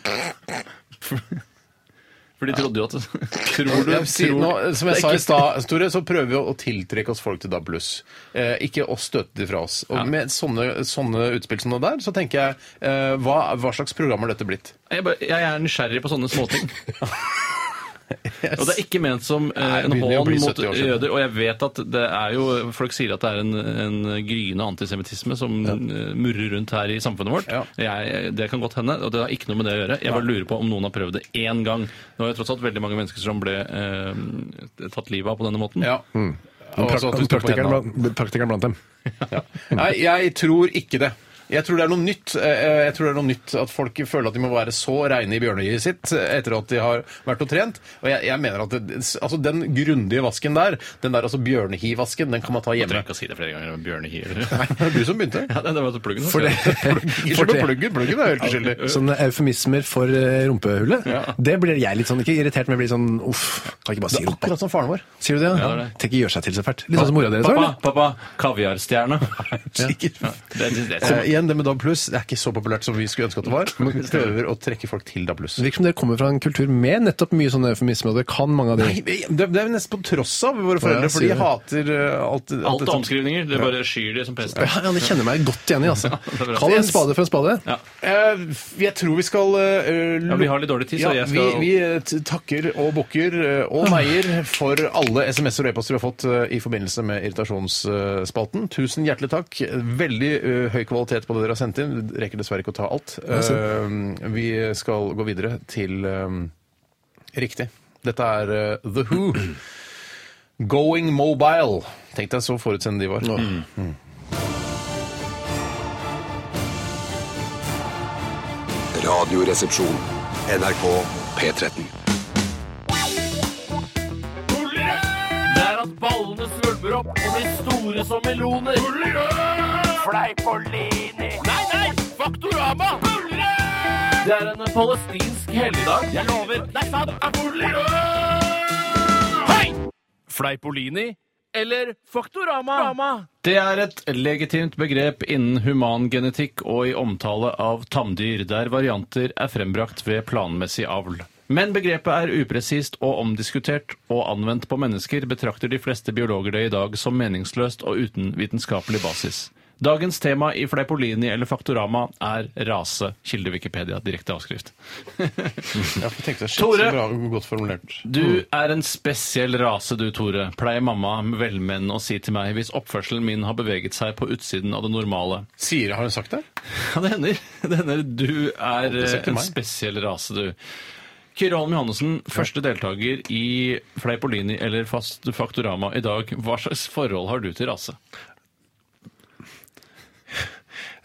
S2: For de trodde jo at Tror du
S1: Jeg sier
S2: tror-
S1: nå, som jeg
S2: Det er
S1: sa i
S2: ikke-
S1: stad, Tore, så prøver vi å tiltrekke oss folk til DAB+. Eh, ikke å støte de fra oss. Og Med sånne, sånne utspill som det der, så tenker jeg eh, hva, hva slags program har dette blitt?
S2: Jeg, bare, jeg er nysgjerrig på sånne småting. Og det er ikke ment som eh,
S1: Nei, det
S2: en
S1: begynner å
S2: hån
S1: bli
S2: mot
S1: 70 år siden.
S2: jøder. Og jeg vet at det er jo Folk sier at det er en, en gryende antisemittisme som eh, murrer rundt her i samfunnet vårt.
S1: Ja.
S2: Jeg, det kan godt hende, og det har ikke noe med det å gjøre. Jeg bare lurer på om noen har prøvd det én gang. Nå er det tross alt veldig mange mennesker som ble eh, tatt livet av på denne måten.
S1: Ja.
S3: Men
S1: Og så at du står
S3: prak-
S1: på
S3: Praktikeren
S1: hendene.
S3: blant, praktikeren blant dem.
S1: Nei, jeg tror ikke det. Jeg tror det er noe nytt eh, Jeg tror det er noe nytt at folk føler at de må være så reine i bjørnøyet sitt eh, etter at de har vært og trent. Og jeg, jeg mener at det, altså den grundige vasken der, den der altså bjørnehivasken, den kan man ta
S2: Jeg
S1: hjemme.
S2: trenger ikke å si det flere ganger. Bjørnehier.
S1: Nei, det var du som begynte.
S2: Ja, det det var pluggen.
S3: For det,
S1: Ikke
S3: for
S1: skyld på
S3: det.
S1: pluggen. Pluggen er jo helt uskyldig.
S3: Sånne eufemismer for eh, rumpehullet. Det blir jeg litt sånn, ikke irritert, men jeg blir sånn uff. Kan ikke bare
S1: Det
S3: si
S1: er
S3: rumpa.
S1: akkurat som faren vår.
S3: Sier du det?
S2: Ja, det
S3: Ja,
S2: er det.
S3: Tenk ikke gjør seg til så fælt. Litt sånn som mora deres,
S2: Pappa,
S3: eller?
S2: pappa, kaviarstjerne.
S1: Sikkert.
S2: Ja, det, det, det,
S1: Eh, igjen, det med DAB+, det er ikke så populært som vi skulle ønske at det var, men vi prøver å trekke folk til DAB+.
S3: Det virker som dere kommer fra en kultur med nettopp mye sånne eufemismer, og dere kan mange av de.
S1: Nei, det det er nesten på tross av våre foreldre,
S3: Ja,
S1: for de
S3: sier det.
S1: hater eh, alt, alt
S2: Alt
S1: dette-
S2: er omskrivninger. Det bare skyr de som pesten.
S3: Ja, jeg kjenner meg godt igjen i, altså.
S2: det er bra.
S3: Kall en spade for en spade.
S2: Ja.
S1: Eh, jeg tror vi skal eh,
S2: Ja, vi har litt dårlig tid, så jeg skal-
S1: vi, vi eh, t- takker og bukker eh, og meier for alle SMS-er og e-poster vi har fått eh, i forbindelse med irritasjonsspalten. Tusen hjertelig takk. Veldig eh, høy kvalitet på det dere har sendt inn. Vi Rekker dessverre ikke å ta alt. Eh, vi skal gå videre til eh, Riktig. Dette er eh, The Who. Going Mobile. Tenk deg så forutseende de var. Mm.
S4: Radioresepsjon. NRK P13.
S5: Det er at ballene svulmer opp og blir store som meloner. Fleipolini. Nei, nei! Faktorama! Det er en palestinsk helligdag. Jeg lover. Det er sant. Fleipolini eller Faktorama.
S2: Det er et legitimt begrep innen humangenetikk og i omtale av tamdyr, der varianter er frembrakt ved planmessig avl. Men begrepet er upresist og omdiskutert, og anvendt på mennesker betrakter de fleste biologer det i dag som meningsløst og uten vitenskapelig basis. Dagens tema i Fleipolini eller Faktorama er rase, kilde Wikipedia, direkte avskrift.
S1: Ja, for jeg tenkte, shit,
S2: Tore!
S1: Så bra, godt formulert.
S2: Du er en spesiell rase, du, Tore, pleier mamma med velmenn å si til meg hvis oppførselen min har beveget seg på utsiden av det normale.
S1: Sier, har hun sagt det?
S2: Ja, det hender. Det hender. Du er
S1: det ser
S2: eh,
S1: ikke
S2: en
S1: meg.
S2: spesiell rase, du. Kyrre Holm Johannessen, første deltaker i Fleipolini eller Fast Faktorama i dag. Hva slags forhold har du til rase?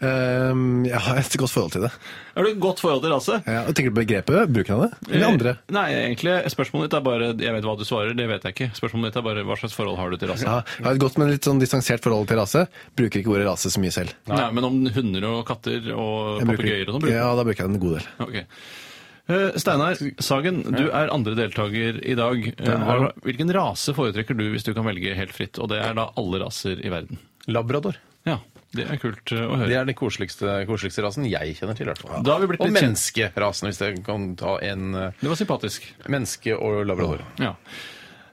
S3: Ehm, jeg har et godt forhold til det.
S2: Har du et godt forhold til rase?
S3: Ja, og tenker du på begrepet? Bruken av det? Eller andre?
S2: Eh, Nei, egentlig. Spørsmålet ditt er bare Jeg vet hva du svarer, det vet jeg ikke. Spørsmålet ditt er bare hva slags forhold har du til rase?
S3: Ja, jeg har et godt, men litt sånn distansert forhold til rase. Bruker ikke ordet rase så mye selv.
S2: Nei, men om hunder og katter og
S3: Jeg bruker-
S2: papegøyer og sånn bruker du
S3: Ja, da bruker jeg den en god del.
S2: Ok. Eh, Steinar Sagen, du er andre deltaker i dag. Eh, hva- Hvilken rase foretrekker du hvis du kan velge helt fritt? Og det er da alle raser i verden.
S1: Labrador.
S2: Ja, det er kult eh, å
S1: Det
S2: høre.
S1: er den koseligste, koseligste rasen jeg kjenner til. i hvert fall.
S2: Da har vi blitt
S1: og
S2: litt kjent.
S1: menneskerasen, hvis jeg kan ta en eh,
S2: Det var sympatisk.
S1: menneske og labrador.
S2: Ja.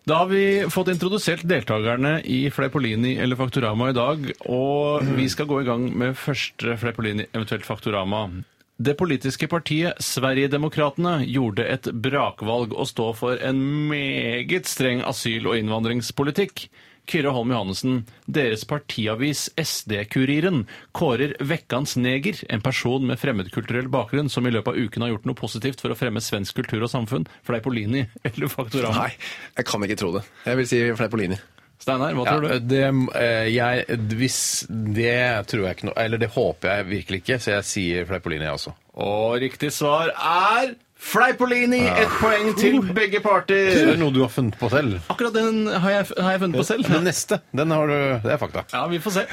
S2: Da har vi fått introdusert deltakerne i Fleipolini eller Faktorama i dag, og vi skal gå i gang med første Fleipolini, eventuelt Faktorama. Det politiske partiet Sverigedemokraterna gjorde et brakvalg og stå for en meget streng asyl- og innvandringspolitikk. Kyrre Holm Johannessen, deres partiavis SD-kuriren kårer Vekkans neger, en person med fremmedkulturell bakgrunn som i løpet av uken har gjort noe positivt for å fremme svensk kultur og samfunn, Fleipolini eller Faktorama.
S3: Nei, jeg kan ikke tro det. Jeg vil si Fleipolini.
S2: Steinar, hva
S1: Ja,
S2: tror du?
S1: det, eh, jeg, hvis det tror jeg ikke noe Eller det håper jeg virkelig ikke, så jeg sier Fleipolini, jeg også.
S2: Og riktig svar er Fleipolini! Ett poeng til begge parter.
S1: er noe du har funnet på selv.
S2: Akkurat den har jeg, har jeg funnet på selv.
S1: Den neste, den har du, det er fakta.
S2: Ja, vi får se.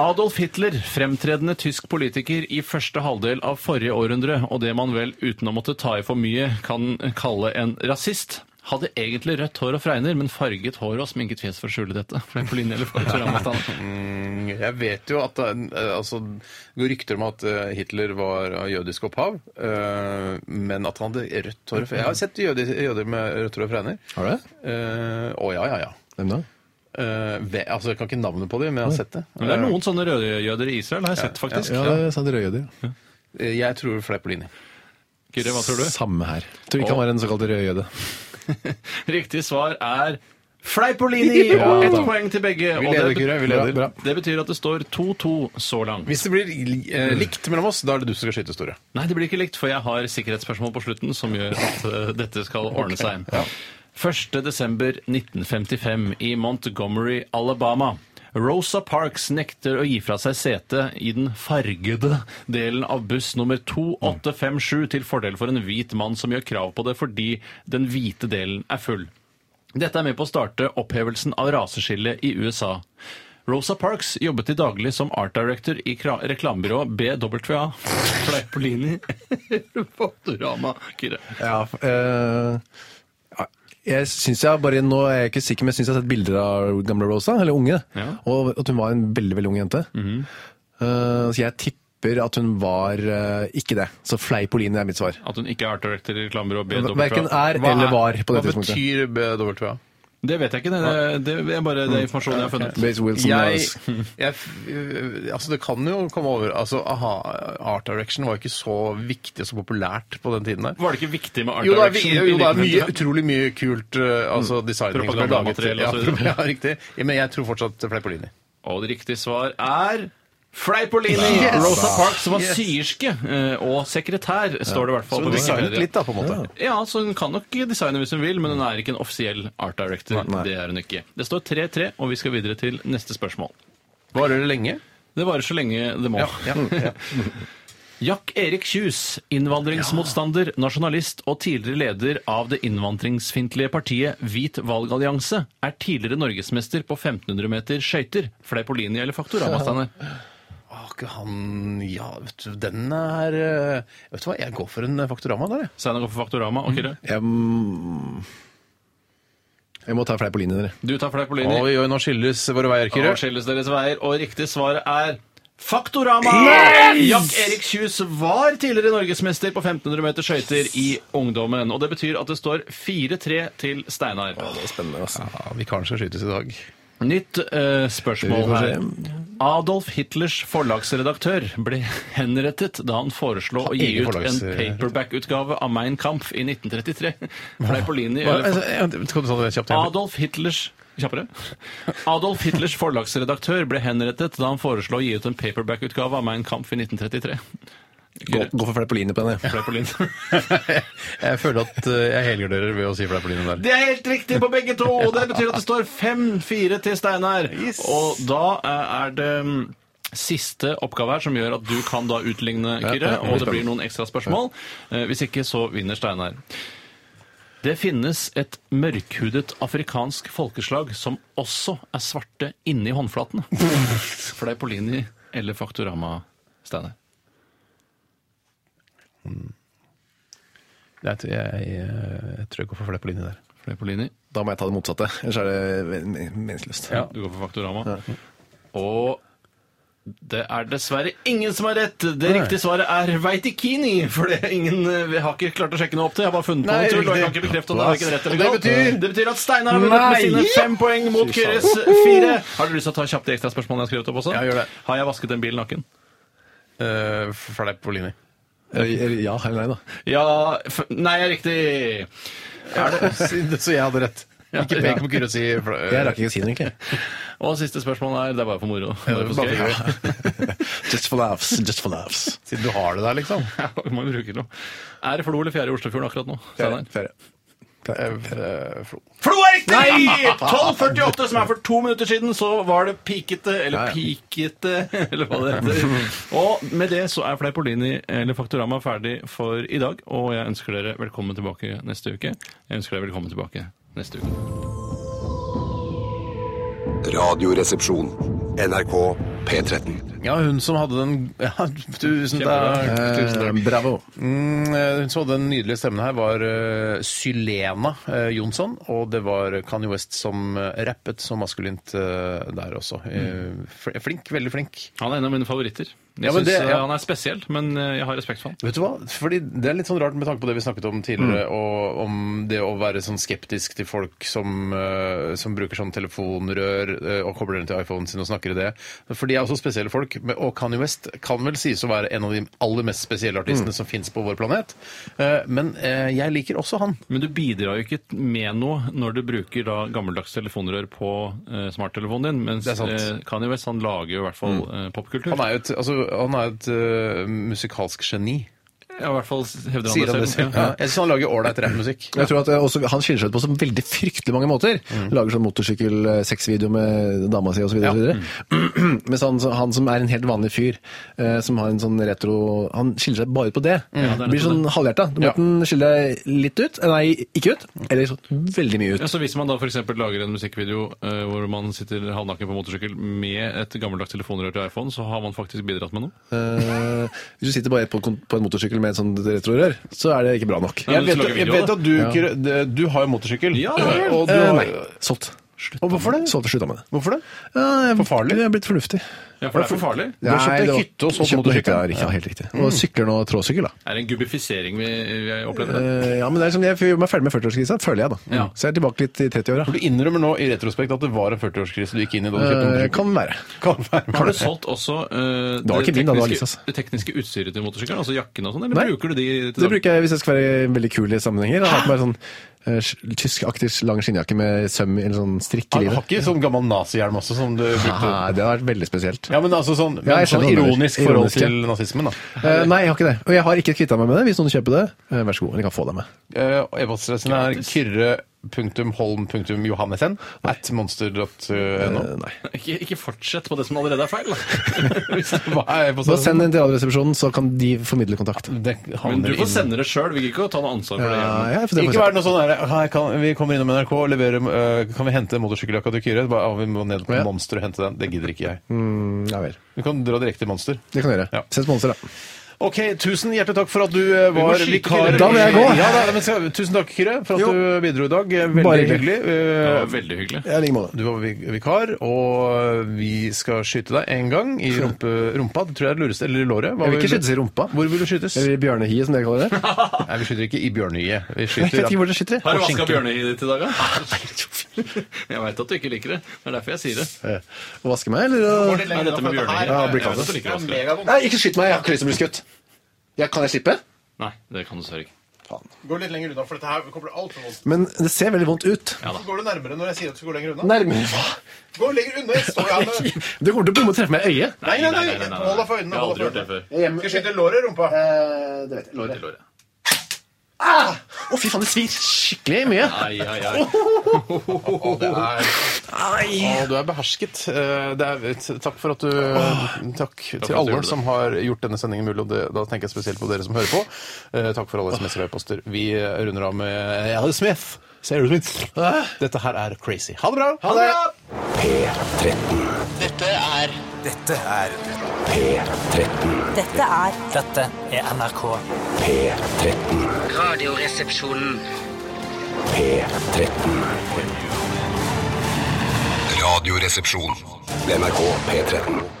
S2: Adolf Hitler, fremtredende tysk politiker i første halvdel av forrige århundre, og det man vel uten å måtte ta i for mye kan kalle en rasist, hadde egentlig rødt hår og fregner, men farget håret og sminket fjes for å skjule dette. Fleipolini eller Faktorama-stand.
S1: Jeg vet jo at det er- eh, altså, det går rykter om at eh, Hitler var av jødisk opphav, eh, men at han hadde rødt hår. og fre- Jeg har sett jøder, jøder med rødt hår og fregner.
S3: Har du det?
S1: Eh, Å ja, ja, ja.
S3: Hvem da?
S1: Eh, ve, altså, jeg kan ikke navnet på dem, men jeg har sett det.
S2: Det er noen sånne rødjøder i Israel, har jeg sett faktisk.
S3: Ja, det er sant, rødjøder.
S1: Eh, Jeg tror Fleipolini.
S2: Kyrre, hva tror du?
S3: Samme her. Tror ikke han var en såkalt rødjøde.
S2: Riktig svar er Fleipolini!
S3: Ja,
S2: Ett
S3: da.
S2: poeng til begge.
S1: Vi
S2: og det
S1: leder,
S2: bet-
S1: Kyrre. Vi leder.
S3: Bra, bra.
S2: Det betyr at det står 2-2 så langt.
S1: Hvis det blir li- eh, likt mellom oss, da er det du som skal skyte, Store.
S2: Nei, det blir ikke likt, for jeg har sikkerhetsspørsmål på slutten som gjør at eh, dette skal ordne seg. 1. desember 1955 i Montgomery, Alabama. Rosa Parks nekter å gi fra seg sete i den fargede delen av buss nummer 2857 til fordel for en hvit mann som gjør krav på det fordi den hvite delen er full. Dette er med på å starte opphevelsen av raseskillet i USA. Rosa Parks jobbet til daglig som art director i kra- reklamebyrået BWA. Fleipolini Fotorama. Kyrre.
S3: Ja, eh, ja, jeg syns jeg bare Nå er jeg ikke sikker, men jeg syns jeg har sett bilder av gamle Rosa, eller unge,
S2: Ja. Mhm.
S3: og at hun var en veldig, veldig ung jente. Eh, så jeg tipper at hun var eh, ikke det. Så Fleipolini er mitt svar.
S2: At hun ikke er art director i reklamebyrået BWA.
S3: Verken er eller var på
S1: Hva
S3: det tidspunktet.
S1: betyr BWA?
S2: Det vet jeg ikke. Det, det, det er bare det informasjonen jeg har funnet.
S3: Bates Wilson
S1: Jeg,
S3: Wallace.
S1: jeg, eh, altså det kan jo komme over altså, aha, Art direction var ikke så viktig og så populært på den tiden der.
S2: Var det ikke viktig med art
S1: Jo, det er, vi-
S2: direction?
S1: jo, det er
S2: i
S1: mye,
S2: 1955?
S1: utrolig mye kult eh, altså, design som ble laget.
S2: Propagandamateriell
S1: Ja,
S2: og så videre.
S1: ja, riktig. Ja, men jeg tror fortsatt Fleipolini.
S2: Og det riktige svar er Fleipolini! Rosa Parks var syerske eh, og sekretær, står det i hvert fall. på Wikipedia.
S1: da, på en måte.
S2: Ja, så hun kan nok designe hvis hun vil, men hun er ikke en offisiell art director. Det er hun ikke. Det står 3-3, og vi skal videre til neste spørsmål.
S1: Varer det lenge?
S2: Det varer så lenge det må. Jack Erik Kjus, innvandringsmotstander, nasjonalist og tidligere leder av det innvandringsfiendtlige partiet Hvit valgallianse, er tidligere norgesmester på 1500 meter skøyter. Fleipolini eller Faktorama, Steinar?
S1: Å, ikke han Ja, vet du, den er eh, Vet du hva, jeg går for en Faktorama der, jeg.
S2: Steinar går for Faktorama. og Kyrre?
S3: Jeg, mm, Jeg må ta flere på linjen, dere.
S2: Du tar fleip på linje.
S1: Oi, oi, nå skilles våre veier, Kyrre.
S2: Og skilles deres veier. Og riktig svar er Faktorama! Jack Erik Kjus var tidligere norgesmester på 1500 meter skøyter i ungdommen. Og det betyr at det står 4-3 til Steinar.
S1: Ja, Vikaren skal skytes i dag.
S2: Nytt eh, spørsmål
S3: Vi får
S2: her. Adolf Hitlers forlagsredaktør ble henrettet da han foreslo å gi
S1: egen
S2: ut en
S1: forlagsredaktør.
S2: paperback-utgave av Mein Kampf i 1933. Fleipolini
S1: Hva-
S2: eller
S1: altså, jeg- Skal du ta det kjapt? igjen?
S2: Adolf Hitlers Kjappere. Adolf Hitlers forlagsredaktør ble henrettet da han foreslo å gi ut en paperback-utgave av Mein Kampf i 1933.
S3: Gå, gå for flere på linjen på den, jeg.
S2: Fleipolini.
S1: Jeg føler at eh, jeg helgarderer ved å si fleipolinen der.
S2: Det er helt riktig på begge to! og Det betyr at det står 5-4 til Steinar. Og da eh, er det mm, Siste oppgave her som gjør at du kan da utligne
S1: ja,
S2: Kyrre,
S1: ja,
S2: og det
S1: spennende.
S2: blir noen ekstra spørsmål. Eh, Hvis ikke, så vinner Steinar. Det finnes et mørkhudet afrikansk folkeslag som også er svarte inni håndflatene. Fleipolini eller Faktorama, Steinar?
S1: Jeg, tror- jeg, jeg, jeg tror jeg går for fleipolinen der.
S2: Fleipolini,
S3: Da må jeg ta det motsatte. Ellers er det men- men- meningsløst.
S1: Ja.
S2: du går for Faktorama. Og det er dessverre ingen som har rett. Det riktige svaret er Veitikini. For det er ingen, eh, vi har ikke klart å sjekke noe opp til. Jeg har bare funnet på
S1: Nei,
S2: noe tull. og Jeg kan
S1: riktig.
S2: ikke bekrefte om det er verken rett eller
S1: Det
S2: galt.
S1: betyr-
S2: det betyr at Steinar har vunnet med
S1: Nei!
S2: sine fem poeng mot
S3: Fy faen.
S2: Kyres fire. Har du lyst til å ta kjapt de ekstra spørsmålene jeg har skrevet opp også?
S1: Ja, gjør det.
S2: Har jeg vasket en bil naken?
S1: Uh, fleipolini. Eh,
S3: Eller- eller Ja eller nei, da.
S2: Ja f Nei, jeg er riktig.
S1: Så jeg hadde rett. Ikke pek på Kyrre og si fle-
S3: Jeg rakk ikke å si den, egentlig.
S2: Og siste spørsmål er Det er bare for moro. Bare for
S1: bare
S2: skøy.
S3: Just for laughs. Just for laughs.
S1: Siden du har det der, liksom.
S2: Ja, vi må jo bruke noe. Er det Flo eller Fjære i Oslofjorden akkurat nå? Steinar?
S3: Ferie.
S1: Eh, Flo.
S2: Flo er riktig! 12.48, som er for to minutter siden, så var det pikete, eller
S3: Ja, ja.
S2: pikete, eller hva det heter. Og med det så er Fleipolini eller Faktorama ferdig for i dag, og jeg ønsker dere velkommen tilbake neste uke. Jeg ønsker dere velkommen tilbake neste uke.
S4: Radioresepsjon. NRK P13.
S1: Ja, hun som hadde den ja, Tusen takk.
S2: Kjempebra.
S1: Tusen takk.
S3: Bravo.
S1: Mm, eh, hun som hadde den nydelige stemmen her, var eh, Sylena eh, Jonsson. Og det var Kanye West som eh, rappet så maskulint eh, der også. Eh, fl- Flink. Veldig flink.
S2: Han er en av mine favoritter. Jeg
S1: Ja, men
S2: synes
S1: det-
S2: eh,
S1: ja.
S2: Han er spesiell, men eh, jeg har respekt for han.
S1: Vet du hva? Fordi Det er litt sånn rart med tanke på det vi snakket om tidligere,
S3: Mm.
S1: og om det å være sånn skeptisk til folk som, eh, som bruker sånn telefonrør eh, og kobler den til iPhonen sin og snakker i det. For de er også spesielle folk. men- Og Kanye West kan vel sies å være en av de aller mest spesielle
S3: Mm.
S1: artistene som fins på vår planet. Eh, Men eh, jeg liker også han.
S2: Men du bidrar jo ikke med noe når du bruker da gammeldags telefonrør på eh, smarttelefonen din, mens
S1: Det er sant. Mm.
S2: eh, Kanye West han lager jo i hvert fall eh, popkultur.
S1: Han er jo et, altså, han er jo et eh, musikalsk geni.
S2: Ja, i hvert fall hevder han,
S1: Sier han det selv.
S2: Ja.
S1: Ja. Jeg syns han lager ålreit rappmusikk.
S3: Jeg tror at eh, også, Han skiller seg ut på så veldig fryktelig mange måter.
S1: Mm.
S3: Lager sånn motorsykkel-sexvideo med dama si osv. videre Mens han, han som er en helt vanlig fyr, eh, som har en sånn retro Han skiller seg bare ut på det.
S1: Mm.
S2: det er
S3: Blir sånn halvhjerta. Du må
S1: Ja.
S3: enten skille deg litt ut, eh, nei, ikke ut, eller så veldig mye ut.
S2: Ja, så Hvis man da for eksempel lager en musikkvideo eh, hvor man sitter halvnaken på motorsykkel med et gammeldags telefonrør til iPhone, så har man faktisk bidratt med noe.
S3: Eh, hvis du sitter bare på, kon- på en motorsykkel med et sånt retrorør, så er det ikke bra nok.
S2: Ja,
S1: Jeg
S2: men du
S1: vet,
S2: skal lage
S1: jeg
S2: video
S1: vet
S2: av
S1: at du, Kyrre, du har jo motorsykkel.
S2: Ja, det har jeg.
S1: og du
S3: Eh,
S1: har,
S3: nei. Solgt.
S1: Og hvorfor det?
S3: Solgt og slutta med det.
S1: Hvorfor det?
S3: Ja, jeg,
S1: For farlig?
S3: Jeg er blitt fornuftig.
S2: Ja, For det er for farlig.
S1: Du har kjøpt
S3: Nei,
S1: deg
S3: det var-
S1: hytte og solgt
S3: kjøpt meg
S1: motorsykkel.
S3: hytte, ja, riktig, ja, helt riktig. Og sykler nå tråsykkel, da.
S2: Er det en gubbifisering vi, vi opplever? her?
S3: Eh, ja, men det er som jeg gjør meg ferdig med 40-årskrisa, føler jeg, da.
S2: Ja.
S3: Så jeg er tilbake litt i 30-åra.
S1: Du innrømmer nå i retrospekt at det var en 40-årskrise du gikk inn i da du kjøpte
S3: Eh,
S1: motorsykkel.
S3: kan være.
S1: Kan være.
S2: Har du solgt også eh,
S3: Det var ikke min, da, det var Lisas.
S2: det tekniske utstyret til motorsykkelen? Altså jakkene og sånn? Eller
S3: Nei.
S2: bruker du de til
S3: Det bruker jeg hvis jeg skal være veldig kul i sammenhenger. Jeg har hatt meg sånn eh, sj- tyskaktig lang skinnjakke med søm eller sånn strikk i
S1: Han har
S3: livet.
S1: ikke sånn gammel nazihjelm også som du brukte?
S3: Haha, det har vært veldig spesielt.
S1: eh? Ja, men altså sånn, men
S3: Ja, jeg
S1: sånn
S3: skjønner hva du mener.
S1: ironisk forhold
S3: Ironisk, ja.
S1: til nazismen, da.
S3: Eh, nei, jeg har ikke det. Og jeg har ikke kvitta meg med det. Hvis noen kjøper det, eh, vær så god. Eller kan få det med.
S1: Eh, og E-postadressen er kyrre.holm.johannessen at monster.no.
S3: Eh, nei.
S2: Ikke, ikke fortsett på det som allerede er feil. da. Hvis det var-
S1: Hva er
S3: Da send
S1: e-postadressen?
S3: en til Radioresepsjonen, så kan de formidle kontakt.
S1: Det
S2: Men
S1: havner
S2: du
S1: inn-
S2: får sende det sjøl. Vi gidder ikke å ta noe ansvar for det.
S3: Ja,
S2: hjemme.
S3: ja, for det får jeg
S1: Ikke
S3: se.
S1: vær noe sånn der, «Hei, kan, Vi kommer innom NRK og leverer eh, Kan vi hente motorsykkeljakka til Kyrre? Bare, «Ja, vi må ned på
S3: Ja.
S1: Monster og hente den. Det gidder ikke jeg.
S3: Mm, ja vel.
S1: Du kan dra direkte til Monster.
S3: Det kan du gjøre.
S1: Ja.
S3: Ses på onsdag, da.
S8: OK, tusen hjertelig takk for at du eh,
S2: må
S8: var
S2: skyte
S8: vikar.
S2: til. Da vil jeg gå.
S8: Ja, da, men, skal, tusen takk, Kyrre, for at
S1: Jo.
S8: du bidro i dag. Eh, Veldig
S1: Bare
S8: hyggelig.
S1: hyggelig.
S2: Det
S8: Eh,
S2: var veldig hyggelig.
S1: I like måte.
S8: Du var vi- vikar, og vi skal skyte deg en gang i rumpe, rumpa. Det tror jeg er det lureste. Eller i låret. Hva
S1: Jeg vil ikke skytes i rumpa.
S8: Hvor vil du skytes?
S1: Eller bjørnehiet, som dere kaller det.
S8: Nei, vi skyter ikke i bjørnøyet. Vi
S1: Jeg vet
S8: skyter
S1: ikke hvor dere skyter.
S2: Har du
S8: Og
S2: vaska
S8: skinke.
S2: bjørnehiet ditt i dag, da? Jeg veit at du ikke liker det. Det er derfor jeg sier det.
S1: Å vaske meg, eller?
S2: Nei, dette med bjørnehiet
S1: Ja, blir
S2: Jeg vet
S1: kaldt.
S2: at du liker det, Oskar.
S1: Nei, ikke skyt meg, jeg har ikke lyst til å bli skutt. Ja, kan jeg slippe?
S2: Nei, det kan du dessverre ikke.
S8: Gå litt lenger unna, for dette her kommer altfor vondt.
S1: Men det ser veldig vondt ut.
S8: Går du nærmere når jeg sier at du skal gå lenger unna?
S1: Nærmere hva?
S8: Gå lenger unna! Jeg står her med
S1: Du kommer til å bomme og treffe meg i øyet.
S8: Nei, nei, nei, hold deg for øynene,
S2: Jeg har
S8: hold
S2: aldri
S8: deg
S2: gjort
S8: for
S2: det før.
S1: Hjemme-
S8: Skal jeg skyte låret i rumpa?
S1: Eh, Det vet jeg. Låret.
S2: Låret.
S1: Å, fy faen, det svir skikkelig mye.
S2: Ai, ai, ai.
S8: Og du er behersket. Eh, Det er, takk for at du Takk til
S2: gjorde
S8: alle
S2: det.
S8: som har gjort denne sendingen mulig, og det, da tenker jeg spesielt på dere som hører på. Eh, Takk for alle SMS-er og e-poster. Vi eh, runder av med Alice Smith. Sarah Smith. Dette her er crazy. Ha det bra! Ha det!
S9: P13.
S10: Dette er
S5: Dette er
S9: P13.
S11: Dette er
S5: Dette er NRK.
S9: P13.
S10: Radioresepsjonen.
S9: P13.
S4: Radioresepsjon.
S9: NRK P13.